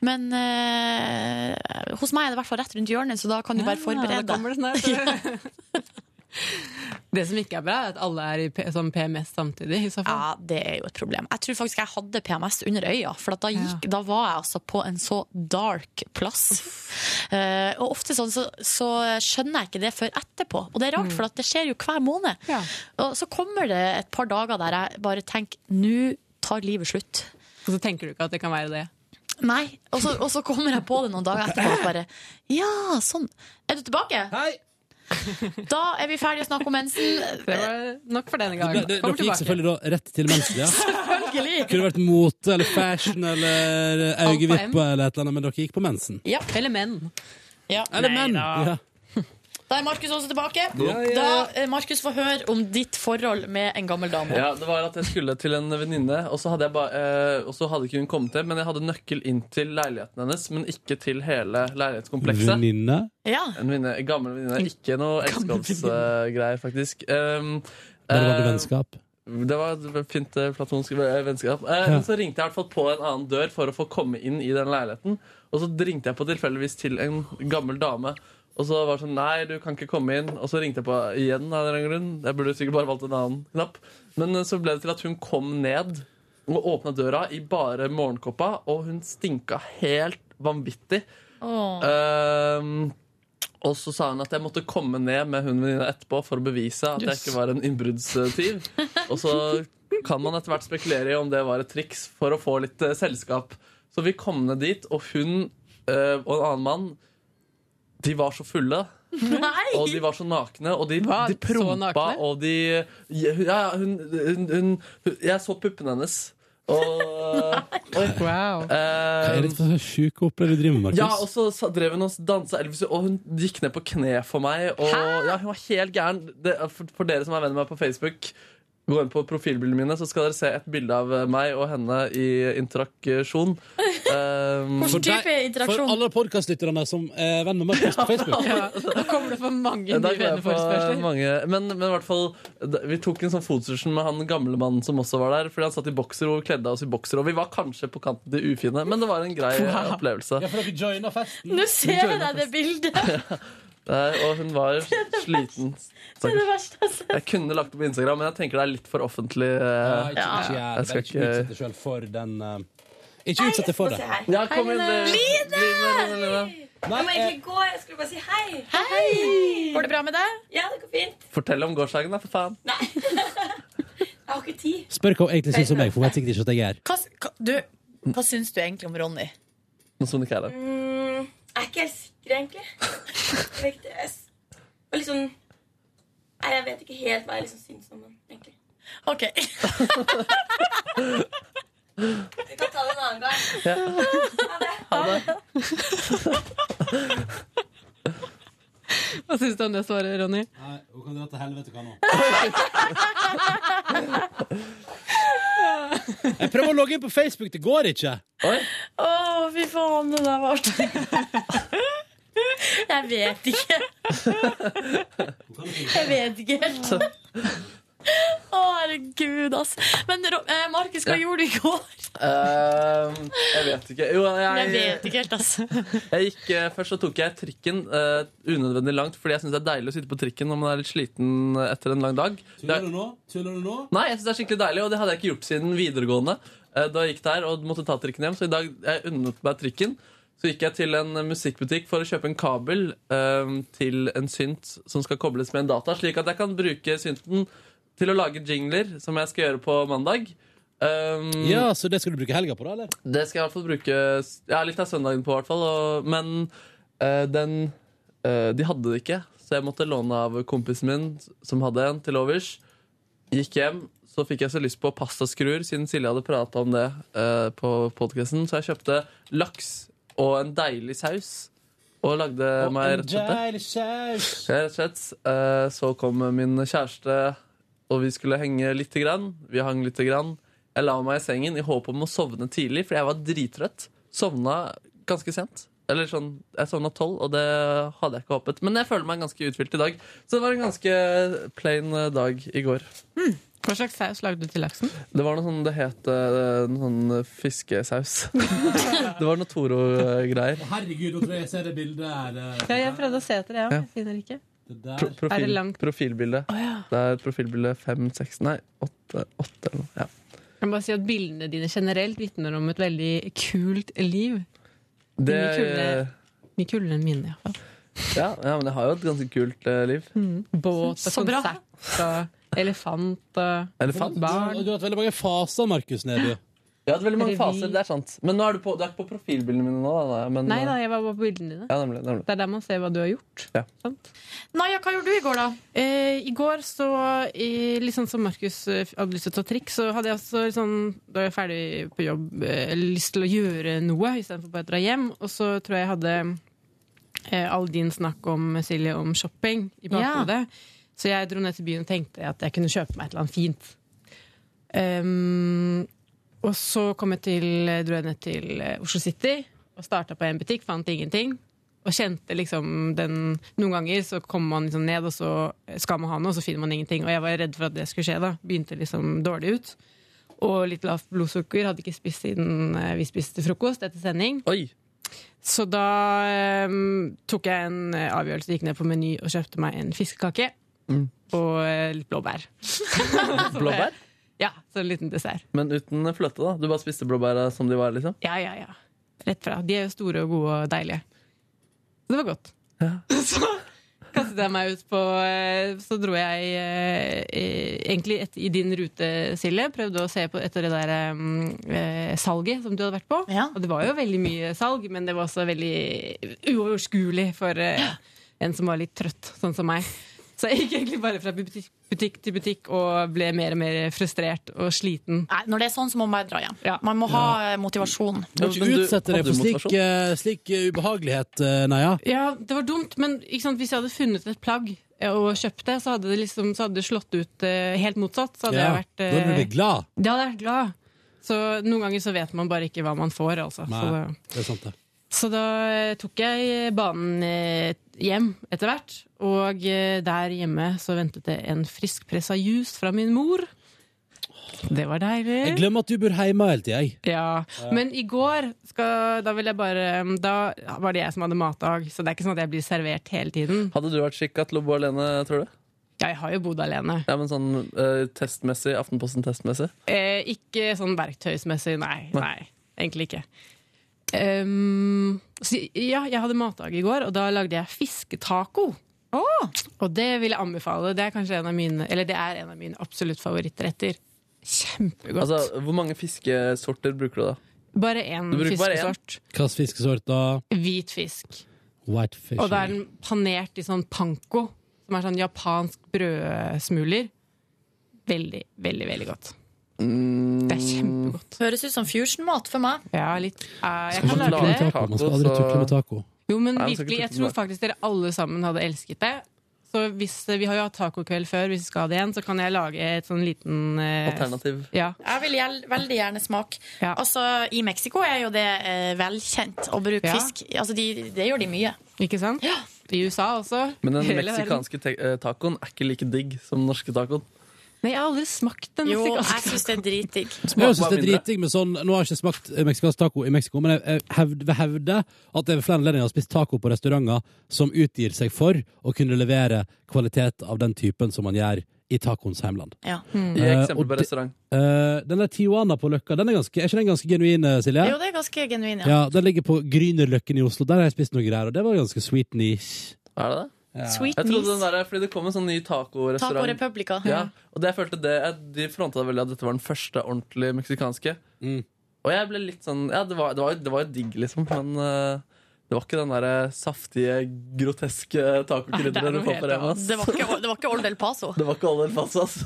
B: Men eh, hos meg er det i hvert fall rett rundt hjørnet, så da kan du bare
C: Ja,
B: forberede
C: da kommer det snart. Det som ikke er bra, er at alle er i P sånn PMS samtidig. I så fall.
B: Ja, det er jo et problem. Jeg tror faktisk jeg hadde PMS under øya, for at da, gikk, da var jeg altså på en så dark plass. Eh, og ofte sånn så, så skjønner jeg ikke det før etterpå, og det er rart, for at det skjer jo hver måned. Og så kommer det et par dager der jeg bare tenker nå tar livet slutt.
C: Og så tenker du ikke at det kan være det.
B: Nei, og så, og så kommer jeg på det noen dager etterpå og bare ja, sånn. Er du tilbake?
A: Hei!
B: Da er vi ferdige å snakke om mensen.
C: Det var nok for denne
A: Det,
C: gangen.
A: det, dere gikk
C: Kommer tilbake.
A: selvfølgelig da rett til mensen, ja.
B: Selvfølgelig.
A: Kunne vært mote eller fashion eller
C: på
A: øyevippe
C: M.
A: eller et eller annet, men dere gikk på mensen.
B: Ja.
C: Eller menn.
A: Eller menn! Ja.
B: Da er Markus også tilbake.
E: Ja, ja, ja.
B: Da, eh, Markus, få høre om ditt forhold med en gammel dame.
E: Ja, det var at jeg skulle til en venninne, og så hadde, jeg ba, eh, og så hadde ikke hun kommet hjem. Men jeg hadde nøkkel inn til leiligheten hennes, men ikke til hele leilighetskomplekset.
A: Venninne?
E: En venninne, gammel venninne. Ikke noe elskapsgreier, faktisk. Um,
A: Bare vanlig
E: eh,
A: vennskap?
E: Det var et fint eh, platonsk eh, vennskap. Eh,
A: Ja.
E: men Så ringte jeg i hvert fall på en annen dør for å få komme inn i den leiligheten. Og så ringte jeg på tilfeldigvis til en gammel dame. Og så var det sånn Nei, du kan ikke komme inn. Og så ringte jeg på igjen. av en eller annen grunn Jeg burde sikkert bare valgt en annen knapp. Men eh, så ble det til at hun kom ned og åpna døra i bare morgenkåpa, og hun stinka helt vanvittig.
B: Åh.
E: Ehm, og så sa hun at jeg måtte komme ned med hun venninna etterpå for å bevise at jeg
B: Yes.
E: ikke var en innbruddstyv. Og så kan man etter hvert spekulere i om det var et triks for å få litt eh, selskap. Så vi kom ned dit, og hun eh, og en annen mann De var så fulle.
B: Nei!
E: Og de var så nakne, og de,
C: Hva?
E: de
C: Så
E: prompa,
C: nakne?
E: og de ja, ja, hun, hun, hun, hun Jeg så puppene hennes. eh, Og,
C: wow.
A: Hva er det for sjuke opplegg du driver med, Markus?
E: Ja, og så sa- drev hun og dansa Elvis, og hun gikk ned på kne for meg. Og ja, hun var helt gæren. Det, er for, for dere som er venn med meg på Facebook, gå inn på profilbildene mine, så skal dere se et bilde av eh, meg og henne i interaksjon. Um,
A: For deg- For alle podkastlytterne som er venn med Markus på Facebook.
C: Nå kommer det for mange
E: Da
C: nye
E: går jeg på
C: venneforespørsler.
E: mange Men, men i hvert fall da- vi tok en sånn fotsession med han gamle mannen som også var der. Fordi han satt i bokser og kledde oss i bokser. Og vi var kanskje på kanten til ufine, men det var en grei eh, opplevelse.
A: Ja, for dere joina festen.
B: Nå ser jeg deg det bildet!
E: Der, Eh, og hun var sliten.
B: Det er det verste jeg har sett.
E: Jeg kunne lagt det på Instagram, men jeg tenker det er litt for offentlig.
A: Ja,
E: eh,
A: ikke, ikke, gjør
E: Jeg
A: det.
E: skal
A: ikke utsett
E: ikke
A: deg sjøl for den eh, Ikke utsett deg for det.
E: Ja, kom inn, eh,
M: Line!
E: Line, Line, Line.
M: Jeg må egentlig gå. Jeg skulle bare si hei.
B: Hei! Går det bra med deg?
M: Ja, det går fint.
E: Fortell om gårsdagen, da, for faen.
M: Jeg har ikke tid.
A: eh, Spør hva hun egentlig syns om meg, for hun vet sikkert ikke at jeg er
B: Hva, s- hva, du, hva syns du egentlig om Ronny?
E: Noe som ikke er det.
M: Mm, jeg er ikke helt sikker, egentlig. Jeg vet ikke. Jeg s- og liksom Nei, jeg vet ikke helt hva jeg liksom syns om den, egentlig.
B: OK.
M: Vi kan ta det en annen gang.
E: Ja.
M: Ha det.
C: Hva syns du om det svaret, Ronny?
A: Nei, hun kan dra til helvete, hva nå? Jeg prøver å logge inn på Facebook, det går ikke.
B: Å, fy faen, det der var artig. Jeg vet ikke. Jeg vet ikke helt. Å, herregud, ass. Men Ro- eh, Markus, hva
E: Ja.
B: gjorde du i går?
E: Ehm, jeg vet ikke. Jo,
B: Jeg
E: jeg,
B: vet ikke helt, ass.
E: jeg gikk, eh, først så tok jeg trikken eh, unødvendig langt, fordi jeg syns det er deilig å sitte på trikken når man er litt sliten etter en lang dag. Det er-
A: Tuller du nå? Tuller du nå?
E: Nei, jeg synes det er skikkelig deilig, og det hadde jeg ikke gjort siden videregående. Eh, Da jeg gikk der og måtte ta trikken hjem Så i dag jeg unnet meg trikken. Så gikk jeg til en eh, musikkbutikk for å kjøpe en kabel eh, til en synt som skal kobles med en data, slik at jeg kan bruke synten til å lage jingler, som jeg skal gjøre på mandag. Eh,
A: Ja, så det skal du bruke helga på, da, eller?
E: Det skal jeg i hvert fall bruke s- Ja, litt av søndagen på, i hvert fall. Og, men eh, den eh, De hadde det ikke, så jeg måtte låne av kompisen min, s- som hadde en, til overs. Gikk hjem, så fikk jeg så lyst på pastaskruer, siden Silje hadde prata om det eh, på podkasten. Så jeg kjøpte laks og en deilig saus, og lagde meg rett og slett det.
A: saus.
E: Ja, Rett og slett. Eh, Så kom min kjæreste, og vi skulle henge lite grann. Vi hang lite grann. Jeg la meg i sengen i håp om å sovne tidlig, for jeg var drittrøtt. Sovna ganske sent. Eller sånn, Jeg sovna tolv, og det hadde jeg ikke håpet. Men jeg føler meg ganske uthvilt i dag. Så det var en ganske plain eh, dag i går.
C: Hva slags saus lagde du til laksen?
E: Det var noe sånn, det het eh, noe sånn fiskesaus. det var noe Toro-greier.
A: Herregud, nå tror jeg jeg ser det bildet her. eh,
C: Ja, jeg prøvde å se etter det,
E: Ja.
C: men jeg finner ikke.
E: Pro
C: Er det
E: profil,
C: langt?
E: profilbilde. Det er profilbilde fem, seks, nei, åtte, åtte eller noe. Ja.
C: Jeg må bare si at Bildene dine generelt vitner om et veldig kult liv.
E: Det,
C: Mye kulere. Mye kulere enn mine. Ja.
E: ja, ja, men jeg har jo et ganske kult eh, liv.
C: Båt og
E: Så bra.
C: konsert og elefant og
E: Elefant.
C: barn.
A: Du har hatt veldig mange faser, Markus Neby.
E: Jeg har hatt veldig mange
C: Revy.
E: faser, det er sant. Men nå er du, på, du er ikke på profilbildene mine nå, da? da, Men, eh,
C: Nei da, jeg var bare på bildene dine.
E: Ja, nemlig, nemlig.
C: Det er der man ser hva du har gjort.
E: Ja.
C: Sant?
B: Naja, hva gjorde du i går, da?
C: Eh, I går, så eh, litt sånn som Markus eh, hadde lyst til å ta trikk, så hadde jeg også litt sånn, da jeg var ferdig på jobb, eh, lyst til å gjøre noe istedenfor bare å dra hjem. Og så tror jeg jeg hadde eh, all din snakk om Silje om shopping i bakhodet. Så jeg dro ned til byen og tenkte at jeg kunne kjøpe meg et eller annet fint. Ehm, og eh, så kom jeg til, dro jeg ned til eh, Oslo City og starta på en butikk, fant ingenting. og kjente liksom den Noen ganger så kommer man liksom ned, og så skal man ha noe, og så finner man ingenting. Og jeg var redd for at det skulle skje. da Begynte liksom dårlig ut. Og litt lavt blodsukker. Hadde ikke spist siden eh, vi spiste frokost etter sending. Så da eh, tok jeg en eh, avgjørelse, gikk ned på Meny og kjøpte meg en fiskekake.
E: Mm.
C: Og eh, litt blåbær.
E: Blåbær?
C: Ja, så en liten dessert.
E: Men uten fløte, da? Du bare spiste blåbæra som de var? liksom
C: Ja, ja, ja. Rett fra. De er jo store og gode og deilige. Så det var godt. Så kastet jeg meg ut på eh, Så dro jeg eh, eh, egentlig et, i din rute, Silje. Prøvde å se på etter det der eh, eh, salget som du hadde vært på. Og det var jo veldig mye salg, men det var også veldig uoverskuelig for eh, en som var litt trøtt, sånn som meg. Så jeg gikk egentlig bare fra butikk, butikk til butikk og ble mer og mer frustrert og sliten.
B: Nei, når det er sånn, så må man bare dra hjem. Man må ha eh, motivasjon.
A: Du må ikke utsette deg for slik, eh, slik eh, ubehagelighet, eh, Naja.
C: Ja, det var dumt, men ikke sant, hvis jeg hadde funnet et plagg eh, og kjøpt det, så hadde det liksom, så hadde det slått ut eh, helt motsatt. Så hadde
A: Ja,
C: jeg vært
A: Da blir
C: eh,
A: du glad.
C: Det hadde jeg vært glad. Så noen ganger så vet man bare ikke hva man får, altså.
A: Nei,
C: Så da,
A: det er sant, det.
C: så da eh, tok jeg banen eh, hjem etter hvert, og eh, der hjemme så ventet det en friskpressa juice fra min mor. Det var deilig.
A: Jeg glemmer at du bor hjemme hele tida, jeg.
C: Ja, Men i går skal, da, vil jeg bare, da var det jeg som hadde matdag, så det er ikke sånn at jeg blir servert hele tiden.
E: Hadde du vært skikka til å bo alene, tror du?
C: Ja, jeg har jo bodd alene.
E: Ja, men sånn eh, testmessig, Aftenposten-testmessig?
C: Eh, ikke sånn verktøysmessig, nei. nei egentlig ikke. Ehm, så, ja, jeg hadde matdag i går, og da lagde jeg fisketaco. Og det vil jeg anbefale. Det er kanskje en av mine, eller det er en av mine absolutt favorittretter. Kjempegodt.
E: Altså, hvor mange fiskesorter bruker du, da?
C: bare én
E: Du bruker bare én?
C: fiskesort.
A: Hvilken fiskesort da?
C: Hvit fisk.
A: White fish.
C: Og da er den panert i sånn panko, som er sånn japansk brødsmuler. Veldig, veldig, veldig godt.
E: Mm.
C: Det er kjempegodt.
B: Høres ut som fusion-mat for meg.
C: Ja, litt. Eh, jeg
A: Skal
C: kan
A: ikke tukle
C: lage
A: med
C: det.
A: taco. Man skal aldri
E: så-
A: tukle med taco.
C: Jo, men
A: Nei, man skal
C: virkelig,
A: ikke
C: jeg
A: tukle med
C: tror faktisk dere alle sammen hadde elsket det. Så hvis, eh, Vi har jo hatt tacokveld før, hvis vi skal ha det igjen, så kan jeg lage et sånn liten eh,
E: Alternativ.
C: Ja.
B: Jeg vil gjel veldig gjerne smake. Altså, I Mexico er jo det eh, velkjent å bruke
C: Ja.
B: fisk. Altså, de, det gjør de mye.
C: Ikke sant? I USA også.
E: Men den
C: Hele verden.
E: meksikanske te- eh, tacoen er ikke like digg som den norske tacoen.
C: Nei, jeg har aldri smakt den
B: Jo,
C: meksikanske
B: jeg syns det er dritdigg.
A: Jeg synes det er dritdigg med sånn Nå har jeg ikke smakt eh, meksikansk taco i Mexico, men jeg, jeg hevd, vil hevde at jeg ved flere anledninger har spist taco på restauranter som utgir seg for å kunne levere kvalitet av den typen som man gjør i tacoens heimland.
B: Ja.
E: Gi
A: Eh,
E: eksempel
A: og
E: på
A: det-
E: restaurant.
A: Eh, den der Tijuana på Løkka, den er, ganske, er ikke den ganske genuin, eh, Silje?
B: Jo, det er ganske genuin,
A: ja. Den ligger på Grünerløkken i Oslo. Der har jeg spist noe greier, og det var ganske sweet niche.
E: Er det det?
A: Ja.
B: Sweet
E: jeg trodde
B: niece.
E: den der, fordi Det kom en sånn ny tacorestaurant.
B: Taco Republica.
E: Ja, og det jeg følte det, jeg- De fronta veldig at dette var den første ordentlig meksikanske.
N: Mm.
E: Og jeg ble litt sånn Ja, det var, det var, det var jo digg, liksom, men eh, det var ikke den der eh, saftige, groteske
B: Nei, det er
E: tacokrydderet du
B: noe
E: får på
B: helt
E: Rema.
B: annet.
E: ass.
B: Det var ikke, det var ikke Old El Paso.
E: Det var ikke all den fast, ass.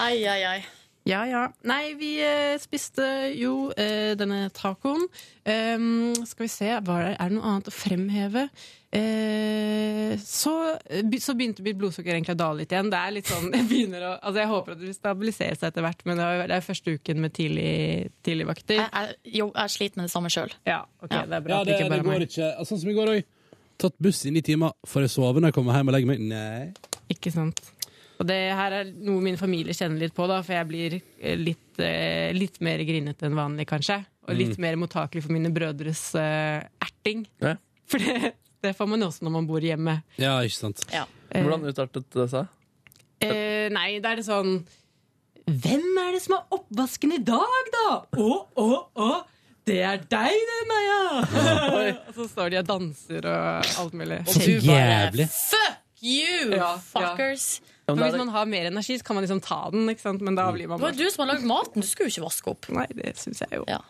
B: Ai, ai, ai.
C: Ja, ja. Nei, vi eh, spiste jo eh, denne tacoen. Ehm, skal vi se, var det, er det noe annet å fremheve? Eh, så, be- så begynte mitt blodsukker egentlig å dale litt igjen. Det er litt sånn, Jeg begynner å, altså jeg håper at det vil stabilisere seg etter hvert, men det er, det er første uken med tidlig, tidlig vakter.
B: Jeg, jeg, jo, jeg sliter med det samme sjøl.
C: Ja, ok, det er bra
A: Ja,
C: at
A: det,
C: det ikke
A: det
C: bare er
A: går
C: meg.
A: ikke. Altså, Sånn som i går òg. Tatt buss i ni timer. Får jeg sove når jeg kommer hjem og legger meg? Nei.
C: Ikke sant. Og det her er noe min familie kjenner litt på, da, for jeg blir eh, litt, eh, litt mer grinete enn vanlig, kanskje. Og litt
E: Mm.
C: mer mottakelig for mine brødres eh, erting.
E: Ja.
C: For det, det får man også når man bor hjemme.
A: Ja, ikke sant.
E: Hvordan utartet det seg?
C: Eh, nei, da er det sånn Hvem er det som har oppvasken i dag, da? Å, å, å! Det er deg, det, Maja! og så står de og danser og alt mulig.
B: Og Så du bare, jævlig. Fuck you, fuckers!
C: For
B: Men da er
C: hvis
B: det-
C: man har mer energi, så kan man liksom ta den, ikke sant? men da blir man
B: Det var jo du som har lagd maten, du skulle jo ikke vaske opp.
C: Nei, det syns jeg jo.
B: Ja.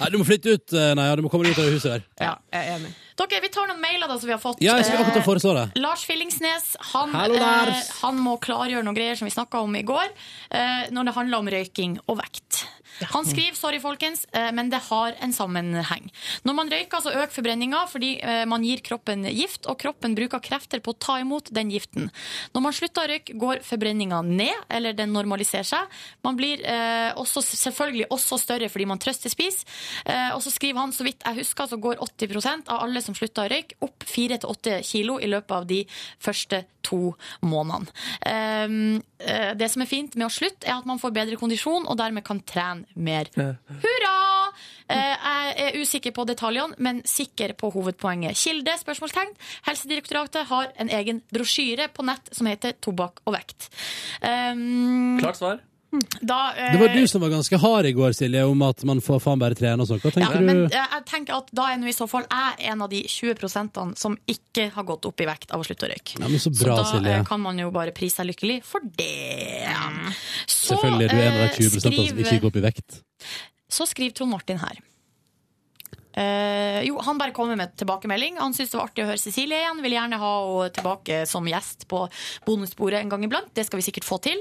A: Nei, du må flytte ut, eh, Naja. Du må komme deg ut av det huset der.
C: Ja, jeg er enig.
B: Dere, vi tar noen mailer da som vi har fått.
A: Ja, jeg skal
B: Eh,
A: akkurat til å foreslå det.
B: Lars Fyllingsnes han,
A: Hallo, Lars.
B: Eh, han må klargjøre noen greier som vi snakka om i går, eh, når det handler om røyking og vekt. Han skriver sorry folkens, eh, men det har en sammenheng. Når man røyker, så øker forbrenninga fordi eh, man gir kroppen gift, og kroppen bruker krefter på å ta imot den giften. Når man slutter å røyke, går forbrenninga ned, eller den normaliserer seg. Man blir eh, også, selvfølgelig også større fordi man trøstespiser. Eh, og så skriver han, så vidt jeg husker, så går 80 av alle som slutter å røyke, opp 4-8 kilo i løpet av de første to månedene. Ehm, eh, det som er fint med å slutte, er at man får bedre kondisjon og dermed kan trene mer. Hurra! Eh, jeg er usikker på detaljene, men sikker på hovedpoenget. Kilde? spørsmålstegn. Helsedirektoratet har en egen brosjyre på nett som heter Tobakk og vekt. Ehm,
E: Klart svar.
B: da, eh,
N: Det var du som var ganske hard i går, Silje, om at man får faen bare trene og sånn. Hva
B: ja,
N: tenker
B: men
N: du?
B: eh, jeg tenker at da er nå i så fall jeg en av de 20 som ikke har gått opp i vekt av å slutte å røyke.
N: Ja, men så bra,
B: da
N: Silje.
B: eh, kan man jo bare prise seg lykkelig for det. Så,
N: Selvfølgelig, du er en av
B: eh,
N: de 20
A: altså.
N: som ikke går opp i vekt.
B: så skriver Trond Martin her. Eh, jo, Han bare kommer med tilbakemelding. Han syns det var artig å høre Cecilie igjen. Vil gjerne ha henne tilbake som gjest på bonusbordet en gang iblant. Det skal vi sikkert få til.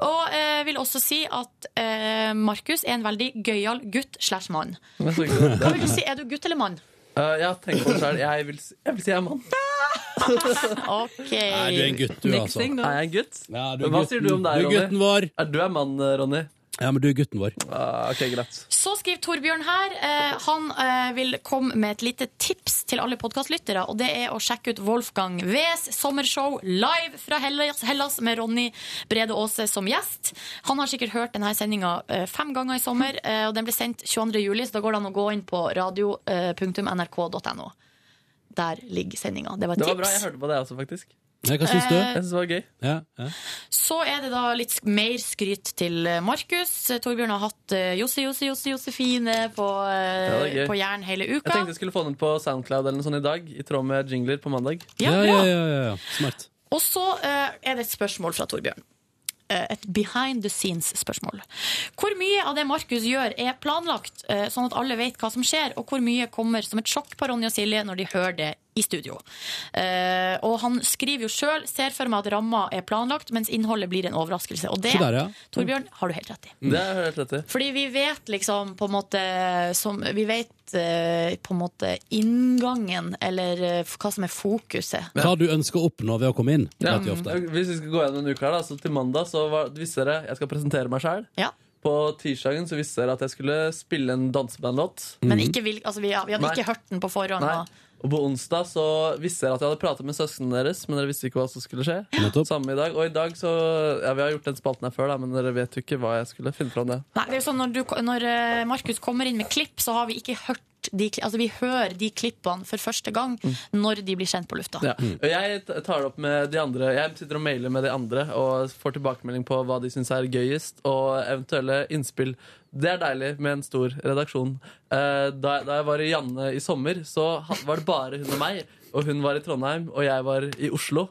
B: Og eh, vil også si at eh, Markus er en veldig gøyal gutt slash mann.
E: Men så-
B: Hva vil du si? Er du gutt eller mann?
E: Eh, jeg har tenkt på det selv. Jeg vil, si- jeg vil si jeg er mann.
B: OK.
E: Nei,
N: du er en gutt, du, altså.
E: Mixing, da. Er jeg en gutt?
N: du er
E: Hva
N: gutten.
E: sier du om deg,
N: Du er
E: Ronny?
N: gutten vår.
E: Er du er mann, eh, Ronny?
N: Ja, men du er gutten vår.
E: Ah, ok, greit.
B: Så skriver Torbjørn her. Eh, han eh, vil komme med et lite tips til alle podkastlyttere. Og det er å sjekke ut Wolfgang Wes sommershow live fra Hellas, Hellas med Ronny Brede Aase som gjest. Han har sikkert hørt denne sendinga eh, fem ganger i sommer. Eh, og den ble sendt 22. juli, så da går det an å gå inn på eh, radio.nrk.no. Der ligger sendinga. Det var et
E: Det var bra. Jeg
B: tips.
E: hørte på det også, faktisk.
N: Ja, hva
B: syns du? Eh,
E: Jeg syns det var gøy.
B: Så er det da litt sk- mer skryt til eh, Markus. Eh, Torbjørn har hatt eh, Josse, Josse, Josse, Josefine på,
E: Ja, det var
B: eh,
E: gøy.
B: på Jæren hele
E: Jeg
B: uka.
E: tenkte jeg skulle få den ut på Soundcloud eller noe sånt i dag, i tråd med jingler på mandag.
B: Ja, Ja, bra. ja,
N: Smart.
B: Og så eh, er det et spørsmål fra Torbjørn. Eh, Et behind the scenes-spørsmål. Hvor mye av det Markus gjør, er planlagt, eh, sånn at alle vet hva som skjer, og hvor mye kommer som et sjokk på Ronny og Silje når de hører det i studio? Eh, Og han skriver jo sjøl 'ser for meg at ramma er planlagt', mens innholdet blir en overraskelse. Og det,
E: Se der, ja.
B: Torbjørn, har du helt rett i.
N: Mm.
E: Det har jeg hørt rett i.
B: Fordi vi vet liksom på en måte som, Vi vet eh, på en måte inngangen, eller eh, hva som er fokuset.
N: Hva du ønsker å oppnå ved å komme inn.
E: Ja.
N: vet vi ofte.
E: Hvis vi skal gå gjennom en uke her, da, så til mandag så var, visste dere jeg skal presentere meg sjøl. På tirsdagen så visste dere at jeg skulle spille en dansebandlåt.
B: Men ikke, vil- altså, vi, vi hadde
E: Mhm. Nei.
B: ikke hørt den på forhånd.
E: Nei.
B: og-
E: Og på onsdag så visste dere at jeg hadde pratet med søsknene deres, men dere visste ikke hva som skulle skje. Samme i dag. Og i dag så Ja, vi har gjort den spalten her før, da, men dere vet jo ikke hva jeg skulle finne fram det.
B: Nei, det er jo sånn Når, du, når eh, Markus kommer inn med klipp, så har vi ikke hørt de, kli- altså Vi hører de klippene for første gang når de blir sendt på lufta.
E: Mm. Ja. Og jeg t- tar det opp med de andre Jeg sitter og mailer med de andre og får tilbakemelding på hva de syns er gøyest, og eventuelle innspill. Det er deilig med en stor redaksjon. Eh, Da, da jeg var i Janne i sommer, så ha- var det bare hun og meg. Og hun var i Trondheim, og jeg var i Oslo.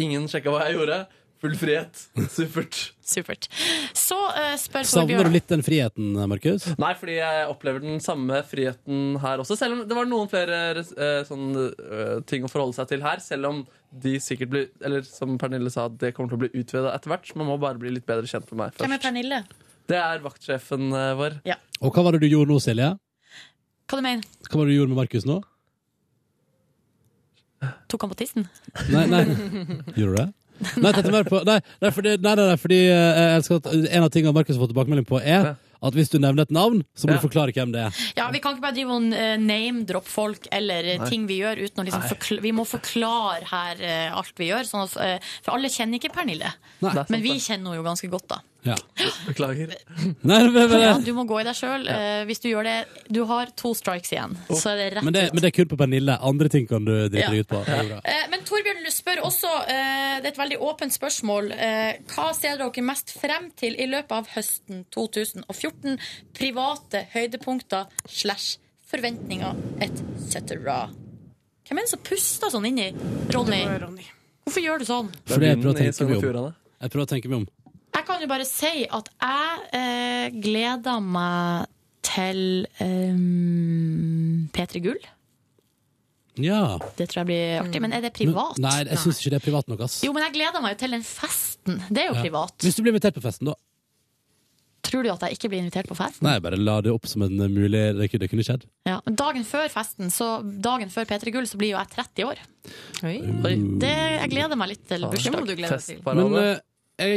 E: Ingen sjekka hva jeg gjorde. Full frihet. Supert.
B: Supert. Så eh, spør
N: Savner
B: Torbjørn
N: du litt den friheten, Markus?
E: Nei, fordi jeg opplever den samme friheten her også. Selv om det var noen flere eh, sånn, eh, ting å forholde seg til her. Selv om de sikkert blir Eller som Pernille sa, det kommer til å bli utvida etter hvert. Man må bare bli litt bedre kjent med meg
B: Hvem er
E: først.
B: Pernille?
E: Det er vaktsjefen eh, vår.
N: Og hva var det du gjorde nå, Silje?
B: Hva du mener
N: Hva var det du gjorde med Markus nå?
B: Tok han på tissen?
N: Nei, nei. Gjorde du det? Nei, tenkte mer på, nei, nei, fordi, nei, nei, nei, fordi eh, jeg elsker at en av tingene Markus har fått tilbakemelding på, er at hvis du nevner et navn, så må du forklare hvem det er.
B: Ja, Vi kan ikke bare drive og eh, name-droppe folk eller eh,
N: Nei.
B: ting vi gjør. uten å liksom
N: Nei.
B: forkl Vi må forklare her eh, alt vi gjør. Sånn at, eh, for alle kjenner ikke Pernille.
N: Nei. Det er sant,
B: Men vi kjenner henne jo ganske godt, da.
N: Ja.
E: Beklager.
N: Nei, men, men,
B: Ja, du må gå i deg sjøl hvis du gjør det. Du har to strikes igjen. Så er det rett
N: men, det, men det er kun på Pernille. Andre ting kan du drite
B: Ja.
N: deg ut på. Det er bra.
B: Eh, Men Torbjørn du spør også, eh, det er et veldig åpent spørsmål. eh, Hva ser dere mest frem til i løpet av høsten 2014? Private høydepunkter slash forventninger et cetera. Hvem er det som puster sånn inni? Ronny? Hvorfor gjør du sånn?
N: Fordi jeg prøver å
E: vinden i
N: tenke meg
E: Sogn og
N: om. Jeg prøver å tenke meg om.
B: Jeg kan jo bare si at jeg eh, gleder meg til eh, P3 Gull.
N: Ja.
B: Det tror jeg blir artig. Men er det privat?
N: Men, nei, jeg syns ikke det er privat nok, ass.
B: Jo, men jeg gleder meg jo til den festen. Det er jo
N: Ja.
B: privat.
N: Hvis du blir invitert på festen, da.
B: Tror du at jeg ikke blir invitert på fest?
A: Nei, bare la det opp som en mulig Det, kunne- det kunne skjedd.
B: Ja. men Dagen før festen, så dagen før P3 Gull, så blir jo jeg 30 år. Det, jeg gleder meg litt til
A: Faen.
B: bursdag.
A: Det må
B: du
A: glede deg til. Men eh,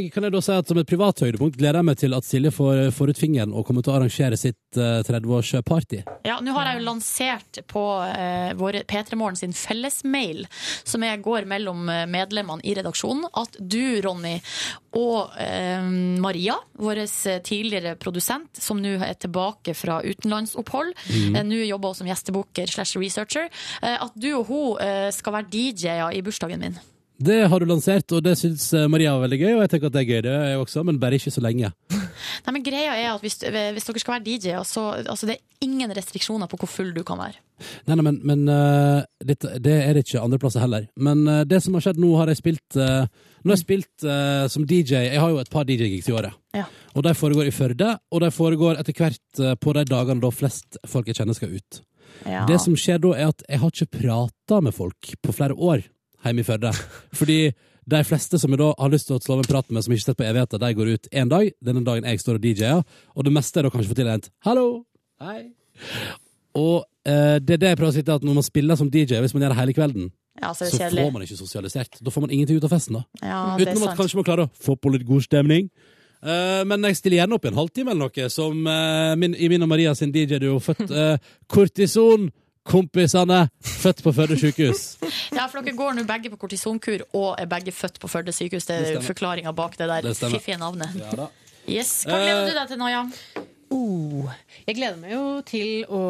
A: jeg, kan jeg da si at som et privat høydepunkt gleder jeg meg til at Silje får, eh, får ut fingeren og kommer til å arrangere sitt eh, 30-årsparty.
B: Ja, nå har jeg jo lansert på eh, vår P3morgen sin fellesmail, som jeg går mellom eh, medlemmene i redaksjonen, at du, Ronny, og eh, Maria, vår eh, tidligere produsent, som nå er tilbake fra utenlandsopphold,
O: Mhm.
A: Mm.
B: eh, nå jobber hun som gjestebooker slash researcher, eh, at du og hun eh, skal være DJ-er i bursdagen min.
A: Det har du lansert, og det syns eh, Maria var veldig gøy, og jeg tenker at det er gøy, det er jeg også, men bare ikke så lenge.
B: Nei, men greia er at hvis, eh, hvis dere skal være DJ-er, så altså, det er ingen restriksjoner på hvor full du kan være.
A: Nei, nei, men, men eh, det, det er det ikke andreplasser heller. Men eh, det som har skjedd nå, har jeg spilt eh, Nå har jeg spilt eh, som DJ. Jeg har jo et par DJ-gigs i året.
B: Ja.
A: Og de foregår i Førde, og de foregår etter hvert eh, på de dagene da flest folk jeg kjenner skal ut.
B: Ja.
A: Det som skjer da, er at jeg har ikke prata med folk på flere år hjemme i Førde. Fordi de fleste som jeg da har lyst til å slå av en prat med, som jeg ikke har sett på evigheter, de går ut én dag. Det er den dagen jeg står og DJ-er, og det meste er da kanskje få til et 'hallo'. Hei. Og eh, det er det jeg prøver å si til at når man spiller som DJ, hvis man gjør det hele kvelden,
B: Ja, så
A: så,
B: er det kjedelig.
A: får man ikke sosialisert. Da får man ingenting ut av festen, da.
B: Ja, det er
A: Utenom at
B: sant.
A: kanskje man klarer å få på litt god stemning. Eh, men jeg stiller gjerne opp i en halvtime eller noe, som eh, min, i min og Maria sin DJ-duo født eh, Kortison. Kompisene født på Førde sykehus.
B: Ja, for dere går nå begge på kortisonkur og er begge født på Førde sykehus. Det
A: Det
B: er
A: stemmer.
B: forklaringa bak det der
A: Det stemmer.
B: fiffige navnet.
A: Ja da.
B: Yes. Hva gleder
C: Eh,
B: du deg til, Naja?
C: Oh, jeg gleder meg jo til å,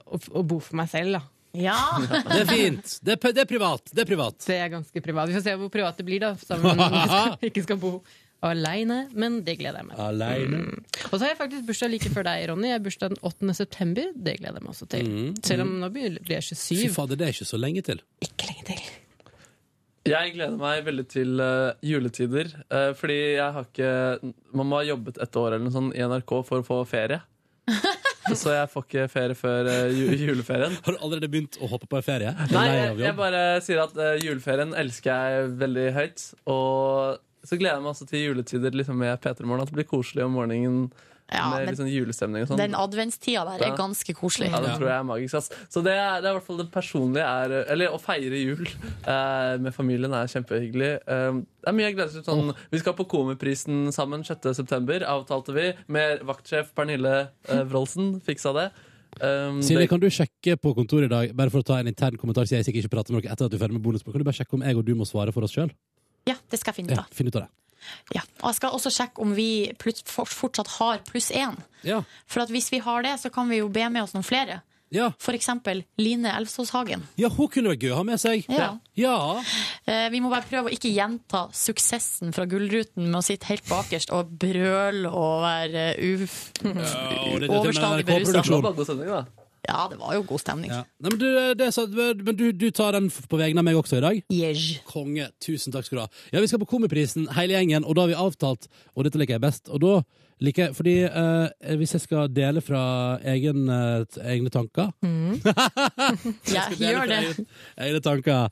C: å, å bo for meg selv, da.
A: Det er fint. Det er, det er privat. Det er privat.
C: Det er ganske privat. Vi får se hvor privat det blir, da. Sammen med noen som skal- ikke skal bo aleine. Men det gleder jeg meg til.
A: Aleine.
C: Og så har jeg faktisk bursdag like før deg, Ronny. Jeg har bursdag den 8. september. Det gleder jeg meg også til. Selv om nå blir blir jeg 27.
A: Fy fader, det er ikke så lenge til.
E: Jeg gleder meg veldig til eh, juletider. eh, fordi jeg har ikke Man må ha jobbet et år eller noe sånt i NRK for å få ferie. Så jeg får ikke ferie før eh, ju juleferien.
A: Har du allerede begynt å hoppe på en ferie? Er du
E: Nei,
A: lei
E: jeg,
A: av
E: jeg
A: jobb?
E: bare sier at eh, juleferien elsker jeg veldig høyt. Og så gleder jeg meg også til juletider liksom med P3morgen. At det blir koselig om morgenen
B: Ja,
E: med
A: liksom
B: den-
E: litt sånn julestemning og sånn.
B: Den adventstida der
E: Ja.
B: er ganske koselig.
E: Ja, det tror jeg er magisk. Ass. Så det er, det er i hvert fall det personlige er Eller å feire jul eh, med familien er kjempehyggelig. Eh, det er mye jeg gleder meg til. Sånn, Vi skal på Komiprisen sammen 6.9., avtalte vi. Med vaktsjef Pernille eh, Wroldsen fiksa det. Um,
A: Silje,
E: det-
A: kan du sjekke på kontoret i dag, bare for å ta en intern kommentar, siden jeg sikkert ikke prater med dere etter at du er ferdig med bonusbordet, kan du bare sjekke om jeg og du må svare for oss sjøl?
B: Ja, det skal jeg finne ut
A: Ja,
B: av.
A: finn ut av det.
B: Ja. Og jeg skal også sjekke om vi pluts- for- fortsatt har pluss én.
A: Ja.
B: For at hvis vi har det, så kan vi jo be med oss noen flere.
A: Ja.
B: For eksempel Line Elvsås Hagen.
A: ja, hun kunne vært gøy å ha med seg.
B: Ja.
A: Ja.
B: Eh, Vi må bare prøve å ikke gjenta suksessen fra Gullruten med å sitte helt bakerst og brøle og være uh, uf...
A: og det er til og med
B: Overstadig
A: NRK
B: beruset.
A: produksjon. Det var
E: god stemning, da.
B: Ja, det var jo god stemning.
A: Nei, men du, eh, det er så, men du, du tar den f- på vegne av meg også i dag? Konge. Tusen takk skal du ha. Ja, vi skal på Komiprisen, hele gjengen, og da har vi avtalt, og dette liker jeg best. Og da liker jeg Fordi eh, hvis jeg skal dele fra egen, eh, t- egne tanker
B: Ja,
A: skal dele
B: Mm. gjør
A: fra
B: det.
A: eget- Egne tanker.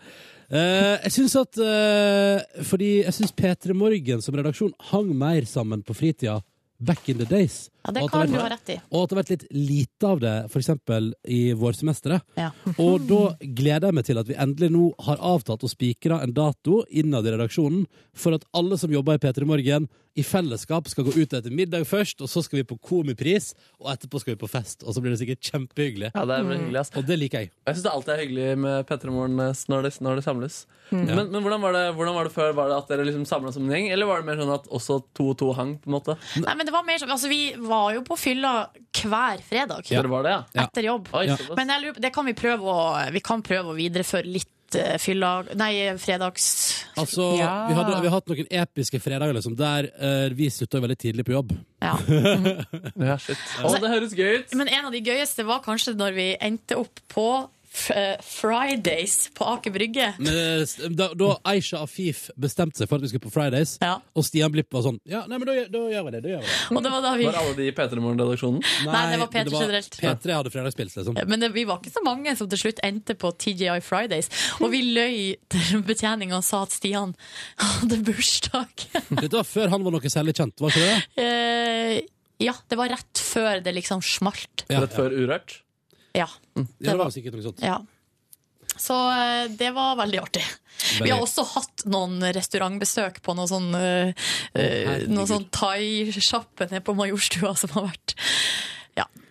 A: Eh, jeg syns at eh, Fordi jeg syns P3 Morgen som redaksjon hang mer sammen på fritida back in the days.
B: Ja, det
A: Og at
B: kan
A: har
B: du
A: vært-
B: ha rett i.
A: Og at det har vært litt lite av det, for eksempel i vårsemesteret.
B: Ja.
A: Og da gleder jeg meg til at vi endelig nå har avtalt og spikra en dato innad i redaksjonen for at alle som jobber i P3 Morgen, i fellesskap skal gå ut etter middag først, og så skal vi på komipris, og etterpå skal vi på fest, og så blir det sikkert kjempehyggelig.
E: Ja, det
B: Mm.
E: blir hyggelig, ass.
A: Og det liker jeg.
E: Jeg syns det alltid er hyggelig med P3morgen når, det- når det samles.
A: Mm. Ja.
E: Men, men hvordan, var det, hvordan var det før? Var det at dere liksom samla som en gjeng, eller var det mer sånn at også to og to hang? på en måte?
B: Nei, men det var mer som, altså, Vi var jo på fylla hver fredag
E: Ja. Dere var det, ja? Ja.
B: etter jobb.
E: Oi, såpass.
B: Men eh, jeg lurer, på- det kan vi, prøve å, vi kan prøve å videreføre litt eh, fylla Nei, fredags...
A: Altså,
B: Ja.
A: vi, hadde, vi har hatt noen episke fredager liksom, der eh, vi slutta jo veldig tidlig på jobb.
B: Ja.
E: ja, shit. Å, det høres gøy ut!
B: Men en av de gøyeste var kanskje når vi endte opp på f eh, Fridays på Aker Brygge.
A: Men, eh, s- da, da Aisha Afif bestemte seg for at vi skulle på Fridays, og Stian Blipp var sånn Ja, nei, men da, gjør- da gjør vi det. Da gjør vi det.
B: Og det var da vi-
E: alle de i P3morgen-redaksjonen?
B: Nei, det var P3
A: men
B: generelt.
A: P3 hadde fredagspils, liksom.
B: Men det, vi var ikke så mange som til slutt endte på TGI Fridays. Og vi løy til betjeninga og sa at Stian hadde bursdag.
A: Dette var før han var noe særlig kjent, var ikke det?
B: Eh, Ja, det var rett før det liksom smalt.
E: Rett før Urørt?
B: Ja.
N: Ja, det var sikkert noe sånt.
B: ja. Så eh, det var veldig artig. Vi har også hatt noen restaurantbesøk på noen sånn, eh, eh,
N: herregud.
B: noen sånn thaisjappe nede på Majorstua som har vært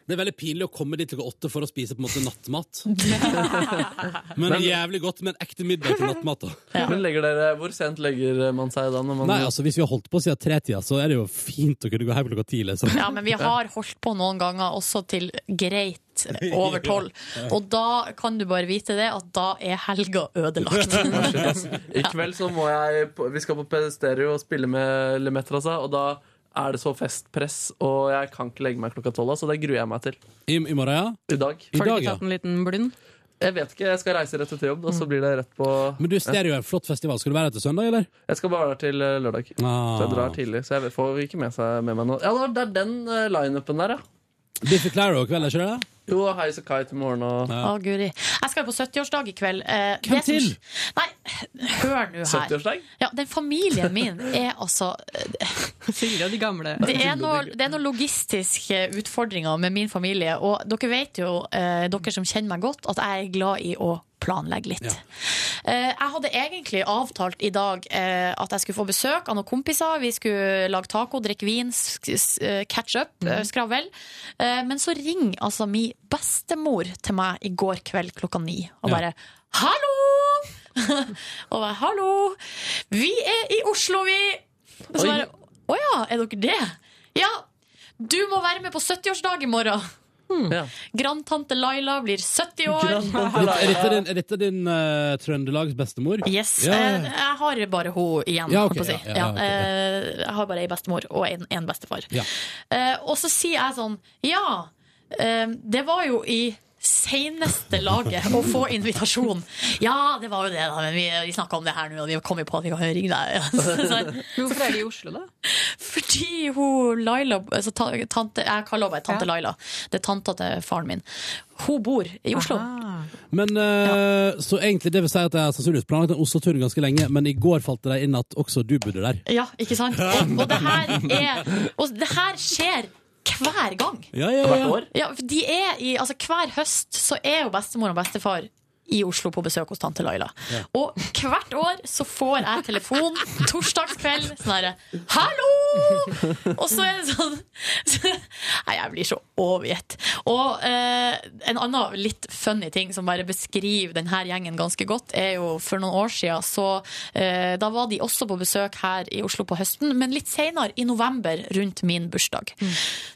N: Det er veldig pinlig å komme dit klokka åtte for å spise på en måte nattmat. men, jævlig godt med en ekte middag til nattmat. da.
E: Men legger dere, Hvor sent legger man seg da? Når man,
N: Nei, altså Hvis vi har holdt på siden tretida, så er det jo fint å kunne gå hjem klokka ti. Liksom.
B: Ja, men vi har holdt på noen ganger også til greit over tolv. Og da kan du bare vite det, at da er helga ødelagt.
E: I kveld så må jeg på- Vi skal på Pedestereo og spille med Lemetrasa, og da er det så festpress, og jeg kan ikke legge meg klokka tolv, så det gruer jeg meg til.
N: I, morgen, ja?
E: I dag.
C: Får du ikke tatt en liten blund?
E: Jeg vet ikke. Jeg skal reise rett etter jobb, og så blir det rett på
N: Men du, Stereo er en flott festival. Skal du være der til søndag, eller?
E: Jeg skal bare være der til eh, lørdag. Så jeg drar tidlig, så jeg vet- får ikke med, seg, med meg noe. Ja, det er den eh, lineupen der, ja.
N: Biffy Claro i kveld, er ikke det?
E: Jo, og Highs og Kite i morgen og
B: Å, guri. Jeg skal jo på 70-årsdag i kveld. Eh,
E: Hvem
B: det som-
E: til?
B: Nei, hør nå her.
E: 70-årsdag?
B: Ja, den familien min er altså
C: Silje og de gamle.
B: Det er, noe, det er noen logistiske utfordringer med min familie. Og dere vet jo, eh, dere som kjenner meg godt, at jeg er glad i å planlegge litt. Eh, jeg hadde egentlig avtalt i dag eh, at jeg skulle få besøk av noen kompiser. Vi skulle lage taco, drikke vin, sk- s- eh, catch up, eh, skravl. Eh, men så ringer altså min bestemor til meg i går kveld klokka ni og bare 'hallo'! og bare 'hallo, vi er i Oslo, vi'. Og så bare, å ja, er dere det? Ja, du må være med på 70-årsdag i morgen. Grandtante Laila blir 70 år.
N: Er dette- Er dette din, er dette din eh, Trøndelags bestemor?
B: Yes.
N: Ja, ja,
B: eh,
N: ja.
B: Jeg har bare hun igjen,
N: Ja,
B: holdt på
N: ok,
B: å si.
N: ja, ja,
B: Ja,
N: ok,
B: eh, Jeg har bare ei bestemor og en, en bestefar.
N: Ja.
B: Eh, Og så sier jeg sånn Ja, eh, det var jo i seneste laget å få invitasjon. Ja, det var jo det, da, men vi, vi snakka om det her nå, og vi kom jo på at vi kan ringe deg. Så-
C: Hvorfor er de i Oslo, da?
B: Fordi hun Laila altså, ta, tante, Jeg kaller henne bare tante Laila. Det er tanta til faren min. Hun bor i Oslo.
N: Men eh, Så egentlig det vil si at jeg har sannsynligvis planlagt en Oslo-tur ganske lenge, men i går falt det deg inn at også du bodde der.
B: Ja, ikke sant? Og, og, det her er, og det her skjer hver gang.
N: Ja, ja, ja. Hvert år?
B: Ja, for de er i, altså, hver høst så er jo bestemor og bestefar i Oslo på besøk hos tante Laila.
N: Ja.
B: Og hvert år så får jeg telefon torsdagskveld sånn herre Hallo! Og så er det sånn Nei, jeg blir så overgitt. Og eh, en annen litt funny ting som bare beskriver denne gjengen ganske godt, er jo for noen år siden så eh, Da var de også på besøk her i Oslo på høsten, men litt senere, i november, rundt min bursdag.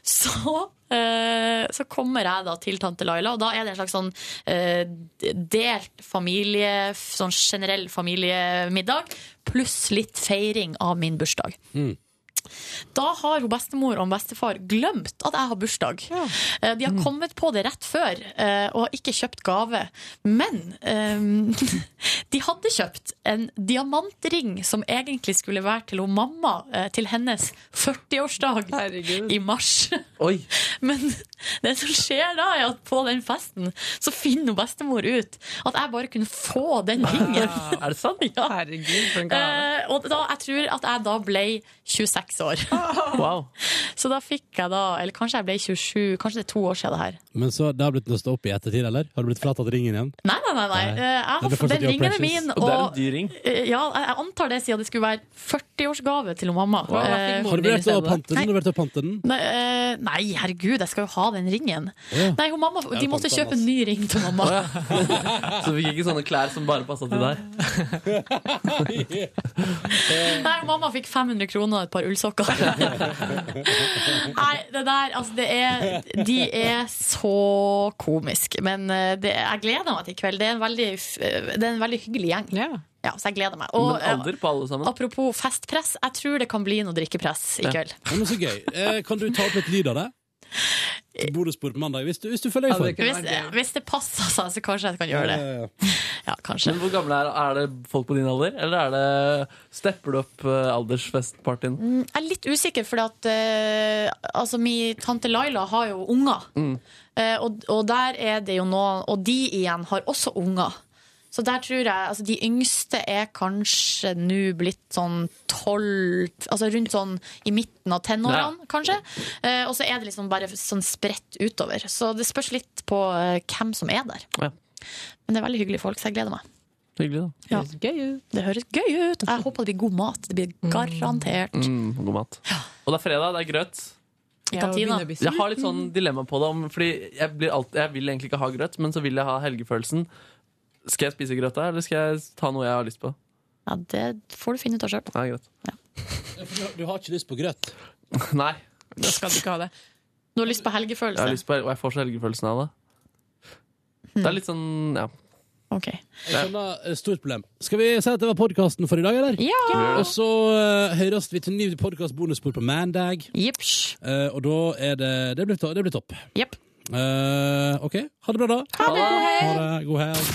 B: Så eh, så kommer jeg da til tante Laila, og da er det en slags sånn eh, delt familie, sånn generell familiemiddag, pluss litt feiring av min bursdag. Da har hun bestemor og bestefar glemt at jeg har bursdag. Eh, De har kommet på det rett før eh, og har ikke kjøpt gave. Men eh, de hadde kjøpt en diamantring som egentlig skulle være til hun mamma eh, til hennes 40-årsdag i mars. Men det som skjer da, er at på den festen så finner hun bestemor ut at jeg bare kunne få den ringen.
E: Er det sant?
B: Ja.
C: Herregud, for en gave.
B: Eh, og da, jeg tror at jeg da ble 26 år.
N: Ah.
E: Wow.
B: Så da fikk jeg da, eller kanskje jeg ble 27, kanskje det er to år siden det her.
N: Men så det har blitt nøsta opp i ettertid, eller? Har du blitt fratatt ringen igjen?
B: Nei, nei, nei. nei.
N: Nei.
B: Eh, Jeg
N: Den
B: har
N: er
B: fått
N: fortsatt
B: den
N: your
B: ringen er
N: precious.
B: min.
N: Og det er en
B: og-
N: dyr ring.
B: Eh, Ja, jeg jeg antar det siden det skulle være 40-årsgave til mamma.
N: Wow.
B: Eh,
N: Har du vurdert å pante sånn, den? Har du vurdert å pante den?
B: Nei, eh, nei, herregud, jeg skal jo ha den ringen.
N: Ja.
B: Nei, hun mamma,
E: er
B: De måtte
E: panta,
B: kjøpe en ny ring til mamma.
E: Så du fikk ikke sånne klær som bare passa til deg?
B: Nei, mamma fikk 500 kroner og et par ullsokker. Nei, det der, altså det er De er så komiske. Men eh, det, jeg gleder meg til i kveld. Det er en veldig, f- eh, det er en veldig hyggelig gjeng. Ja, så jeg gleder meg. Og,
E: Men alder på alle
B: eh,
E: sammen?
B: apropos festpress, jeg tror det kan bli noe drikkepress i kveld.
N: Ja, men så gøy. Eh, kan du ta opp litt lyd av det? Til Bonusbord på mandag, hvis du, hvis du føler deg
B: Hvis,
N: for.
B: hvis det passer seg, så kanskje jeg kan gjøre det.
A: Eh,
B: Ja, kanskje.
E: Men hvor gamle er, er det folk på din alder, eller er det stepper du opp eh, aldersfestpartyen?
B: Mm, Jeg er litt usikker, for at eh, altså, min tante Laila har jo unger. Eh, og, og der er det jo noen Og de igjen har også unger. Så der tror jeg altså De yngste er kanskje nå blitt sånn tolv Altså rundt sånn i midten av tenårene, kanskje. Eh, og så er det liksom bare sånn spredt utover. Så det spørs litt på eh, hvem som er der.
E: Ja.
B: Men det er veldig hyggelige folk, så jeg gleder meg.
E: Hyggelig, da.
B: Ja. Det høres gøy ut. Jeg håper det blir god mat. Det blir garantert.
E: Mm, god mat. Og det er fredag, det er grøt.
B: I kantina.
E: Jeg har litt sånn dilemma på det. Om, fordi jeg, blir alt, jeg vil egentlig ikke ha grøt, men så vil jeg ha helgefølelsen. Skal jeg spise grøt da, eller skal jeg ta noe jeg har lyst på?
B: Ja, det får du finne ut av sjøl.
E: Nei, grøt.
A: Du har ikke lyst på grøt?
E: Nei.
B: Da skal du ikke ha det. Du har lyst på
E: Jeg har
B: helgefølelse?
E: lyst på, og jeg får så helgefølelsen av det. Det er litt sånn, ja.
A: Jeg skjønner, eh, stort problem. Skal vi si at det var podkasten for i dag, eller? Og
B: Ja.
A: så eh, høres vi til ny podkast bonusspor på Mandag. Eh, og da er det Det blir, to, det blir topp. Eh, OK. Ha det bra, da. Ha
F: det. God helg.
A: God helg.